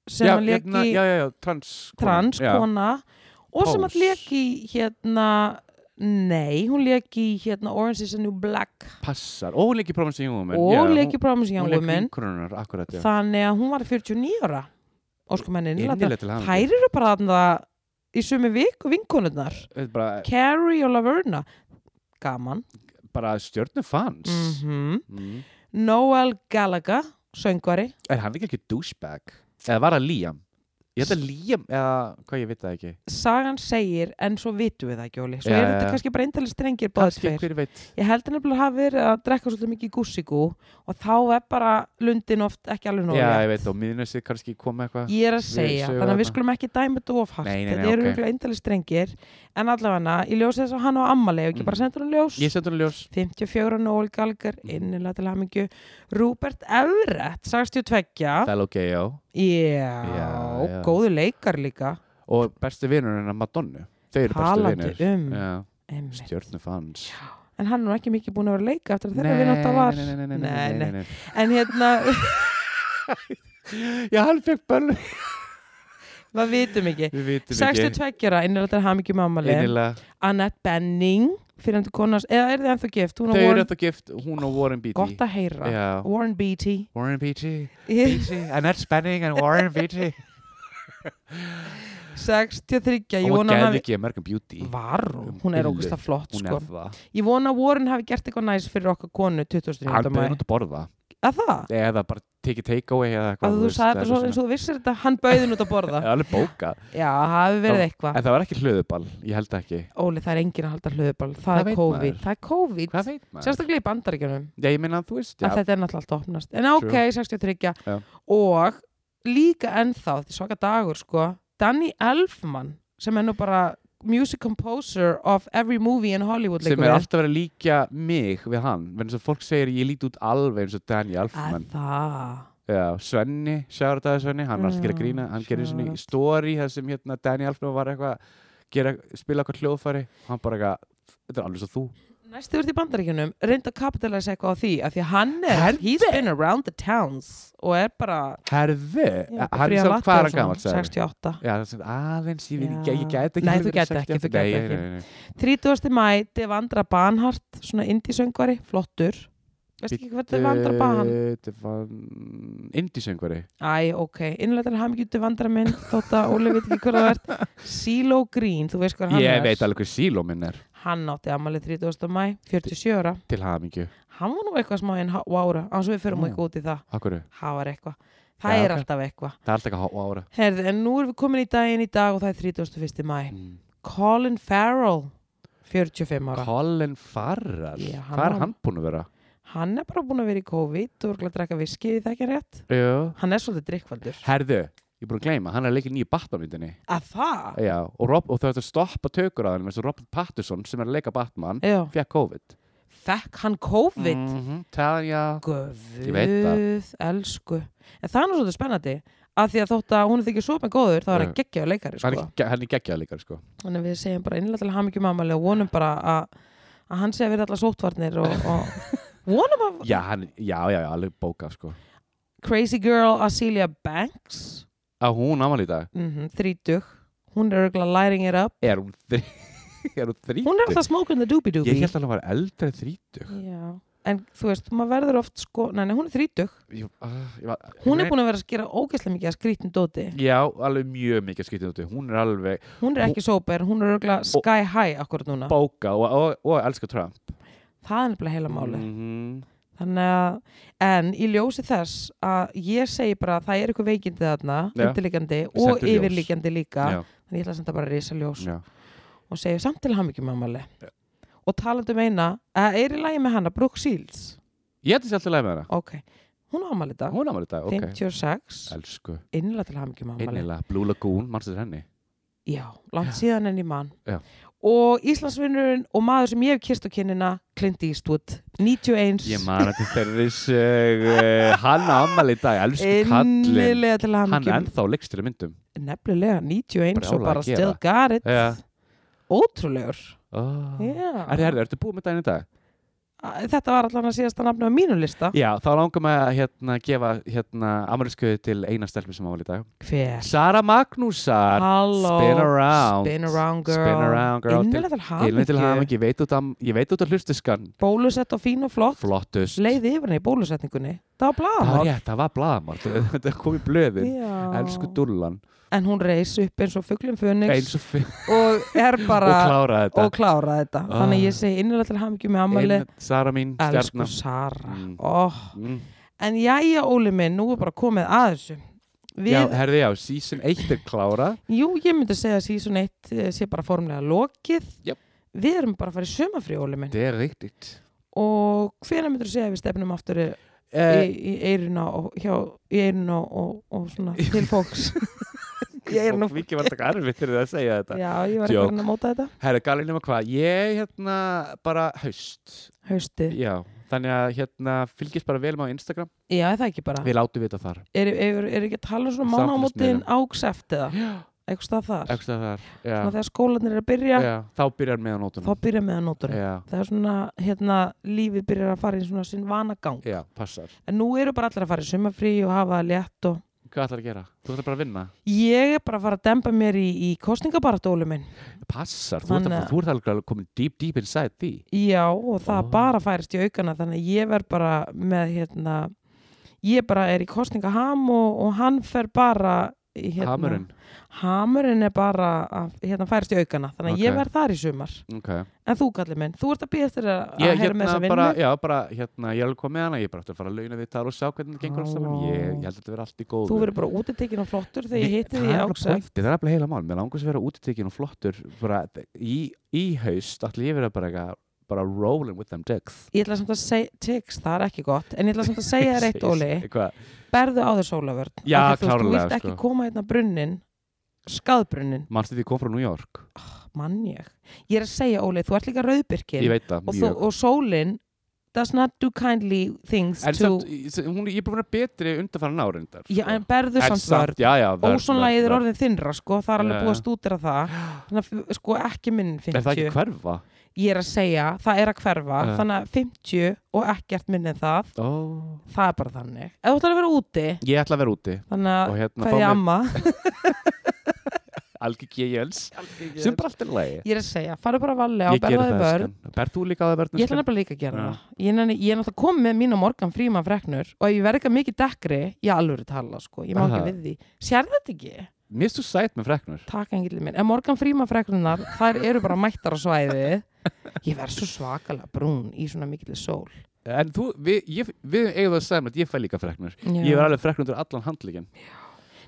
Speaker 1: sem
Speaker 2: já,
Speaker 1: hann leki...
Speaker 2: hérna, já, já, já, trans
Speaker 1: trans
Speaker 2: já.
Speaker 1: kona og sem að
Speaker 2: Pose.
Speaker 1: lék í hérna nei, hún lék í hérna Orange is the New Black
Speaker 2: Passar, og hún leiki Promise Young Woman
Speaker 1: og
Speaker 2: já,
Speaker 1: hún lék í Promise
Speaker 2: Young
Speaker 1: Young
Speaker 2: Woman Hún leiki
Speaker 1: Women
Speaker 2: vinkonunar, akkurat já.
Speaker 1: þannig að hún var 49 ára óskumennin,
Speaker 2: Innilega til hann
Speaker 1: þær eru bara þarna í sömu viku vinkonurnar
Speaker 2: Þetta er bara,
Speaker 1: Carrie og Laverna gaman
Speaker 2: bara stjörnum fans
Speaker 1: mm
Speaker 2: mm.
Speaker 1: Noel Gallagher söngvari,
Speaker 2: Er hann ekki ekki douchebag? Eða var það Liam? Ég held að Liam, eða hvað ég veit það ekki
Speaker 1: sagan segir en svo vitum við það ekki, Óli svo
Speaker 2: Já,
Speaker 1: er
Speaker 2: já, já.
Speaker 1: þetta kannski bara eindalist strengir báðið
Speaker 2: Kannski
Speaker 1: tveir
Speaker 2: hver veit
Speaker 1: Ég held hann nefnilega hafi verið að drekka svolítið mikið gússigú og þá er bara lundin oft ekki alveg nóg
Speaker 2: Já,
Speaker 1: rétt.
Speaker 2: ég veit, og miðnæsið kannski kom eitthvað
Speaker 1: Ég er að
Speaker 2: Við
Speaker 1: segja,
Speaker 2: sögum
Speaker 1: þannig að við
Speaker 2: þarna.
Speaker 1: skulum ekki dæma þetta of hart,
Speaker 2: Nei, nei, nei,
Speaker 1: þetta eru
Speaker 2: ok.
Speaker 1: okay. eindalega strengir en allavega, ég ljósi þess að hann á ammali ef ekki
Speaker 2: Mhm.
Speaker 1: bara sendur hann ljós
Speaker 2: Ég sendur hann ljós
Speaker 1: 54 Nóel Galgar,
Speaker 2: Mhm.
Speaker 1: innilega til hamingju Rúbert Everett, 62 Já,
Speaker 2: Fellow gay, já já.
Speaker 1: góðu leikar líka
Speaker 2: Og besti vinur hennar Madonna Þau eru bestu
Speaker 1: Talandi
Speaker 2: vinur
Speaker 1: um.
Speaker 2: Já,
Speaker 1: Einmitt.
Speaker 2: stjörnum fans
Speaker 1: en hann er nú ekki mikið búin að vera að leika eftir að þeirra vinnátt að var
Speaker 2: nei, nei, nei, nei, nei, nei, nei.
Speaker 1: en hérna
Speaker 2: Já, hann fekk bönnu
Speaker 1: Við vitum ekki.
Speaker 2: Við vitum ekki
Speaker 1: 62 ára, innrættar hamingi mammali.
Speaker 2: Einilega,
Speaker 1: Annette Benning, fyrir hendur konars, eða er þið ennþá gift? Hún
Speaker 2: þau
Speaker 1: og
Speaker 2: eru
Speaker 1: Warren,
Speaker 2: þetta gift Hún og Warren Beatty
Speaker 1: gott að heyra.
Speaker 2: Já.
Speaker 1: Warren Beatty.
Speaker 2: Warren Beatty Beatty Annette Spenning and Warren Beatty
Speaker 1: 63, ég
Speaker 2: Hún
Speaker 1: vona að
Speaker 2: geði
Speaker 1: hann...
Speaker 2: ekki American Beauty
Speaker 1: Var, hún? hún er
Speaker 2: Billu.
Speaker 1: ógust að flott,
Speaker 2: Hún
Speaker 1: sko.
Speaker 2: er það
Speaker 1: Ég vona að Warren hafi gert eitthvað næs fyrir okkar konu 2009.
Speaker 2: Hann bauði
Speaker 1: maí.
Speaker 2: hún að borða
Speaker 1: Að það?
Speaker 2: Eða bara tekið takeaway eða eitthvað
Speaker 1: Að þú
Speaker 2: veist,
Speaker 1: sagði þetta
Speaker 2: eitthvað
Speaker 1: svo
Speaker 2: svona.
Speaker 1: eins og þú vissir þetta, hann bauðin út að borða.
Speaker 2: Það er alveg bóka
Speaker 1: Já, það hafi verið eitthvað.
Speaker 2: En það var ekki hlöðuball, ég held ekki
Speaker 1: Óli, það er engin að halda hlöðubal.
Speaker 2: Hvað
Speaker 1: Það
Speaker 2: veit
Speaker 1: er COVID.
Speaker 2: maður?
Speaker 1: Það er COVID.
Speaker 2: Hvað veit maður?
Speaker 1: Sérstaklega í bandaríkjunum.
Speaker 2: Já, ég meina þú veist já,
Speaker 1: að þetta er náttúrulega alltaf opnast en ok, 63
Speaker 2: Já.
Speaker 1: og líka ennþá, þetta er svaka dagur sko, Danny Elfman sem er nú bara music composer of every movie in Hollywood
Speaker 2: sem
Speaker 1: liggur
Speaker 2: er
Speaker 1: við.
Speaker 2: alltaf verið að líkja mig við hann Vegna þess að fólk segir ég líti út alveg eins og Danny
Speaker 1: að
Speaker 2: Elfman
Speaker 1: það
Speaker 2: já, Svenni, sjáur þetta Svenni hann var alltaf að gera
Speaker 1: Já,
Speaker 2: grína, hann gerir svona
Speaker 1: shout
Speaker 2: í story þar sem hérna Danny Elfman var eitthvað gera, spila eitthvað hljóðfæri hann bara eitthvað, þetta er alveg svo þú
Speaker 1: næstu verið í bandaríkjunum reynda að kapitalæsa eitthvað á því af því að hann er,
Speaker 2: Herði.
Speaker 1: he's been around the towns og er bara
Speaker 2: Herði,
Speaker 1: ég veit,
Speaker 2: hann
Speaker 1: frí
Speaker 2: er
Speaker 1: að
Speaker 2: svo
Speaker 1: latta
Speaker 2: hvað er
Speaker 1: og
Speaker 2: hann gammal
Speaker 1: svona, 68
Speaker 2: Já, það er svona aðeins, ég, veit
Speaker 1: Já.
Speaker 2: ekki, ég get ekki
Speaker 1: Nei, þú
Speaker 2: alveg verið
Speaker 1: get
Speaker 2: 68.
Speaker 1: ekki, þú get
Speaker 2: Nei,
Speaker 1: ekki.
Speaker 2: nei, nei, nei.
Speaker 1: 30. mæ, Devandra Banhart svona indie-söngvari, flottur veist ekki hvað Devandra Banhart
Speaker 2: Þetta var indísöngvari
Speaker 1: Æ, ok, innlættar hamingju Devandra minn þótt að Óli veit ekki hvað það er Silo Green, þú veist hvað hann
Speaker 2: Ég
Speaker 1: er
Speaker 2: veit alveg hver síló minn er
Speaker 1: hann átti amalið 30. mæ, 47 ára
Speaker 2: til hamingju
Speaker 1: hann var nú eitthvað smá en ára án svo við förum
Speaker 2: Nú.
Speaker 1: ekki út í það,
Speaker 2: Akkur,
Speaker 1: það var eitthvað það
Speaker 2: Já,
Speaker 1: er
Speaker 2: ok.
Speaker 1: alltaf eitthvað
Speaker 2: það er alltaf ekki að ára
Speaker 1: Herði, en nú erum við komin í daginn í dag og það er 31. mæ.
Speaker 2: Mm.
Speaker 1: Colin Farrell, 45 ára.
Speaker 2: Colin Farrell,
Speaker 1: Já, hann
Speaker 2: hvað er
Speaker 1: var-
Speaker 2: hann búin að vera?
Speaker 1: hann er bara búin að vera í COVID og er að drekka viskið, það ekki rétt.
Speaker 2: Já.
Speaker 1: Hann er svolítið drikkvaldur.
Speaker 2: Herðu, ég er búin að gleyma, hann er að leika í nýju Batman-myndinni
Speaker 1: Að það?
Speaker 2: Já, og, Rob, og það er að stoppa tökur að hann eins og Robert Pattinson sem er að leika Batman
Speaker 1: Já.
Speaker 2: fekk COVID
Speaker 1: Fekk hann COVID? Mm.
Speaker 2: -hmm. Tanja Ég veit
Speaker 1: Guð, elsku. En það er nú svolítið spennandi. Að því að þótt að hún er þykir svo með góður, þá er hann
Speaker 2: Já.
Speaker 1: geggjaður leikari,
Speaker 2: hann,
Speaker 1: sko.
Speaker 2: er ge- hann er geggjað líka sko.
Speaker 1: Þannig að við segjum bara innlega til hamingjum ammali og vonum bara að, að hann sé að vera allar sóttvarnir og, og vonum að
Speaker 2: já, hann, já, já, já, alveg bóka sko.
Speaker 1: Crazy Girl Azealia Banks
Speaker 2: að hún ámali í dag
Speaker 1: mm -hmm, þrítug hún er örgulega lighting it up
Speaker 2: er hún, þri... er hún þrítug
Speaker 1: hún er alltaf smoking the doobie doobie
Speaker 2: ég held að hann var eldri en þrítug
Speaker 1: Já. en þú veist, maður verður oft sko, nei, nei, hún er þrítug
Speaker 2: ég, uh, ég var,
Speaker 1: hún er búin að vera að skera ógeðslega mikið að skrítin dóti
Speaker 2: já, alveg mjög mikið skýtið út hún er alveg
Speaker 1: hún er ekki sóper, hún er örgulega sky high akkurat núna,
Speaker 2: bóka og, og, og elskar Trump
Speaker 1: það er nefnilega heila máli
Speaker 2: -hmm.
Speaker 1: þannig að, en í ljósi þess að ég segi bara að það er eitthvað veikindi þarna,
Speaker 2: Já.
Speaker 1: undirlíkandi
Speaker 2: Við
Speaker 1: og
Speaker 2: sendum ljós.
Speaker 1: yfirlíkandi líka
Speaker 2: já,
Speaker 1: þannig ég ætla að senda bara risa ljós
Speaker 2: já.
Speaker 1: og segi samt til hann ekki mamali og talandi um eina, eh, er í lagi með hana Brooke Shields
Speaker 2: ég held þessi alltaf leið með hana
Speaker 1: Ok, hún á afmæli í dag
Speaker 2: hún ámali í dag, ok
Speaker 1: 56,
Speaker 2: elsku,
Speaker 1: innlega til hamingjum afmæli
Speaker 2: einnilega Blue Lagoon, mannstu þér henni
Speaker 1: Já, langt síðan enn í mann
Speaker 2: Já.
Speaker 1: Og Íslandsvinnurinn og maður sem ég hef kyrst á kinnina Clint Eastwood, 91
Speaker 2: Ég man að þeirri sög uh, Hann ámali í dag, elsku kallin
Speaker 1: Innilega til
Speaker 2: Hann er
Speaker 1: hamingjum
Speaker 2: ennþá leikstur í myndum
Speaker 1: Nefnilega, 91 og
Speaker 2: Brjálæði
Speaker 1: bara
Speaker 2: að gera. Eh.
Speaker 1: still got it
Speaker 2: Já.
Speaker 1: Ótrúlegur
Speaker 2: oh.
Speaker 1: Já.
Speaker 2: Erðu, erðu, ertu búið með daginn í dag?
Speaker 1: Æ, Þetta var allan að síðasta nafni á mínu lista
Speaker 2: Já, þá langar maður að hérna, gefa hérna, amaliskuði til eina stelpum sem ámali í dag
Speaker 1: Hver?
Speaker 2: Sara Magnúsar
Speaker 1: Halló
Speaker 2: Spin around.
Speaker 1: Spin around girl,
Speaker 2: Spin around, girl.
Speaker 1: Innilega til
Speaker 2: Eilin til
Speaker 1: hamingju
Speaker 2: hamingi, ég veit út að, ég veit út að hlustiskan
Speaker 1: Bólusett og fín og flott
Speaker 2: Flottust
Speaker 1: Leiði yfir henni í bólusetningunni Það var
Speaker 2: Það
Speaker 1: blaðamál
Speaker 2: var rétt, það var blaðamál Þetta kom í blöðin
Speaker 1: Já.
Speaker 2: Elsku dullan
Speaker 1: en hún reys upp eins og fugglum fönix
Speaker 2: Eins og fyrir
Speaker 1: og er bara
Speaker 2: og klára þetta
Speaker 1: og klára þetta
Speaker 2: Ah.
Speaker 1: þannig að ég segi innilega til hamingju með ammali
Speaker 2: Inn- Sara mín,
Speaker 1: elsku
Speaker 2: stjarnar
Speaker 1: Sara
Speaker 2: Mm.
Speaker 1: oh.
Speaker 2: mm.
Speaker 1: en jæja Óli minn, nú er bara komið að þessu Við,
Speaker 2: Já, herði, já, season 1 er klára
Speaker 1: jú, ég myndi segja að season 1 eh, sé bara formlega lokið
Speaker 2: Jöp.
Speaker 1: við erum bara að fara í sömafrí Óli minn
Speaker 2: Þetta er riktigt
Speaker 1: og hvenær myndur segja að við stefnum aftur í,
Speaker 2: eh,
Speaker 1: í eiruna og, hjá, í eiruna og, og svona til fólks ég er nú-
Speaker 2: Mikið var þetta erfitt fyrir það að segja þetta
Speaker 1: já, ég var
Speaker 2: Joke.
Speaker 1: eitthvað að móta þetta
Speaker 2: Herri, galið nema hvað, ég hérna bara haust
Speaker 1: haustið,
Speaker 2: Já, þannig að hérna fylgist bara vel með á Instagram
Speaker 1: já, er það ekki bara
Speaker 2: Við látum vita þar
Speaker 1: er, er, er ekki að tala um svona mánamótin ákseft eða eitthvað stað þar
Speaker 2: Ekstra þar já,
Speaker 1: Svona þegar skólanir er að byrja
Speaker 2: já, Þá byrjar með á
Speaker 1: þá
Speaker 2: nótunum
Speaker 1: byrja með að nótunum
Speaker 2: Já,
Speaker 1: það er svona, hérna, lífið byrjar að fara í svona sinn vanagang
Speaker 2: já, passar
Speaker 1: en nú eru bara allir að fara í sumafrí og hafa það létt og
Speaker 2: Hvað ætlar að gera? Þú ætlar bara að vinna
Speaker 1: ég er bara að fara að demba mér í, í kostningabaratólum minn
Speaker 2: Passar, þú ert
Speaker 1: Þannig
Speaker 2: að-
Speaker 1: að-
Speaker 2: þú ert alveg komin deep, deep inside því
Speaker 1: já, og það
Speaker 2: Ó.
Speaker 1: bara færist í aukana þannig að ég verð bara með, hérna ég bara er í kostningaham og, og hann fer bara í, hérna,
Speaker 2: Hamurinn
Speaker 1: hamurinn er bara að hérna, færist í aukana þannig að ég
Speaker 2: Ok.
Speaker 1: verð þar í sumar
Speaker 2: okay.
Speaker 1: En þú, Galli minn, þú ert að býja eftir að að
Speaker 2: ég,
Speaker 1: heyra með þessa
Speaker 2: hérna,
Speaker 1: vinnu.
Speaker 2: bara, já, bara, hérna, ég er alveg komið hana ég er bara átti að fara að launa við þar og sjá hvernig það gengur alls saman
Speaker 1: Halló.
Speaker 2: ég, ég held að þetta verði allt í góðu
Speaker 1: Þú verður bara útitekin og flottur þegar ég
Speaker 2: Ég-
Speaker 1: hitti
Speaker 2: það
Speaker 1: því í
Speaker 2: er alveg
Speaker 1: áksef.
Speaker 2: pointið, það er alveg heila mál, mér langar sem vera útitekin og flottur bara í, í haust allir ég verið bara, eitthvað- bara rolling with them dicks
Speaker 1: Ég ætla samt að segja, tix, það er ekki gott, en ég ætla samt að segja þér eitt, Óli,
Speaker 2: Eitthvað.
Speaker 1: berðu á þér sólavörn.
Speaker 2: Já,
Speaker 1: Af því Þú
Speaker 2: klárlega,
Speaker 1: veist ekki
Speaker 2: sko.
Speaker 1: koma einna brunnin, skaðbrunnin,
Speaker 2: manstu því ég kom frá New York
Speaker 1: mann ég. Ég er að segja, Óli, þú ert líka rauðbyrkin
Speaker 2: ég veit það
Speaker 1: og, þú,
Speaker 2: mjög
Speaker 1: og sólin does not do kindly things
Speaker 2: en
Speaker 1: to...
Speaker 2: samt, ég- hún, ég er búin að vera betri undanfæra nárin þar
Speaker 1: Já, en berðu samt vörn.
Speaker 2: já, já, vörn,
Speaker 1: Ósonlægið er
Speaker 2: vörn, vörn.
Speaker 1: orðin þinnra, sko, það er alveg
Speaker 2: Já.
Speaker 1: búið að stútira það. Þannig að, sko, ekki minn
Speaker 2: er það
Speaker 1: 50.
Speaker 2: ekki hverfa?
Speaker 1: ég er að segja, það er að hverfa
Speaker 2: Ja.
Speaker 1: þannig að 50 og ekkert minni en það
Speaker 2: Ó.
Speaker 1: það er bara þannig ef þú ætlar að vera úti,
Speaker 2: Ég ætla að vera úti
Speaker 1: þannig
Speaker 2: og
Speaker 1: að
Speaker 2: hérna
Speaker 1: hverja
Speaker 2: fá mig
Speaker 1: amma
Speaker 2: algjör kjels sem
Speaker 1: ég
Speaker 2: bara allt er lægi.
Speaker 1: er að segja, farðu bara valega
Speaker 2: Ég
Speaker 1: og berða
Speaker 2: geri
Speaker 1: þig
Speaker 2: það,
Speaker 1: vörn
Speaker 2: elskan. Berð þú líka á það verðnum?
Speaker 1: Ég ætla nefnilega líka að gera
Speaker 2: Já.
Speaker 1: það. Ég, nenni, ég er náttúrulega komið með mín og morgan fríman freknur og ef ég verð eitthvað mikið dekkri, ég alveg tala, sko. Ég má ekki
Speaker 2: Aha.
Speaker 1: við því. Sér þetta ekki?
Speaker 2: Mér finnst þú sætt með freknur.
Speaker 1: Takk engillin minn. En morgan fríman freknunar, þær eru bara mættar á svæði. Ég verð svo svakalega brún í svona mikilvæg sól.
Speaker 2: En þú, við, ég, við eigum það að segja mér að ég fæ líka freknur.
Speaker 1: Já.
Speaker 2: Ég var alveg freknur undir allan handlíkin.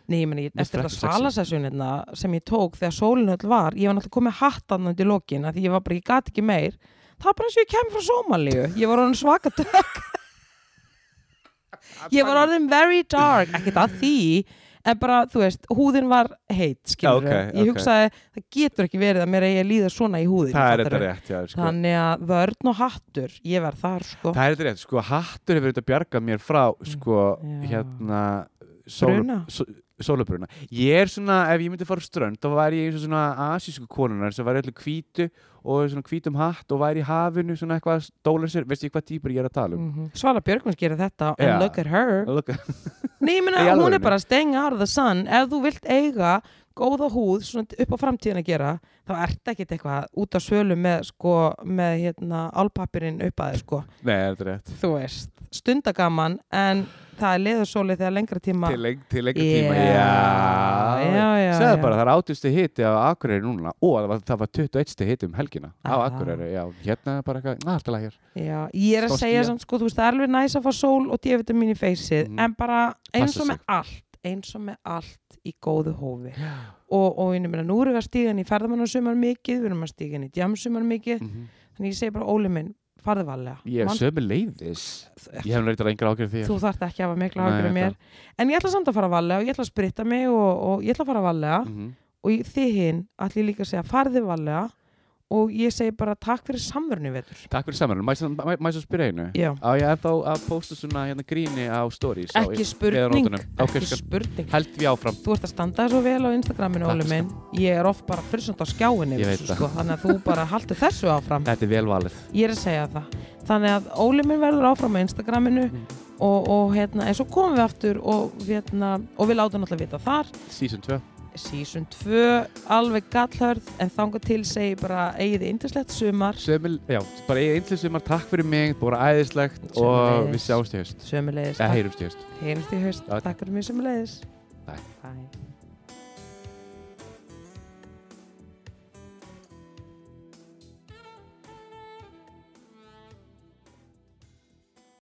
Speaker 1: Nei, ég meni,
Speaker 2: Mér
Speaker 1: eftir það
Speaker 2: finnst það sexy.
Speaker 1: salasessunina sem ég tók þegar sólinu öll var, ég var náttúrulega komið hattan undir lokin að því ég var bara, ég gat ekki meir. Það var bara eins og ég kem frá Somalíu. Ég var orðin svaka dökk. Ég var orðin very dark, ekkert að því, en bara, þú veist, húðin var heit, skilur
Speaker 2: Ok,
Speaker 1: Ég
Speaker 2: ok.
Speaker 1: hugsaði, það getur ekki verið að mér eigi að líða svona í húðin.
Speaker 2: Það er þetta rétt, já, sko.
Speaker 1: Þannig að vörn og hattur, ég verð þar, sko.
Speaker 2: Það er þetta rétt, sko, hattur hefur þetta bjargað mér frá, sko,
Speaker 1: Mm, Já.
Speaker 2: hérna, sólu-
Speaker 1: Bruna?
Speaker 2: só- sólubruna. Ég er svona, ef ég myndi fara á strönd, þá væri ég eins og svona asísku konunar sem væri öllu hvítu og svona hvítum hatt og væri í hafinu, svona eitthvað stólar sér, veistu ég hvað típur ég er að tala um?
Speaker 1: Mm Svala Björgvins gerir þetta and
Speaker 2: Já.
Speaker 1: look at her
Speaker 2: Look,
Speaker 1: Nei, ég meina,
Speaker 2: Í
Speaker 1: hún er
Speaker 2: alvörunni?
Speaker 1: bara staying out of the sun ef þú vilt eiga góða húð svona upp á framtíðin að gera þá ert ekkert eitthvað út á svölu með sko, með hérna álpappirinn upp að þér sko,
Speaker 2: nei, það er þetta rétt.
Speaker 1: þú veist stundagaman, en það er leðursóli þegar lengra tíma
Speaker 2: Til, leng, til lengur
Speaker 1: Já,
Speaker 2: tíma, já.
Speaker 1: já, já,
Speaker 2: Segðu
Speaker 1: já.
Speaker 2: bara, það er áttusti hiti á Akureyri núna og það var, það var 21. hiti um helgina á
Speaker 1: Aha.
Speaker 2: Akureyri, já, hérna er bara eitthvað, na, alltaf lægir.
Speaker 1: Já, ég er að
Speaker 2: Stór
Speaker 1: segja
Speaker 2: skýjað.
Speaker 1: samt sko, þú veist, það er alveg næs að fá sól og D-vitamin í feysið,
Speaker 2: Mhm.
Speaker 1: en bara eins
Speaker 2: Passa
Speaker 1: og með
Speaker 2: sig.
Speaker 1: allt, eins og með allt í góðu hófi. Og, og ég nefnir að nú erum við að stíga inn í ferðamannasumar mikið, við erum að stíga inn í djamsumar mikið,
Speaker 2: Mm -hmm.
Speaker 1: þannig ég segi bara Óli minn, farðu varlega.
Speaker 2: Ég
Speaker 1: Man-
Speaker 2: sömu leiðis. Ég hef náttúrulega engra ákveð því.
Speaker 1: Þú þarft ekki að hafa mikla
Speaker 2: Nei,
Speaker 1: hagur um mér.
Speaker 2: þetta-
Speaker 1: En ég ætla samt að fara varlega og ég ætla að spritta mig og, og ég ætla að fara varlega
Speaker 2: -hmm.
Speaker 1: og ég- þið hinn ætla ég líka að segja farði varlega og ég segi bara takk fyrir samverðinu vetur.
Speaker 2: Takk fyrir saman, mæs að- mæ- mæs að spyrja einu
Speaker 1: Já,
Speaker 2: Á ég ennþá að posta svona hérna gríni á stories á-
Speaker 1: ekki
Speaker 2: eða
Speaker 1: spurning,
Speaker 2: nótunum. Ok,
Speaker 1: ekki
Speaker 2: skal-
Speaker 1: spurning.
Speaker 2: Held við áfram
Speaker 1: þú ert að standa þér svo vel á Instagraminu,
Speaker 2: Takk, sko.
Speaker 1: Óli minn ég er oft bara frisund á skjáinni
Speaker 2: Ég
Speaker 1: yfir
Speaker 2: veit
Speaker 1: þessu,
Speaker 2: það.
Speaker 1: sko, þannig að þú bara haldur þessu áfram
Speaker 2: Þetta er vel valið
Speaker 1: ég er að segja það þannig að Óli minn verður áfram á Instagraminu og, og hérna, en svo komum við aftur og, hérna, og við látum alltaf vita þar
Speaker 2: Season 2
Speaker 1: season 2, alveg gallhörð en þanga til segi bara eigið índislegt sumar,
Speaker 2: Sömul, já, bara ég einnig sumar Takk fyrir mig, það voru æðislegt Og
Speaker 1: Sömuleiðis.
Speaker 2: við sjáumst í haust
Speaker 1: sömulegis
Speaker 2: Eða
Speaker 1: takk,
Speaker 2: heyrumst í haust
Speaker 1: heyrumst í haust,
Speaker 2: Já.
Speaker 1: takk fyrir mig sömulegis
Speaker 2: Bye.
Speaker 1: Bye.